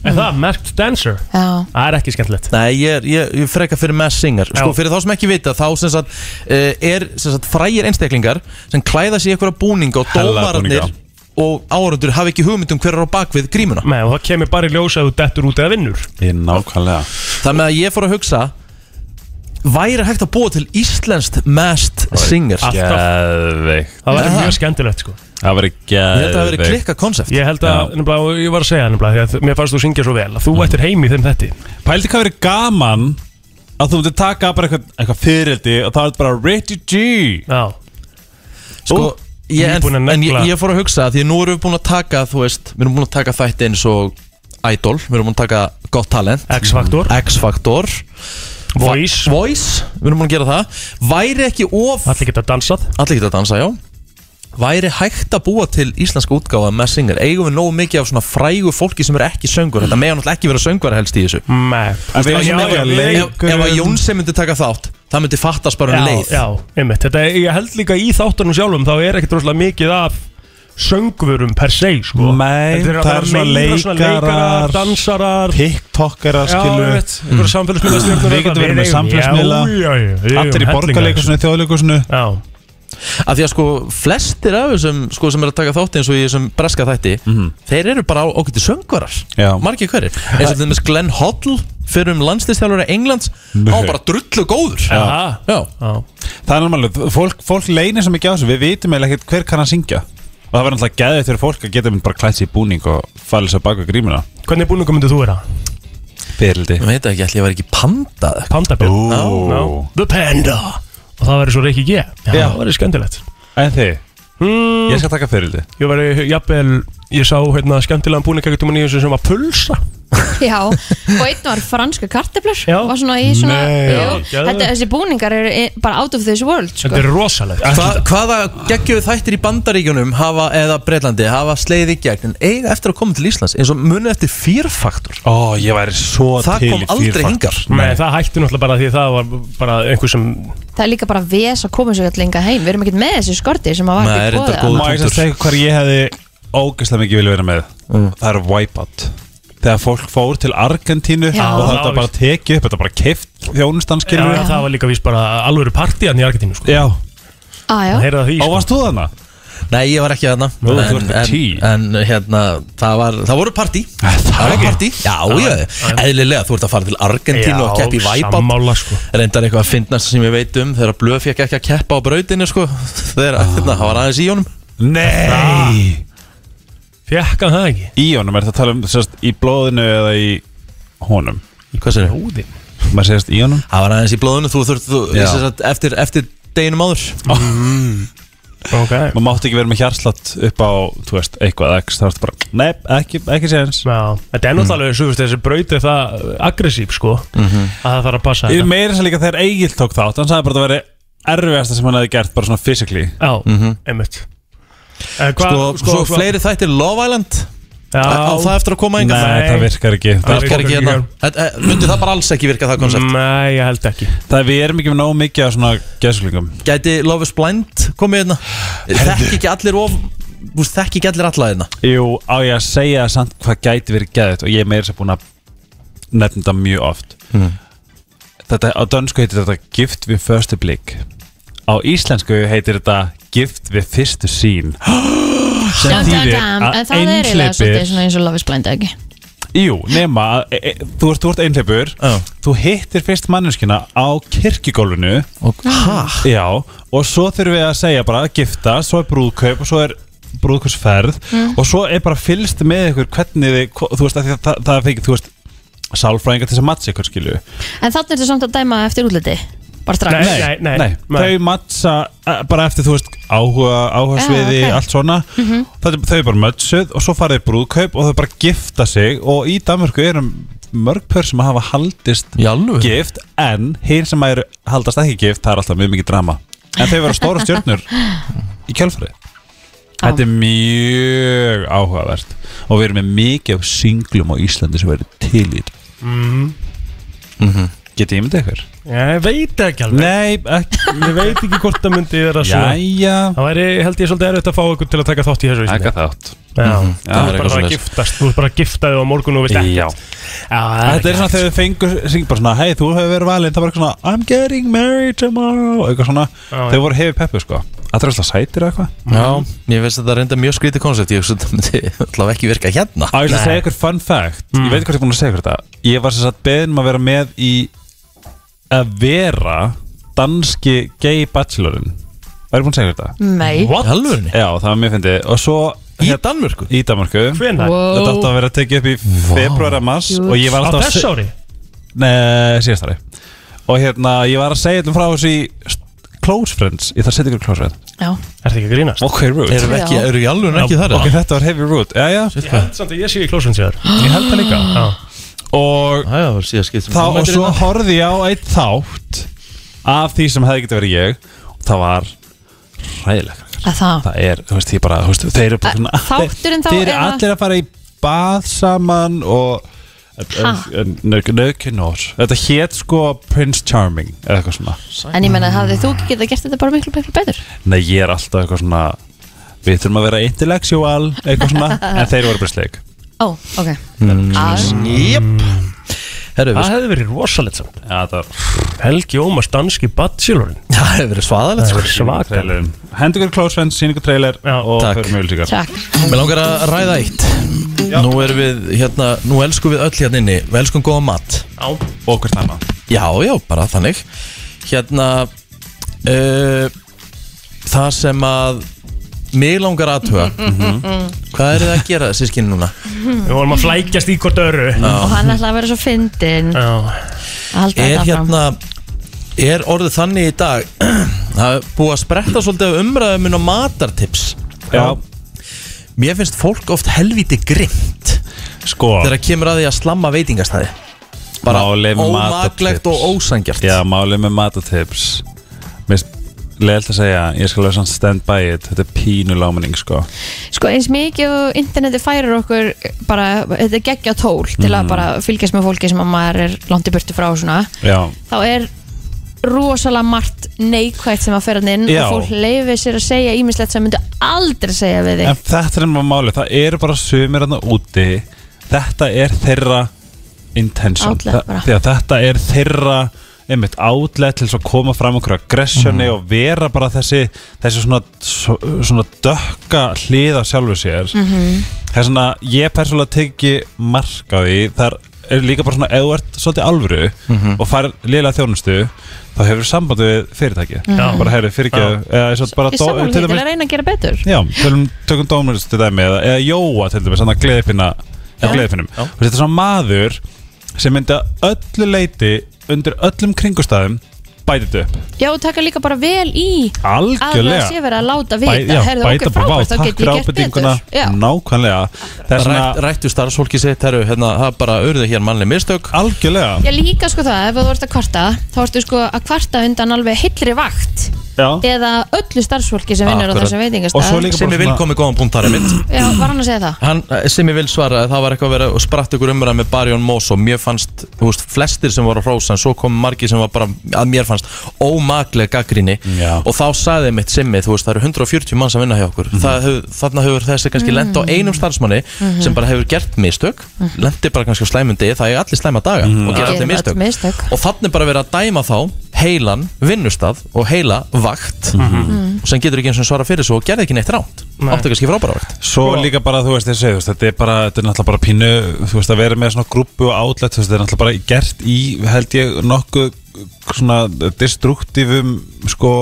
[SPEAKER 3] Er það Masked Dancer?
[SPEAKER 2] Já
[SPEAKER 3] Það er ekki skemmtilegt
[SPEAKER 1] Nei, ég er, ég, ég er freka fyrir mass singer Sko,
[SPEAKER 3] Já.
[SPEAKER 1] fyrir þá sem ekki vita, þá sem sagt uh, er sem sagt frægir einstaklingar sem klæða sig í einhverja búninga og
[SPEAKER 6] Hella
[SPEAKER 1] dómararnir
[SPEAKER 6] búninga.
[SPEAKER 1] og áhörundur hafa ekki hugmynd um hver er á bakvið grímuna
[SPEAKER 3] Nei, og það kemur bara í ljós að þú dettur út eða vinnur
[SPEAKER 6] Ég nákvæmlega
[SPEAKER 1] Þannig að ég fór að hugsa væri hægt að búa til Íslenskt Masked Singer
[SPEAKER 3] Alltaf.
[SPEAKER 7] Geðveikt
[SPEAKER 3] Það væri
[SPEAKER 1] Aha.
[SPEAKER 3] mjög skemmtilegt sko
[SPEAKER 7] Það var
[SPEAKER 1] Ég held að það veri
[SPEAKER 7] geðveikt
[SPEAKER 1] klikka konsept
[SPEAKER 3] Ég held að, nefnilega, og ég var að segja nefnilega því að Mér fannst þú syngja svo vel að
[SPEAKER 6] Mm.
[SPEAKER 3] þú ættir heim í þeim þetti
[SPEAKER 6] Pældi hvað verið gaman að þú myndir taka bara eitthvað, eitthvað fyrirldi og það er bara Ricky G
[SPEAKER 3] Já,
[SPEAKER 1] Sko, ég,
[SPEAKER 3] nýbúin
[SPEAKER 1] en,
[SPEAKER 3] að
[SPEAKER 1] en ég,
[SPEAKER 3] negla.
[SPEAKER 1] ég fór að hugsa að því að nú erum við búin að taka, þú veist, við erum búin að taka þætti eins og Idol, við erum búin að taka Gott Talent,
[SPEAKER 3] X-Factor,
[SPEAKER 1] X-Factor,
[SPEAKER 3] Voice
[SPEAKER 1] Voice, við erum búin að gera það. Væri ekki of,
[SPEAKER 3] Allir geta dansað
[SPEAKER 1] allir geta að dansa, já, væri hægt að búa til íslenska útgáfa með singer, eigum við nógu mikið af svona frægu fólki sem eru ekki söngur, þetta meðan náttúrulega ekki vera söngur helst í þessu.
[SPEAKER 3] Nei
[SPEAKER 6] En við erum ekki með að
[SPEAKER 1] Ef, ef að
[SPEAKER 6] leikurinn-
[SPEAKER 1] Jónsi myndi taka þátt, það myndi fattast bara um
[SPEAKER 3] Já,
[SPEAKER 1] leið.
[SPEAKER 3] já, einmitt Þetta, ég held líka í þáttunum sjálfum Þá er ekkert rosalega mikið af söngvurum per se, sko
[SPEAKER 6] Nei,
[SPEAKER 3] Þetta að
[SPEAKER 6] það
[SPEAKER 3] vera
[SPEAKER 6] eru svona
[SPEAKER 3] meira svona
[SPEAKER 6] leikarar,
[SPEAKER 3] dansarar
[SPEAKER 6] TikTokera
[SPEAKER 3] Já,
[SPEAKER 6] skilu
[SPEAKER 3] einmitt Mhm. Einhverja samfélagsmiðla stjórnur
[SPEAKER 6] Við getum verið með samfélagsmiðla.
[SPEAKER 3] Já, já, já við
[SPEAKER 6] Allir í
[SPEAKER 3] eigum hellinga.
[SPEAKER 6] borgarleikusinu, þjóðleikusinu
[SPEAKER 3] Já,
[SPEAKER 1] Af því að sko flestir af þessum sko, sem er að taka þátt eins og ég sem breska þætti þeir eru bara ákvæmdi söngvarar
[SPEAKER 6] Mhm. Já.
[SPEAKER 1] margir hverjir, eins og þeim er Glenn Hoddle fyrir um landslistjálfara Englands
[SPEAKER 6] Nei.
[SPEAKER 1] á bara drullu góður
[SPEAKER 3] já,
[SPEAKER 1] Já.
[SPEAKER 3] já.
[SPEAKER 6] Það er náttúrulega, fólk, fólk leynir sem ekki á þessu Við vitum eiginlega ekkert hver kann að syngja Og það verður náttúrulega geðið fyrir fólk að geta mynd bara klætt sér í búning og fæla sér baka grímuna
[SPEAKER 3] Hvernig búningum myndið þú vera?
[SPEAKER 6] Fyrildi
[SPEAKER 1] ég veit ekki, ætli ég var ekki pandað
[SPEAKER 3] Pandabjörn
[SPEAKER 6] Ó.
[SPEAKER 3] Já. The Panda Og það verður svo Reykjavík G Já,
[SPEAKER 6] Já.
[SPEAKER 3] það verður skemmtilegt
[SPEAKER 6] En þið, Hmm.
[SPEAKER 3] mm,
[SPEAKER 6] ég skal taka fyrildi
[SPEAKER 3] Ég verður, jafnvel, ég sá hérna skemmtilegan búning ekkert um að nýjum sem var pulsa
[SPEAKER 2] Já, og einn var franska karteflur
[SPEAKER 3] Já.
[SPEAKER 2] var svona í svona
[SPEAKER 6] Nei.
[SPEAKER 2] Jú,
[SPEAKER 3] Já,
[SPEAKER 2] þetta,
[SPEAKER 3] geðveikt.
[SPEAKER 2] þessi búningar eru i- bara out of this world
[SPEAKER 3] Þetta
[SPEAKER 2] sko.
[SPEAKER 3] er rosalegt
[SPEAKER 1] Hva, Hvaða geggjöðu þættir í bandaríkjunum hafa, eða Breitlandi hafa sleiði gegn en eiga eftir að koma til Íslands eins og muni eftir fyrfaktur
[SPEAKER 6] Ó, ég væri svo
[SPEAKER 1] Það
[SPEAKER 6] til
[SPEAKER 1] kom
[SPEAKER 6] í
[SPEAKER 1] aldrei
[SPEAKER 6] fýrfakt.
[SPEAKER 1] hingað.
[SPEAKER 3] Nei, það hætti náttúrulega bara því að það var bara einhver sem
[SPEAKER 2] það er líka bara ves að koma sér allenga heim við erum ekkert með þessi skorti sem að var
[SPEAKER 1] Nei,
[SPEAKER 2] ekki
[SPEAKER 1] reyndar
[SPEAKER 2] boðið.
[SPEAKER 1] góð.
[SPEAKER 6] Má ég
[SPEAKER 1] punktur.
[SPEAKER 6] sem segja hvað ég hefði ógeðslega mikið vilja vera með Það er Wipeout Þegar fólk fór til Argentínu
[SPEAKER 2] Já.
[SPEAKER 6] og þetta
[SPEAKER 3] Já,
[SPEAKER 6] bara tekið upp, þetta bara keift
[SPEAKER 3] já,
[SPEAKER 6] þjónustanskilur
[SPEAKER 3] það var líka víst bara alvöru partían í Argentínu sko.
[SPEAKER 6] Já,
[SPEAKER 2] ah, já.
[SPEAKER 3] Það heyrði það því
[SPEAKER 6] og
[SPEAKER 3] sko.
[SPEAKER 6] varst þú þarna?
[SPEAKER 1] Nei, ég var ekki þarna
[SPEAKER 6] Nú, þú
[SPEAKER 1] en,
[SPEAKER 6] ert með tí.
[SPEAKER 1] en, en hérna, það, var, það voru partí Það var partí, já, já, eðlilega Þú ert að fara til Argentínu og keppi í
[SPEAKER 3] Já,
[SPEAKER 1] Væbátt
[SPEAKER 3] sammála sko
[SPEAKER 1] reyndar eitthvað að finnast sem ég veit um þegar Blöð fekk ekki að keppa á brautinu sko. þegar hérna, það var aðeins í honum
[SPEAKER 6] Nei
[SPEAKER 3] Fekka það ekki
[SPEAKER 6] Í honum, er það að tala um sérst, í blóðinu eða í honum?
[SPEAKER 1] hvað sér
[SPEAKER 3] Óðinn
[SPEAKER 6] Maður segist í honum?
[SPEAKER 1] það var aðeins í blóðinu þú þurft þú,
[SPEAKER 6] Já.
[SPEAKER 1] sem sagt, eftir, eftir deginum áður
[SPEAKER 3] Ok
[SPEAKER 6] Maður mátti ekki vera með hjarslatt upp á, þú veist, eitthvað x Það varst bara, nei, ekki, ekki séðans
[SPEAKER 3] Já, þetta er náttúrulega, mm. svo veist, þessi braut er það aggressív, sko, að það þarf að passa
[SPEAKER 6] Ég
[SPEAKER 3] þetta.
[SPEAKER 6] meira þess að líka þegar Egil tók þátt Hann sagði bara að það veri erfiðasta sem hann hefði gert Bara svona physically
[SPEAKER 3] Já, einmitt. Mhm. Eh, hva,
[SPEAKER 1] sko, svo fleiri þættir Love Island
[SPEAKER 3] já,
[SPEAKER 1] á það eftir að koma enga
[SPEAKER 3] Nei.
[SPEAKER 6] það virkar ekki
[SPEAKER 3] Það
[SPEAKER 6] Það,
[SPEAKER 1] virkar ekki Mm. hérna
[SPEAKER 3] virkar ekki.
[SPEAKER 1] Þetta, eh, myndi það bara alls ekki virka það koncept
[SPEAKER 3] Nei, ég held ekki.
[SPEAKER 6] það við erum ekki með nógu mikið af svona gæðsöklingum
[SPEAKER 1] gæti Love is Blind komið hérna þekki ekki allir of þú veist, þekki ekki allir alla hérna
[SPEAKER 6] Jú, á ég að segja samt hvað gæti verið gæðið Og ég er meira þess að búin að nefna þetta mjög oft Þetta á dönsku heitir þetta Gift við förstu blik Á íslensku heitir þetta Gift við fyrstu sín Sem
[SPEAKER 2] Dam, dam,
[SPEAKER 6] þýðir
[SPEAKER 2] dam.
[SPEAKER 6] að
[SPEAKER 2] en það er eiginlega
[SPEAKER 6] einhleypir-
[SPEAKER 2] svolítið svona eins og Love is Blind eða ekki
[SPEAKER 6] Jú, nema að e, e, þú ert, þú ert einhleipur
[SPEAKER 1] Já.
[SPEAKER 6] Þú hittir fyrst manneskina á kirkigólfinu
[SPEAKER 1] og hæ
[SPEAKER 6] Já, og svo þurfum við að segja bara að gifta Svo er brúðkaup og svo er brúðkaupsferð
[SPEAKER 2] Mm.
[SPEAKER 6] Og svo er bara fylgst með ykkur hvernig þið hvo- Þú veist, að það, það, það fengið, þú veist Sálfræðingar til þess að matsa ykkur skilju
[SPEAKER 2] en þannig er þetta samt að dæma eftir útliti bara strax
[SPEAKER 3] Nei, nei, nei.
[SPEAKER 6] Þau matsa eh, bara eftir, þú veist, áhuga, áhuga
[SPEAKER 2] Já,
[SPEAKER 6] sviði,
[SPEAKER 2] ok. Mhm.
[SPEAKER 6] allt svona mm -hmm. Þau bara mötsuð og svo farið í brúðkaup Og þau bara gifta sig Og í Danmörku eru mörg pör sem hafa haldist
[SPEAKER 1] í alveg
[SPEAKER 6] gift en hinn sem eru haldast ekki gift það er alltaf mjög mikið drama en þau vera stóra stjörnur í kjölfari þetta er mjög áhugavert og við erum með mikið af singlum á Íslandi sem verður til í þetta
[SPEAKER 3] Mhm.
[SPEAKER 6] getið ég myndið ykkur?
[SPEAKER 3] Ég veit ekki alveg.
[SPEAKER 6] Nei, ekki
[SPEAKER 3] Ég veit ekki hvort það myndi vera svona.
[SPEAKER 6] Jæja
[SPEAKER 3] Það væri, held ég, svolítið erfitt að fá ykkur til að taka þátt í þessu vísinni.
[SPEAKER 7] Taka þátt
[SPEAKER 3] Já,
[SPEAKER 1] Já,
[SPEAKER 3] það
[SPEAKER 1] það er
[SPEAKER 3] er
[SPEAKER 1] eitthvað
[SPEAKER 3] bara að
[SPEAKER 1] svoleiðis.
[SPEAKER 3] giftast. Þú ert bara að gifta þig á morgun og vilt ekki.
[SPEAKER 7] Já.
[SPEAKER 3] Já,
[SPEAKER 6] Þetta er svona þegar þau fengur syng bara svona hei þú hefur verið valinn það var eitthvað svona I'm getting married tomorrow eitthvað svona
[SPEAKER 3] Já,
[SPEAKER 6] þau
[SPEAKER 3] já.
[SPEAKER 6] voru hefur peppu sko Það er alltaf sætir eða eitthvað
[SPEAKER 1] Já, ég veist að það er enda mjög skrítið koncept Ég hugsa að þetta myndi allavega ekki virka hérna
[SPEAKER 6] Á, ég ætla að segja ykkur fun fact Ég veit hvað ég er búin að segja ykkur þetta Ég var sem sagt beðin um að vera með í að vera danski gay bachelorinn Það er búin að segja þetta
[SPEAKER 2] Nei
[SPEAKER 1] Í alvörinni?
[SPEAKER 6] Já, það var mjög fyndið Og svo hérna,
[SPEAKER 1] Í Danmörku?
[SPEAKER 6] í Danmarku
[SPEAKER 3] Hvenær?
[SPEAKER 2] Wow.
[SPEAKER 6] Þetta átti að vera að tekið upp í februar að mars
[SPEAKER 2] Huge.
[SPEAKER 6] Og ég
[SPEAKER 3] Á
[SPEAKER 6] var alltaf
[SPEAKER 3] þess ári?
[SPEAKER 6] Nei, síðastari Og hérna, ég var að segja þetta frá þessu í st- Close Friends, ég þarf að setja ykkur í Close Friends
[SPEAKER 2] Já,
[SPEAKER 3] Er það ekki að grínast?
[SPEAKER 6] Ok, rude
[SPEAKER 1] Eru ekki,
[SPEAKER 2] Já.
[SPEAKER 1] eru í alvörinni ekki þar?
[SPEAKER 6] Ok, þetta var heavy rude, já, já
[SPEAKER 3] Ég held samt að ég sé í klósum sér Ég held það líka Já
[SPEAKER 6] Og
[SPEAKER 1] Það var síðan skipt sem
[SPEAKER 6] þá,
[SPEAKER 1] þú
[SPEAKER 6] og
[SPEAKER 1] mætir
[SPEAKER 6] svo
[SPEAKER 1] hérna.
[SPEAKER 6] horfði ég á eitt þátt Af því sem hefði getið verið ég Og það var ræðilega
[SPEAKER 2] að það
[SPEAKER 6] Það er, þú veist, ég bara, þú veist, þeir eru bara
[SPEAKER 2] Að-
[SPEAKER 6] svona-
[SPEAKER 2] Ah. þátturinn þá
[SPEAKER 6] Þeir eru
[SPEAKER 2] eða-
[SPEAKER 6] allir að fara í bað saman og
[SPEAKER 2] Ha?
[SPEAKER 6] Naukinor Þetta hét sko Prince Charming eða eitthvað svona
[SPEAKER 2] En ég menna, hafði þú ekki getað gert þetta bara miklu, miklu betur?
[SPEAKER 6] Nei, ég er alltaf eitthvað svona Við þurfum að vera intellectual eitthvað svona En þeir voru bara sleik
[SPEAKER 2] Ó, ok Að-
[SPEAKER 1] Jep Herru, við
[SPEAKER 3] Það hefði verið rosalegt samt
[SPEAKER 6] Já, það var
[SPEAKER 3] Helgi Ómars danski bachelorinn
[SPEAKER 1] Það hefur verið svaðalegt
[SPEAKER 3] Það
[SPEAKER 1] sko.
[SPEAKER 3] hefur verið svakar
[SPEAKER 6] trailerinn Hendur ykkur close friends, sín ykkur trailer
[SPEAKER 3] Já.
[SPEAKER 6] og
[SPEAKER 1] Takk.
[SPEAKER 6] förum mjög líka
[SPEAKER 2] Takk
[SPEAKER 1] Mér langar að ræða eitt Nú erum við, hérna, nú elskum við öll hérna inni Við elskum góða mat
[SPEAKER 3] Já
[SPEAKER 6] Og hvert annað
[SPEAKER 1] Já, já, bara þannig Hérna uh, Það sem að Mig langar aðtuga Hvað eru þið að gera sískinni núna?
[SPEAKER 3] Við vorum að flækjast í hvort öru
[SPEAKER 2] Og hann ætlaði að vera svo fyndin
[SPEAKER 3] Já
[SPEAKER 2] að halda
[SPEAKER 1] Er
[SPEAKER 2] þetta fram
[SPEAKER 1] hérna Er orðið þannig í dag Það er búið að spretta svolítið af umræðumin og matartips
[SPEAKER 6] Já,
[SPEAKER 1] Mér finnst fólk oft helviti grimt
[SPEAKER 6] sko
[SPEAKER 1] Þegar kemur að því að slamma veitingastæði Bara
[SPEAKER 6] Málið með
[SPEAKER 1] ómaglegt
[SPEAKER 6] matartips.
[SPEAKER 1] og ósangjart
[SPEAKER 6] Já, málið með matatips Mér leðilt að segja Ég skal vera svona stand by it Þetta er pínu lámanning sko
[SPEAKER 2] Sko eins mikið og interneti færir okkur bara, þetta er geggja tól til
[SPEAKER 6] Mhm.
[SPEAKER 2] að bara fylgjast með fólki sem að maður er langt í burtu frá og svona
[SPEAKER 6] Já,
[SPEAKER 2] þá er rosalega margt neikvægt sem að ferðan inn
[SPEAKER 6] Já.
[SPEAKER 2] og fólk leifir sér að segja ímislegt sem myndi aldrei segja við
[SPEAKER 6] en
[SPEAKER 2] þig
[SPEAKER 6] þetta er maður málið Það eru bara sumir hann úti Þetta er þeirra intention
[SPEAKER 2] Outlet bara.
[SPEAKER 6] Þa, að Þetta er þeirra einmitt outlet til þess að koma fram okkur aggressioni og vera bara þessi þessi svona, svona dökka hliða sjálfu sér
[SPEAKER 2] Mhm.
[SPEAKER 6] það er svona, ég persónulega teki mark á því, þar er líka bara svona ef þú ert svolítið alvöru og farið liðlega þjónustu þá hefur samband við fyrirtæki bara hefur fyrirgjöðu
[SPEAKER 2] Mhm. Ég sammála því til að reyna að gera betur
[SPEAKER 6] Já, tölum, tökum Dóminus til dæmi eða, eða Jóa til dæmi, þannig að gleðipina eða gleðipinum,
[SPEAKER 1] Já.
[SPEAKER 6] og þetta er svona maður sem myndi að öllu leiti undir öllum kringustæðum bætið upp,
[SPEAKER 2] Já, og taka líka bara vel í að það sé
[SPEAKER 6] algjörlega
[SPEAKER 2] verið að láta
[SPEAKER 6] Bæ-
[SPEAKER 2] vita Herðu
[SPEAKER 6] bæta
[SPEAKER 2] okkur
[SPEAKER 6] bara, vá,
[SPEAKER 2] frábært, þá
[SPEAKER 6] takk
[SPEAKER 2] get ég
[SPEAKER 6] fyrir
[SPEAKER 2] gert betur
[SPEAKER 6] ábendinguna
[SPEAKER 2] Já,
[SPEAKER 6] nákvæmlega það er
[SPEAKER 1] Rætt,
[SPEAKER 6] svona
[SPEAKER 1] rættu starfsfólki sitt, herru, hérna, það bara urðu hér mannleg mistök
[SPEAKER 6] algjörlega
[SPEAKER 2] Já, líka sko það, ef þú ert að kvarta þá ertu sko að kvarta undan alveg hillri vakt
[SPEAKER 6] Já.
[SPEAKER 2] eða öllu starfsfólki sem vinnur á
[SPEAKER 1] Akkurat.
[SPEAKER 2] þessum veitingastað
[SPEAKER 6] og svo líka
[SPEAKER 1] Sem
[SPEAKER 6] bara
[SPEAKER 1] ég vil
[SPEAKER 6] svona
[SPEAKER 1] komið góðan punkt þar er mitt
[SPEAKER 2] Já, var hann að segja það?
[SPEAKER 1] Hann, eh, sem ég vil svara, það var eitthvað að vera og spratt ykkur umræð með Barjón Mós og mér fannst, þú veist, flestir sem voru að hrósa en svo kom margir sem var bara, að mér fannst ómaglega gaggrinni
[SPEAKER 6] Já.
[SPEAKER 1] og þá sagði mitt simmi, þú veist, það eru 140 manns að vinna hjá okkur, mm hef, þarna hefur þessi kannski mm lent á einum starfsmanni sem bara hefur gert mistök, mm bara kannski á slæmundi, það er allir slæma daga og gera allir
[SPEAKER 2] Gerum öll
[SPEAKER 1] mistök.
[SPEAKER 2] mistök.
[SPEAKER 1] og þannig bara verið að dæma þá heilan vinnustað og heila vakt og sem getur ekki eins og svara fyrir svo og gerði ekki neitt ránt,
[SPEAKER 3] Nei.
[SPEAKER 1] áttu kannski frábæra vakt
[SPEAKER 6] Svo
[SPEAKER 2] Sko-
[SPEAKER 6] líka bara, þú veist, ég segi, þú veist, þetta er bara, þetta er náttúrulega bara pínu, þú veist, að vera með svona grúpu og outlet, þú veist, þetta er náttúrulega bara gert í, held ég, nokkuð svona destruktífum, sko,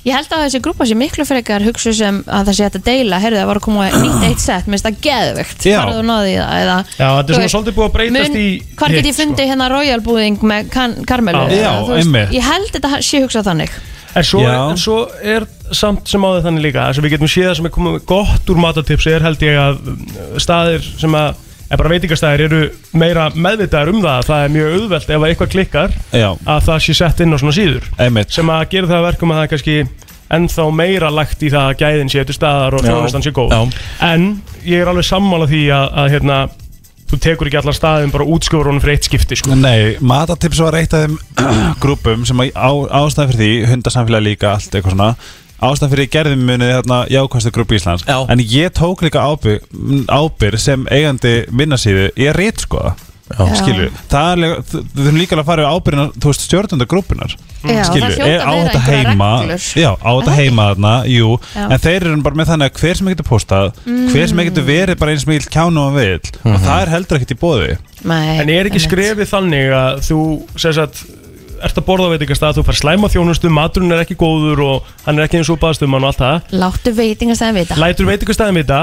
[SPEAKER 2] Ég held að þessi grúpa sé miklu frekar hugsu sem að það sé hægt að deila, heyrðu það var að koma nýtt eitt sett, minnst það geðvegt
[SPEAKER 6] Já.
[SPEAKER 2] farðu og náðu í það eða
[SPEAKER 3] Já, þetta
[SPEAKER 2] þú
[SPEAKER 3] er svona
[SPEAKER 2] veist,
[SPEAKER 3] svolítið búið að breytast
[SPEAKER 2] mun-
[SPEAKER 3] í
[SPEAKER 2] Hvar get
[SPEAKER 3] hitt,
[SPEAKER 2] ég fundið hérna Royal búðing með kan, Karmelu?
[SPEAKER 3] Já.
[SPEAKER 2] eða,
[SPEAKER 6] Já,
[SPEAKER 2] þú veist,
[SPEAKER 6] einmitt.
[SPEAKER 2] Ég held þetta ha- sé hugsað þannig
[SPEAKER 3] En svo, er,
[SPEAKER 6] Já.
[SPEAKER 3] en svo er samt sem áður þannig líka þess að við getum séð það sem er komið gott úr matatips er held ég að mm, staðir sem að eða bara veitingastæðir eru meira meðvitaðar um það að það er mjög auðvelt ef að eitthvað klikkar
[SPEAKER 6] já,
[SPEAKER 3] að það sé sett inn á svona síður
[SPEAKER 6] einmitt,
[SPEAKER 3] sem að gera það að verkum að það er kannski ennþá meira lagt í það að gæðin sé til staðar og
[SPEAKER 1] Já.
[SPEAKER 3] þjónustan sé góð
[SPEAKER 1] Já.
[SPEAKER 3] en ég er alveg sammála því að, að hérna, þú tekur ekki allar staðin bara útskjóður honum fyrir eitt skipti sko.
[SPEAKER 6] Nei, matatips var eitt af þeim grúpum sem að á, ástæðan fyrir því hundasamfélag líka, allt eitthvað svona ástæðan fyrir gerðum munið þarna jákvæmstu grúpp Íslands
[SPEAKER 1] Já.
[SPEAKER 6] en ég tók líka ábyr, ábyr sem eigandi vinnasíðu ég rétt sko skilju, það er líka, þú þurfum líka alveg að fara við ábyrðina, þú veist, stjórnunda grúpunar
[SPEAKER 2] Já, það hljóta
[SPEAKER 6] er á
[SPEAKER 2] að vera
[SPEAKER 6] þetta
[SPEAKER 2] einhverjar
[SPEAKER 6] heima
[SPEAKER 2] reglur.
[SPEAKER 6] já, á
[SPEAKER 2] Er
[SPEAKER 6] þetta
[SPEAKER 2] það
[SPEAKER 6] heima þarna, jú
[SPEAKER 2] Já.
[SPEAKER 6] en þeir eru bara með þannig að hver sem getur postað hver sem getur verið bara eins og mikill kjánu og vill og það er heldur ekkert í bóði
[SPEAKER 2] Nei,
[SPEAKER 3] en er ekki
[SPEAKER 2] einmitt.
[SPEAKER 3] skrefið þannig að þú sem sagt, ert að borða á veitingastað þú fær slæma þjónustu, maturinn er ekki góður og hann er ekki eins og baðstumann og allt það
[SPEAKER 2] Láttu veitingastæðin vita
[SPEAKER 3] lætur veitingastæðin vita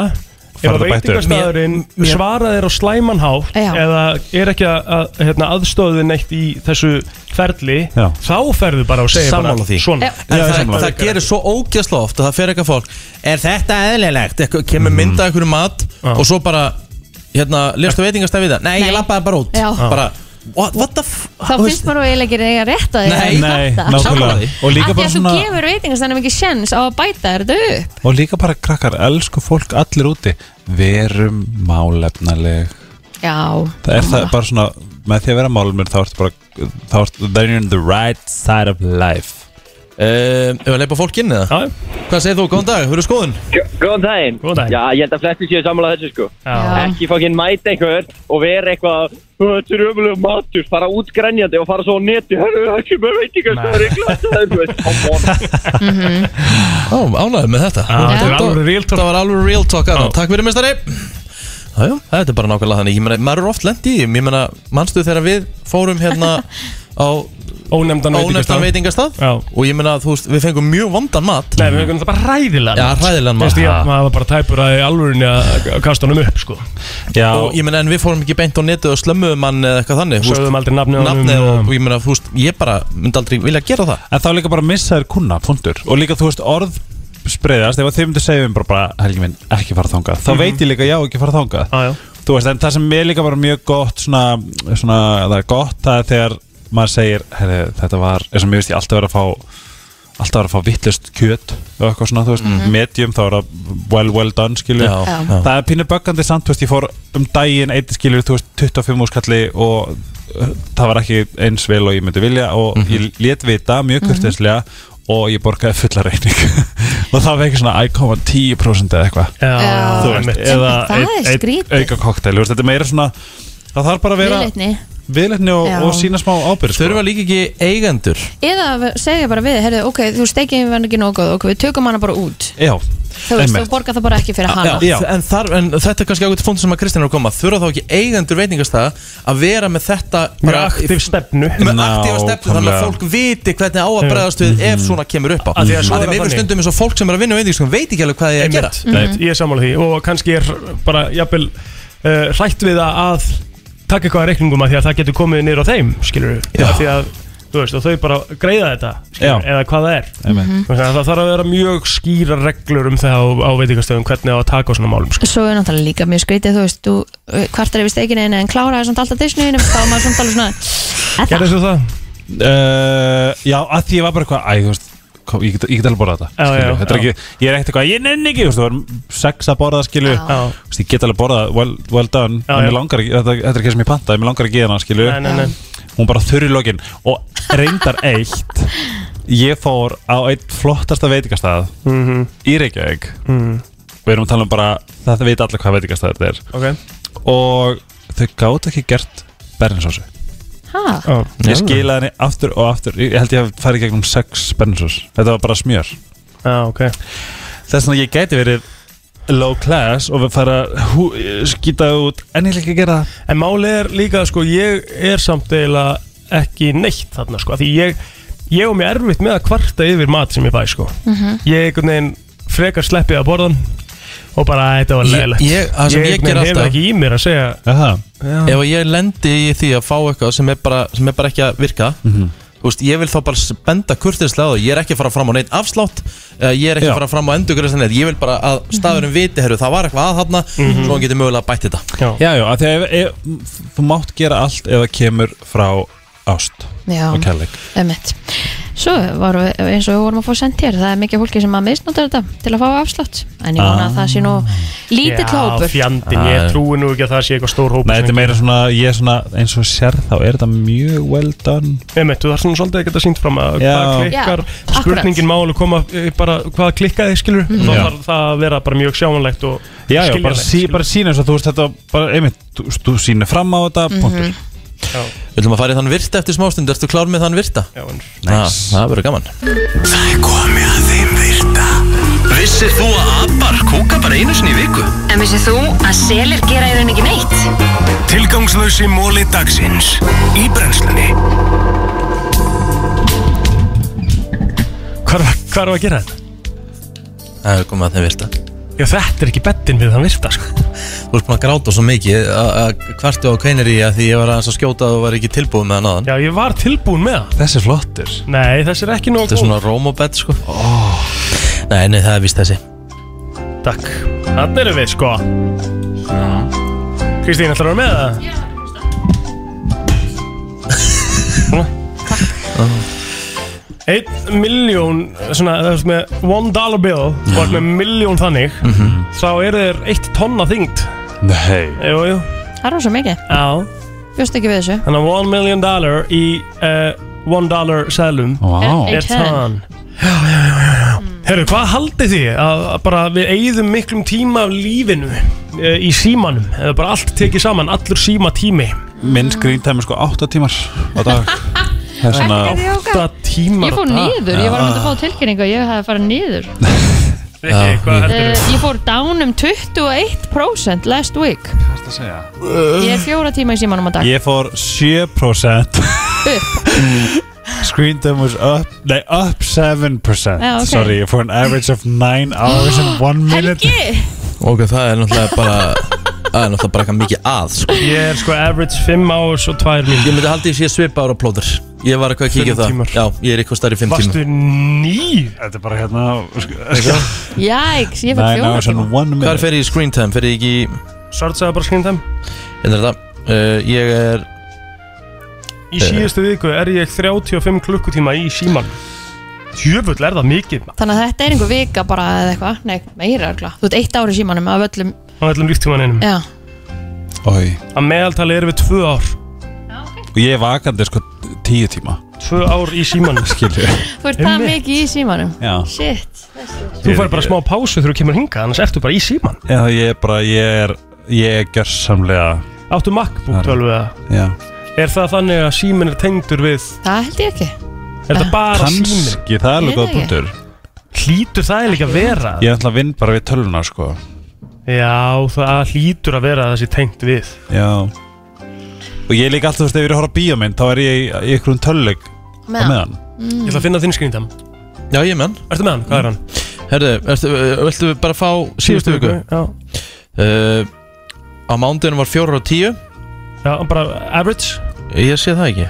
[SPEAKER 3] ef
[SPEAKER 6] Farðu
[SPEAKER 3] að
[SPEAKER 6] að bæta upp.
[SPEAKER 3] veitingastæðurinn svara þér á slæman hátt
[SPEAKER 2] Já.
[SPEAKER 3] eða er ekki að, að hérna, aðstóðið neitt í þessu ferli
[SPEAKER 6] Já.
[SPEAKER 3] þá ferðu bara og segir
[SPEAKER 1] Sammála
[SPEAKER 3] bara
[SPEAKER 1] því.
[SPEAKER 3] svona
[SPEAKER 2] Já.
[SPEAKER 1] En
[SPEAKER 6] Já,
[SPEAKER 1] það,
[SPEAKER 6] sammála.
[SPEAKER 1] það, gerir svo ógjastlega oft að það fer eitthvað fólk Er þetta eðlilegt? Ekkur, kemur mynda einhverju mat
[SPEAKER 3] Já.
[SPEAKER 1] og svo bara hérna, Lérstu veitingastæð við það? Nei,
[SPEAKER 2] Nei.
[SPEAKER 1] ég lappaði bara út
[SPEAKER 2] Já. Já.
[SPEAKER 1] bara, what, what the f...
[SPEAKER 2] Þá finnst maður og eiginlega ekki eiga rétt á því
[SPEAKER 1] Nei,
[SPEAKER 2] að
[SPEAKER 6] Nei,
[SPEAKER 2] fatta.
[SPEAKER 1] Sammála því.
[SPEAKER 6] nákvæmlega og
[SPEAKER 2] Af
[SPEAKER 6] líka,
[SPEAKER 2] því
[SPEAKER 6] bara
[SPEAKER 2] að
[SPEAKER 6] svona,
[SPEAKER 2] þú gefur veitingastæðinum ekki sjens á að bæta þér þetta upp
[SPEAKER 6] og líka bara krakkar, elsku fólk allir úti Verum málefnaleg
[SPEAKER 2] Já
[SPEAKER 6] Það er það bara svona, með því að vera málumur þá ertu bara, þá ertu, then you're on the right side of life
[SPEAKER 1] Uh, Ef að leipa fólk inn eða?
[SPEAKER 3] Já,
[SPEAKER 1] Hvað segir þú? Góðan dag, hver er skoðun?
[SPEAKER 7] Góðan daginn.
[SPEAKER 3] Góðan daginn.
[SPEAKER 7] Já, ég held að flesti séu sammála þessu sko.
[SPEAKER 2] Já.
[SPEAKER 7] Ekki fokkin mæta einhver og vera eitthvað, "Ó, þetta er ömulega matur, fara út grænjandi og fara svo á neti, herru, það kemur veitingastæður í glasaður, þú veist, come on.
[SPEAKER 2] Mhm.
[SPEAKER 1] Ó, ánægður með þetta
[SPEAKER 3] Já, þetta
[SPEAKER 2] er
[SPEAKER 3] alvöru real talk.
[SPEAKER 1] Það var alveg real talk aðna
[SPEAKER 3] Já.
[SPEAKER 1] Takk fyrir mestari Jájá, þetta er bara nákvæmlega þannig Ég meina, maður er oft lent í því Ég meina, manstu þegar við fórum hérna á
[SPEAKER 3] ónefndan
[SPEAKER 1] ónefndan
[SPEAKER 3] veitingastað
[SPEAKER 1] veitingastað
[SPEAKER 3] Já.
[SPEAKER 1] Og ég meina, þú veist, við fengum mjög vondan mat
[SPEAKER 3] Nei, við höfum það bara ræðilega
[SPEAKER 1] Já, hræðilegan mat.
[SPEAKER 3] Þú veist, ég-
[SPEAKER 1] Ha.
[SPEAKER 3] maður var bara tæpur að í alvörunni að að kasta honum upp, sko
[SPEAKER 6] Já,
[SPEAKER 1] Og ég meina, en við fórum ekki beint á netið og slömmuðum hann eða eitthvað þannig þú veist,
[SPEAKER 3] Sögðum aldrei nafnið á honum,
[SPEAKER 1] Nafnið og,
[SPEAKER 3] eða-
[SPEAKER 1] og ég meina, þú veist, ég bara myndi aldrei vilja gera það
[SPEAKER 6] En þá líka bara missa þér kuna, punktur Og líka þú veist orð spreiðast Ef að þið myndir segja um bara, bara Helgi minn, ekki fara
[SPEAKER 2] Mhm.
[SPEAKER 6] þangað Þá veit ég líka, já, ekki fara þangað
[SPEAKER 3] Já, já.
[SPEAKER 6] Þú veist, en það sem er líka bara mjög gott Svona, svona það er gott Það er þegar maður segir herri, Þetta var, eins og mér veist ég alltaf verið að fá Alltaf verið að fá vittlust kjöt Og eitthvað svona, þú veist, medium Þá er það well, well done, skilju
[SPEAKER 1] Mhm. Já,
[SPEAKER 2] Já.
[SPEAKER 1] já.
[SPEAKER 6] Það er pínu böggandi samt, þú veist, ég fór um daginn eitt skilur, þú veist, 25 úrskalli og uh, það var ekki eins vel og ég myndi vilja og
[SPEAKER 1] Mhm.
[SPEAKER 6] ég lét vita mjög kurtislega og ég borgaði fulla reyning og það var ekki svona 1,10% eða eitthvað
[SPEAKER 3] Já,
[SPEAKER 2] Já.
[SPEAKER 6] þú veist,
[SPEAKER 3] einmitt.
[SPEAKER 6] eða
[SPEAKER 2] Það er
[SPEAKER 6] einn- einn
[SPEAKER 2] skrítið.
[SPEAKER 6] auka koktel, þú veist, þetta er meira svona það þarf bara að vera
[SPEAKER 2] Viðleitni
[SPEAKER 6] viðletni og,
[SPEAKER 2] Já.
[SPEAKER 6] og sína smá sko. ábyrg
[SPEAKER 3] Sko.
[SPEAKER 1] Þurfa líka ekki eigendur
[SPEAKER 2] Eða segja bara við, herðu, ok, þú steikið var ekki nóg góð, ok, við tökum hana bara út
[SPEAKER 6] Já,
[SPEAKER 2] Þú veist,
[SPEAKER 6] Einmitt.
[SPEAKER 2] þú borgar það bara ekki fyrir hana
[SPEAKER 1] Já, en, þar, en þetta er kannski ágætt fónd sem að Kristján er að koma Þurfa þá ekki eigendur veitingastæða að vera með þetta
[SPEAKER 3] Mjög aktiv stefnu
[SPEAKER 1] með aktífa stefnu þannig að
[SPEAKER 6] Nákvæmlega.
[SPEAKER 1] fólk viti hvernig á að bregðast við ef svona kemur upp á
[SPEAKER 3] Af því að svo
[SPEAKER 1] Af því
[SPEAKER 3] er það
[SPEAKER 1] við erum
[SPEAKER 3] þannig.
[SPEAKER 1] stundum eins og fólk sem er að vinna við því veit ekki alveg hvað ég er að gera
[SPEAKER 3] Einmitt, einmitt. Ég er sammála því og kannski er bara jafnvel uh, hrætt við að- að taka eitthvað að reikningum að því að það getur komið niður á þeim skilur við,
[SPEAKER 1] Já.
[SPEAKER 3] því að þú veist og þau bara greiða þetta skilur,
[SPEAKER 6] Já.
[SPEAKER 3] eða hvað það er Þú
[SPEAKER 6] einmitt
[SPEAKER 3] veist, að það þarf að vera mjög skýra reglur um það á, á veitingastöðum hvernig á að taka á svona málum skilur.
[SPEAKER 2] Svo er náttúrulega líka mjög skrítið, þú veist, þú kvartar yfir steikinu einu en kláraði samt alltaf disney einu, þá er maður samt alveg svona, er það?
[SPEAKER 3] Gerðu þú það?
[SPEAKER 6] Uh, já, að því ég var bara eitthvað Æ, þú veist, kom, ég, get, ég get alveg borðað þetta
[SPEAKER 3] Já,
[SPEAKER 6] skilurðu.
[SPEAKER 3] já,
[SPEAKER 6] Þetta er
[SPEAKER 3] já.
[SPEAKER 6] ekki, Ég er ekkert eitthvað, ég nenni ekki þú veist, Það var sex að borða, skilju
[SPEAKER 2] Já.
[SPEAKER 3] Já.
[SPEAKER 6] Ég get alveg borðað, well, well done
[SPEAKER 3] Já, já.
[SPEAKER 6] en mér langar ekki, þetta, þetta er ekki sem ég pantaði Mér langar ekki hana, skilju
[SPEAKER 3] Nei, nei, nei.
[SPEAKER 6] Hún bara þurri lokin Og reyndar eitt Ég fór á eitt flottasta veitingastað Í Reykjavík Við erum að tala um bara, þetta veit allir hvað veitingastað þetta er
[SPEAKER 3] Ok
[SPEAKER 6] Og þau gátu ekki gert berninsósu
[SPEAKER 2] Hæ?
[SPEAKER 3] Já.
[SPEAKER 6] Ég skilaði henni aftur og aftur Ég held ég hef farið gegnum sex bernsos Þetta var bara smjör
[SPEAKER 3] Já, Ah, ok
[SPEAKER 6] Þess vegna ég gæti verið low class og við fara hú, skýta út en ég líka að gera það
[SPEAKER 3] En málið er líka sko ég er samt eiginlega ekki neitt þarna sko af Því ég, ég og mér erfitt með að kvarta yfir mat sem ég bæ sko
[SPEAKER 2] Mhm.
[SPEAKER 3] Ég einhvern veginn frekar sleppið að borðan Og bara "Æ, þetta var
[SPEAKER 1] Ég-
[SPEAKER 3] leðilegt
[SPEAKER 1] ég- það sem ég
[SPEAKER 3] einhvern veginn
[SPEAKER 1] geri
[SPEAKER 3] hefur
[SPEAKER 1] alltaf-
[SPEAKER 3] ekki í mér að segja
[SPEAKER 6] Aha.
[SPEAKER 1] ef að ég lendi í því að fá eitthvað sem er bara, sem er bara ekki að virka Þú veist, ég vil þá bara benda kurtislega á það Ég er ekki að fara fram á neitt afslátt eh, Ég er ekki
[SPEAKER 6] Já.
[SPEAKER 1] að fara fram á endurgræslan neitt Ég vil bara að staðurinn viti, herru, það var eitthvað að þarna
[SPEAKER 3] Mhm.
[SPEAKER 1] Svo hann getur mögulega bætt þetta
[SPEAKER 6] Já, já, af því að ef- ef- þú mátt gera allt ef það kemur frá ást
[SPEAKER 2] Já,
[SPEAKER 6] og kærleik
[SPEAKER 2] emmitt. Svo varum við, eins og við vorum að fá sendt hér, það er mikið fólki sem að misnotar þetta til að fá afslátt, en ég vona að það sé nú lítill
[SPEAKER 3] Já,
[SPEAKER 2] hópur.
[SPEAKER 3] fjandinn,
[SPEAKER 1] Æ.
[SPEAKER 3] ég trúi nú ekki að það sé eitthvað stór hópur
[SPEAKER 6] Nei, þetta er meira svona, ég er svona eins og sér þá er þetta mjög well done
[SPEAKER 3] Einmitt, þú þarf svona svolítið að geta sínt fram að
[SPEAKER 6] Já.
[SPEAKER 3] hvað klikkar,
[SPEAKER 2] Já, akkurat. Mhm.
[SPEAKER 3] spurningin máli koma eh, bara hvað klikkaði skilur mm. þá
[SPEAKER 6] Já.
[SPEAKER 3] þarf það að vera bara mjög sjáanlegt og
[SPEAKER 6] Já, já,
[SPEAKER 3] skiljanlegt,
[SPEAKER 6] bara, sí,
[SPEAKER 3] skilur.
[SPEAKER 6] bara sína eins og þú veist þetta bara, einmitt, þú, þú sýnir fram á þetta mm -hmm.
[SPEAKER 1] Við ætlum að fara í þann virta eftir smástund Ertu klár með þann virta?
[SPEAKER 3] Já, en-
[SPEAKER 1] Nice. Það verður gaman
[SPEAKER 4] Það er komið að þeim virta Vissir þú að abar kúka bara einu sinni í viku?
[SPEAKER 8] En vissið þú að selir gera í raun ekki neitt?
[SPEAKER 4] Tilgangslösi móli dagsins Í brennslunni
[SPEAKER 3] Hvað er hvað erum við að gera þetta?
[SPEAKER 1] Það er komið að þeim virta
[SPEAKER 3] Já, þetta er ekki bettin við þann virta, sko.
[SPEAKER 1] Þú ert búin að gráta svo mikið að- að kvartu á kveinir í að því ég var aðeins að skjóta og var ekki tilbúið með hann aðan
[SPEAKER 3] Já, ég var tilbúin með það.
[SPEAKER 6] Þessi er flottur
[SPEAKER 3] Nei, þessi er ekki nóg
[SPEAKER 1] Þetta er svona rómobett sko Nei, nei, það er vist þessi
[SPEAKER 3] Takk. Þannig erum við, sko. Kristín, ætlar að vera með það? Einn miljón, svona, það veist með one dollar bill, og ert með miljón þannig, þá er þeir eitt tonna þyngd.
[SPEAKER 6] Nei
[SPEAKER 3] Jú, jú.
[SPEAKER 2] Það er rosa mikið,
[SPEAKER 3] Já.
[SPEAKER 2] bjóst ekki við þessu
[SPEAKER 3] Þannig að one million dollar í uh, one dollar seðlum
[SPEAKER 6] Vá
[SPEAKER 2] Er-
[SPEAKER 3] er tann
[SPEAKER 2] Mm.
[SPEAKER 3] Herru, hvað haldið þið að að bara við eigðum miklum tíma af lífinu e, í símanum eða bara allt tekið saman, allur símatími
[SPEAKER 6] Minn skrýntæmi sko 8 tímar á dag Það er svona
[SPEAKER 3] Átta tímar
[SPEAKER 2] Ég fór niður, ég var að mynda að fá tilkynningu að ég hafði farið niður
[SPEAKER 3] Rikki, hvað heldur
[SPEAKER 2] uh, Ég fór down um 21% last week Ég er fjóra tíma í símanum að dag
[SPEAKER 6] Ég fór 7% Screen time was up Nei, up 7%
[SPEAKER 2] Já, ok.
[SPEAKER 6] Sorry, ég fór an average of 9 hours and 1 minute
[SPEAKER 2] Helgi!
[SPEAKER 1] Ok, það er náttúrulega bara Það er náttúrulega bara eitthvað mikið að sko
[SPEAKER 3] Ég er sko average 5 árs og 2 mínútur
[SPEAKER 1] Ég myndi haldi ég sé svipa ára plóður Ég var eitthvað að kíkja á
[SPEAKER 3] Fimm
[SPEAKER 1] það
[SPEAKER 3] tímar.
[SPEAKER 1] Já, ég er eitthvað starf í fimm tíma
[SPEAKER 3] Varstu nýr?
[SPEAKER 6] Þetta er bara hérna
[SPEAKER 2] Jæks, ég fór
[SPEAKER 6] 9
[SPEAKER 2] fjóra
[SPEAKER 6] hours
[SPEAKER 2] tíma
[SPEAKER 6] and 1
[SPEAKER 1] Hvað
[SPEAKER 6] minute
[SPEAKER 1] fer ég í screen time? Fer ég ekki í
[SPEAKER 3] Svartsaði bara skrín þeim
[SPEAKER 1] Hérna er þetta uh, Ég er
[SPEAKER 3] Í síðustu viku er ég 35 klukkutíma í síman Jöfull er það mikið
[SPEAKER 2] Þannig að þetta er einhver vika bara eða eitthvað Nei, meira örgla Þú ert eitt ári símanum af öllum
[SPEAKER 3] á öllum líftímaninum
[SPEAKER 2] Já,
[SPEAKER 6] Oi.
[SPEAKER 3] Að meðaltali erum við 2 ár
[SPEAKER 6] Og ég er vakandi sko 10 tíma
[SPEAKER 3] 2 ár í símanum
[SPEAKER 6] Skilju
[SPEAKER 2] þú ert það
[SPEAKER 3] Einmitt.
[SPEAKER 2] mikið í símanum
[SPEAKER 6] Já
[SPEAKER 2] Shit
[SPEAKER 3] Þú fær bara smá pásu þegar þú kemur hingað annars ertu bara í síman
[SPEAKER 6] Já, ég er bara, ég er Ég er gjörsamlega
[SPEAKER 3] Áttu MacBook
[SPEAKER 6] Þar.
[SPEAKER 3] 12 eða
[SPEAKER 6] Já
[SPEAKER 3] Er það þannig að síminn er tengdur við
[SPEAKER 2] Það held ég ekki
[SPEAKER 3] Er þetta bara síminn?
[SPEAKER 6] Kanski, það er
[SPEAKER 2] Ég
[SPEAKER 6] alveg
[SPEAKER 2] veit
[SPEAKER 6] góð
[SPEAKER 2] ekki.
[SPEAKER 6] punktur
[SPEAKER 3] Hlýtur það líka að vera?
[SPEAKER 6] Ég er alltaf vinn bara við tölvuna sko
[SPEAKER 3] Já, það hlýtur að vera að það sé tengt við
[SPEAKER 6] Já Og ég er líka alltaf, þú veist, ef ég er að horfa á bíómynd Þá er ég í, í einhverjum tölvleik á
[SPEAKER 2] Meðan.
[SPEAKER 6] meðan
[SPEAKER 3] Ég ætla að finna þinn skrýndam
[SPEAKER 1] Já, ég er með hann
[SPEAKER 3] Ertu með hann? Hvað er hann?
[SPEAKER 1] Herðu, ertu, uh, viltu bara fá síðustu viku?
[SPEAKER 3] Já,
[SPEAKER 1] Uh, á mándunum var fjórar og tíu
[SPEAKER 3] já bara average
[SPEAKER 1] Ég sé það ekki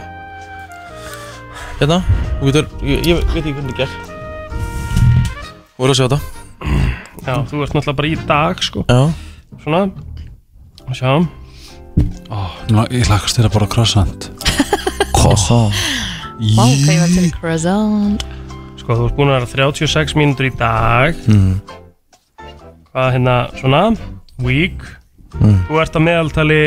[SPEAKER 1] Hérna, þú getur Ég, ég veit ekki hvernig það er Þú voru að sjá þetta
[SPEAKER 3] Já, þú ert náttúrulega bara í dag sko
[SPEAKER 1] Já
[SPEAKER 3] Svona Sjá
[SPEAKER 6] Nú, ég lakast þér að borða croissant
[SPEAKER 1] Kossa
[SPEAKER 2] Vá, hvað ég var til croissant
[SPEAKER 3] Sko, þú ert búin að vera 36 mínútur í dag
[SPEAKER 1] mm.
[SPEAKER 3] Hvað hérna, svona Week Þú ert að meðaltali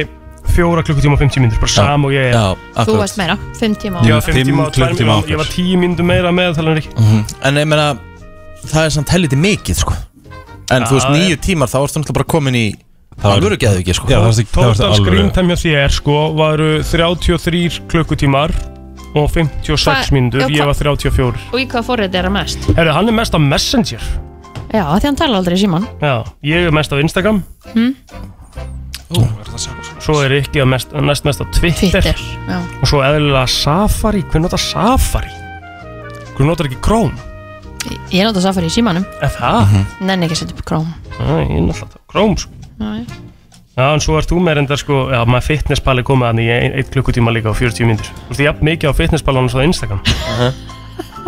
[SPEAKER 3] 4 klukkutíma og 50 mínútur Bara sam og ég er
[SPEAKER 1] Mm. Já,
[SPEAKER 2] Þú
[SPEAKER 1] akkurat
[SPEAKER 2] varst meira, 5 tíma á
[SPEAKER 3] Ég
[SPEAKER 6] Já.
[SPEAKER 3] var 5
[SPEAKER 6] Fimm
[SPEAKER 3] tíma og 2
[SPEAKER 6] klukkutíma
[SPEAKER 3] mínútur Ég var 10 mínútur meira með Það er ekki
[SPEAKER 1] Mhm. En ég meina Það er samt helviti mikið sko En þú
[SPEAKER 3] Já,
[SPEAKER 1] veist nýju tímar þá ertu náttúrulega bara komin í
[SPEAKER 6] er-
[SPEAKER 1] Alvöru geðu ekki sko
[SPEAKER 6] Já, það varst ekki, það varst
[SPEAKER 3] Tóttal
[SPEAKER 6] alveg
[SPEAKER 3] skrýntæmja þér sko Varu 33 klukkutímar Og 56
[SPEAKER 2] Hva-
[SPEAKER 3] mínútur
[SPEAKER 2] já,
[SPEAKER 3] Ég
[SPEAKER 2] hva-
[SPEAKER 3] var 34
[SPEAKER 2] Og í hvað forrið er að mest?
[SPEAKER 3] Herru, hann er mest á Messenger
[SPEAKER 2] Já, því hann talar aldrei í síman
[SPEAKER 3] Já, ég er mest á Instagram
[SPEAKER 2] Hmm?
[SPEAKER 3] Svo er ekki að mest, næst mest á Twitter,
[SPEAKER 2] Twitter Já,
[SPEAKER 3] Og svo eðlilega Safari Hver notar Safari? Hver notar ekki Chrome?
[SPEAKER 2] Ég- ég nota safari í símanum
[SPEAKER 3] Er það?
[SPEAKER 2] Nenni ekki að setja upp Chrome
[SPEAKER 3] Æ, ég er náttúrulega Chrome sko
[SPEAKER 2] Já, já.
[SPEAKER 3] Já, en svo ert þú með reyndar sko, já, maður fitnesspali komið hann í ein, eitt klukkutíma líka á 40 myndir. Þú ert jafn mikið á fitnesspalunum svo á Instagram.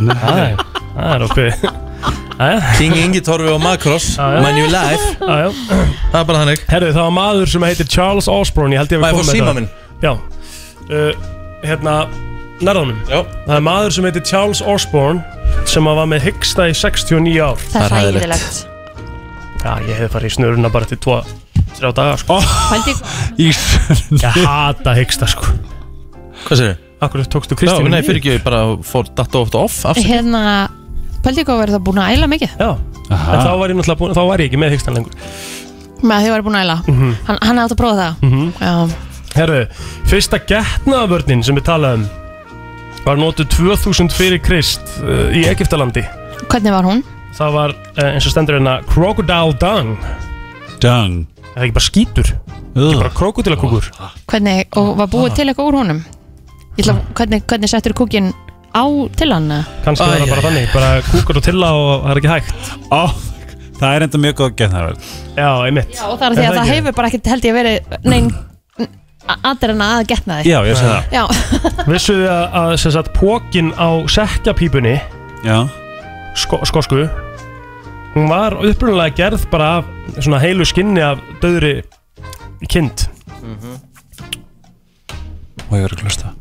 [SPEAKER 3] Það er, það er okkur.
[SPEAKER 1] King Ingi Torfi og Makros
[SPEAKER 3] Já, já.
[SPEAKER 1] My new life
[SPEAKER 3] Já, já.
[SPEAKER 1] Það er bara þannig
[SPEAKER 3] Herðu, það var maður sem heitir Charles Osborne, ég held ég
[SPEAKER 1] Má
[SPEAKER 3] að
[SPEAKER 1] ég
[SPEAKER 3] við
[SPEAKER 1] fá síma minn?
[SPEAKER 3] Já, uh, hérna, nærðanum.
[SPEAKER 1] Já
[SPEAKER 3] Það er maður sem heitir Charles Osborne sem að var með hyggsta í 69 ár.
[SPEAKER 2] Það er
[SPEAKER 1] Það er hræðilegt.
[SPEAKER 2] hægilegt
[SPEAKER 3] Já, ég hef farið í snuruna bara til 2-3 dagar sko.
[SPEAKER 2] Hældi
[SPEAKER 3] Ég hata hyggsta sko.
[SPEAKER 1] Hvað segir þau?
[SPEAKER 3] Akkur tókstu
[SPEAKER 1] Já,
[SPEAKER 3] Kristínu
[SPEAKER 1] nei,
[SPEAKER 3] niður?
[SPEAKER 1] fyrir ekki, ég bara fór datt ofta off afsakið.
[SPEAKER 2] hérna Pældi hvað verið það búin að æla mikið
[SPEAKER 3] Já, en þá var ég náttúrulega búin, þá var ég ekki með hyggstan lengur.
[SPEAKER 2] Með að þið verið búin að æla Hann, hann hefði átt að prófa það Já,
[SPEAKER 3] Herðu, fyrsta getnaðavörnin sem við talaðum um var notuð 2000 fyrir Krist uh, í Egiptalandi.
[SPEAKER 2] hvernig var hún?
[SPEAKER 3] Það var uh, eins og stendur hérna Crocodile Dung.
[SPEAKER 6] Dung
[SPEAKER 3] Er það ekki bara skítur?
[SPEAKER 6] Ugh.
[SPEAKER 3] Bara krokodilakúkur?
[SPEAKER 2] Ah. Hvernig, og var búið til eitthvað úr honum? Ég ætla, hvernig, hvernig settur kúkin á til hann eða?
[SPEAKER 3] Kannski
[SPEAKER 1] Æ,
[SPEAKER 3] er það bara
[SPEAKER 1] æ,
[SPEAKER 3] þannig, bara kúkar og tilla og það er ekki hægt
[SPEAKER 6] Ó, það er enda mjög góð getnaverð
[SPEAKER 3] Já, einmitt
[SPEAKER 2] og það er því að
[SPEAKER 3] Er það
[SPEAKER 2] það
[SPEAKER 3] ekki?
[SPEAKER 2] hefur bara ekkert held ég verið nein aðrena að getna þig
[SPEAKER 6] Já, ég sé það
[SPEAKER 2] Já,
[SPEAKER 3] Vissuð þið að, að sem sagt, pókin á sekkjapípunni,
[SPEAKER 6] Já,
[SPEAKER 3] sko, skosku Hún var upprunalega gerð bara af svona heilu skinni af döðri kind
[SPEAKER 6] og ég verður klusta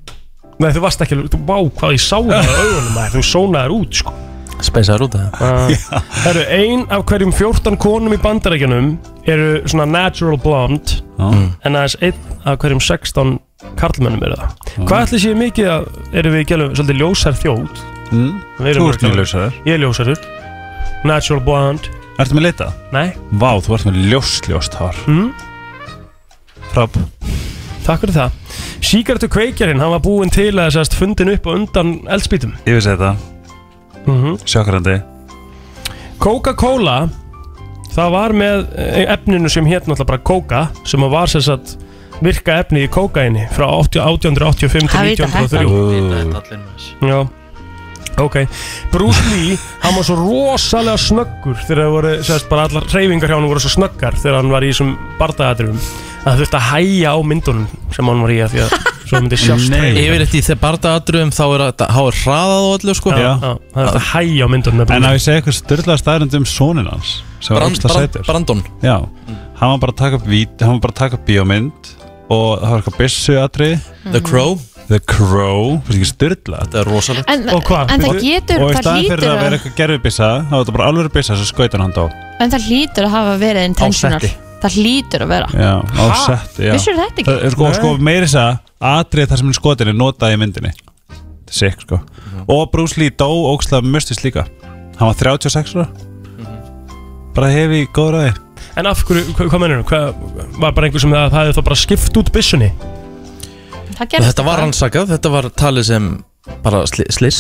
[SPEAKER 3] Nei, þú varst ekki, þú, vá, hvað ég sá það á augunum maður, þú sónaðir út, sko
[SPEAKER 1] Spensaður út af það
[SPEAKER 3] Það eru Ah. ein af hverjum 14 konum í bandarækjanum eru svona natural blonde
[SPEAKER 6] mm.
[SPEAKER 3] en aðeins einn af hverjum 16 karlmönnum eru það.
[SPEAKER 6] Mm.
[SPEAKER 3] Hvað ætli séu mikið að erum við gælum svolítið ljósar þjóð?
[SPEAKER 6] mm.
[SPEAKER 3] Við erum
[SPEAKER 6] Þú ert mjög
[SPEAKER 3] örugglega-
[SPEAKER 6] ljósaður
[SPEAKER 3] Ég er ljósarur. Natural blonde.
[SPEAKER 6] Ertu með lita?
[SPEAKER 3] Nei.
[SPEAKER 6] Vá, þú ert með ljóst, ljóst hár
[SPEAKER 3] Mm.
[SPEAKER 6] Fráb
[SPEAKER 3] Takk fyrir það. Síkartu kveikjarinn, hann var búinn til að sérst fundin upp og undan eldspýtum.
[SPEAKER 6] Ég vissi þetta,
[SPEAKER 3] Mm
[SPEAKER 6] Mhm. sjokkrandi
[SPEAKER 3] Coca-Cola það var með eh, efninu sem hétt náttúrulega bara Coca sem að var sem sagt virka efni í kókaini frá 80 1885
[SPEAKER 2] Það
[SPEAKER 3] til
[SPEAKER 2] vita
[SPEAKER 3] 1903 Já, ok Bruce Lee, hann var svo rosalega snöggur þegar það voru, sérst, bara allar hreyfingar hjá hann voru svo snöggar þegar hann var í þessum bardaðatrifum að það þurfti að hæja á myndunum sem hann var í að því að svo myndi sjást
[SPEAKER 6] Nei.
[SPEAKER 3] hreyfingar.
[SPEAKER 1] Yfir eftir þeir bardaðatrum þá er þetta Há er hraðað og öllu sko
[SPEAKER 3] Já,
[SPEAKER 6] Já.
[SPEAKER 3] já, það þurfti að hæja á myndunum
[SPEAKER 6] En að ég segja eitthvað styrla staðrind um sónin hans sem var
[SPEAKER 1] Brand,
[SPEAKER 6] ógsta
[SPEAKER 1] brand,
[SPEAKER 6] sætur
[SPEAKER 1] Brandon
[SPEAKER 6] Já, hann var bara að taka upp vít hann var bara að taka upp bíómynd og það var eitthvað byssu
[SPEAKER 2] Mm.
[SPEAKER 1] The Crow
[SPEAKER 6] The Crow, fyrir ekki styrla
[SPEAKER 1] Þetta er rosalegt
[SPEAKER 2] en,
[SPEAKER 3] Og hvað?
[SPEAKER 2] en það
[SPEAKER 6] Og-
[SPEAKER 2] getur,
[SPEAKER 6] og í
[SPEAKER 2] það
[SPEAKER 6] staðan fyrir
[SPEAKER 2] lítur
[SPEAKER 6] að vera
[SPEAKER 2] að,
[SPEAKER 6] eitthvað gerfubissa þá var þetta bara alveg bissa sem skautan hann dó
[SPEAKER 2] en það lítur að hafa verið intentional Það lítur að vera
[SPEAKER 6] já, á setti, já
[SPEAKER 2] Vissur þetta ekki?
[SPEAKER 6] það er sko,
[SPEAKER 3] Nei.
[SPEAKER 6] sko meiri þess að atrið þar sem hann skotin er notað í myndinni þetta er sikk sko og Bruce Lee dó ógslag mustist líka hann var 36 ára bara hefi í góð ræði
[SPEAKER 3] En af hverju, hvað, hvað mennur Hvað var bara einhver sem það, það hefði þá bara skipt út byssunni?
[SPEAKER 2] Það gerðist
[SPEAKER 1] Þetta var
[SPEAKER 2] bara.
[SPEAKER 1] rannsakað, þetta var talið sem bara sli, sliss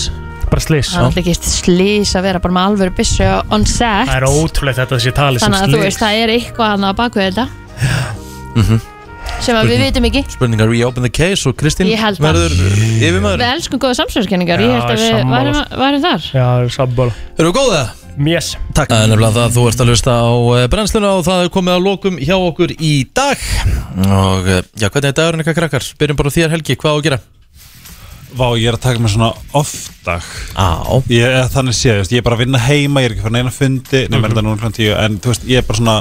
[SPEAKER 3] Bara slis
[SPEAKER 2] Það er alltaf ekki slís að vera bara með alvöru byssu on set
[SPEAKER 3] Það er ótrúlegt þetta þessi tali sem
[SPEAKER 2] Þannig að þú veist, það er eitthvað annað á bakvið þetta sem að við vitum ekki
[SPEAKER 1] Spurningar reopen the case og Kristín
[SPEAKER 2] Ég held það.
[SPEAKER 1] verður yfirmaður
[SPEAKER 2] Við elskum góða samsverðskenningar, ég
[SPEAKER 3] Já,
[SPEAKER 2] held að
[SPEAKER 3] ég
[SPEAKER 2] við
[SPEAKER 3] sammála.
[SPEAKER 2] varum, varum þar
[SPEAKER 3] Já, samból
[SPEAKER 1] Eru góða?
[SPEAKER 3] Mjess
[SPEAKER 1] Takk Það er nefnilega það að þú ert að hlusta á eh, brennsluna og það er komið að lokum hjá okkur í dag Og eh, já, hvernig er dagurinn eitthvað krakkar? Byrjum bara á þér Helgi, hvað á að gera?
[SPEAKER 6] Vá, ég er að taka mér svona off-dag
[SPEAKER 1] Á
[SPEAKER 6] Ég er þannig séð, þú veist, ég er bara að vinna heima, ég er ekki fyrir neina fundi,
[SPEAKER 2] Mhm.
[SPEAKER 6] nema er þetta núna klant tíu, en þú veist, ég er bara svona,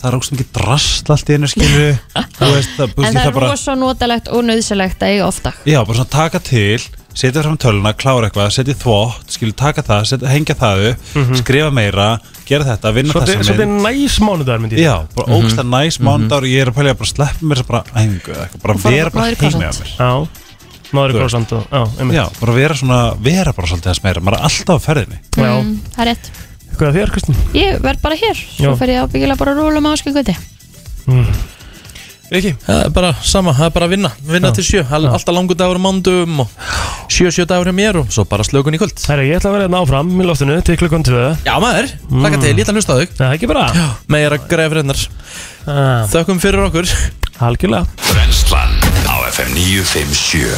[SPEAKER 6] það er ógst mikið drast allt í einu skilu, þú veist, það,
[SPEAKER 2] En
[SPEAKER 6] þú veist,
[SPEAKER 2] það er
[SPEAKER 6] ég það bara,
[SPEAKER 2] rosa notalegt og nöðsilegt að eiga ofta
[SPEAKER 6] já, bara svona taka til, setja fram töluna, klára eitthvað, setja í þvott, skilu, taka það, setja, hengja það upp,
[SPEAKER 2] Mhm.
[SPEAKER 6] skrifa meira, gera þetta, vinna
[SPEAKER 3] Svo
[SPEAKER 6] þessa
[SPEAKER 3] þetta er
[SPEAKER 6] mynd.
[SPEAKER 3] næs mánudagur myndi ég
[SPEAKER 6] Já, bara
[SPEAKER 2] Mhm.
[SPEAKER 6] mm -hmm. ógsta næs mándar, ég er að pælja að bara sleppa mér þess að bara æfingu eða eitthvað, bara
[SPEAKER 2] fara
[SPEAKER 6] vera bara
[SPEAKER 2] maður í
[SPEAKER 6] heima
[SPEAKER 2] krossant.
[SPEAKER 6] hjá mér.
[SPEAKER 3] Já Náður í
[SPEAKER 6] Þú veist.
[SPEAKER 3] korsand og Já, einmitt
[SPEAKER 6] Já, bara vera svona, vera bara svolítið þess meira, maður er alltaf á ferðinni.
[SPEAKER 3] Já
[SPEAKER 2] Mm, Það er rétt
[SPEAKER 3] Hvað er þér, Kristinn?
[SPEAKER 2] Ég verð bara hér, svo
[SPEAKER 3] Já.
[SPEAKER 2] fer ég ábyggilega bara að rúla með áskengöti
[SPEAKER 3] Riki
[SPEAKER 1] Það er bara sama, það er bara að vinna Vinna
[SPEAKER 3] Já.
[SPEAKER 1] til sjö, All,
[SPEAKER 3] Já.
[SPEAKER 1] alltaf langur dagur á mándum og sjö, sjö dagur hjá mér og svo bara slökun í kvöld
[SPEAKER 3] Herra, ég ætla að vera hérna áfram í loftinu til klukkan 2
[SPEAKER 1] Já maður, hlaka til, ég ætla að hlusta á þau
[SPEAKER 3] Það er ekki bara
[SPEAKER 1] Meira greið frennar
[SPEAKER 3] Ah,
[SPEAKER 1] Þökkum fyrir okkur
[SPEAKER 3] Algjörlega
[SPEAKER 4] Brennslan á FM 957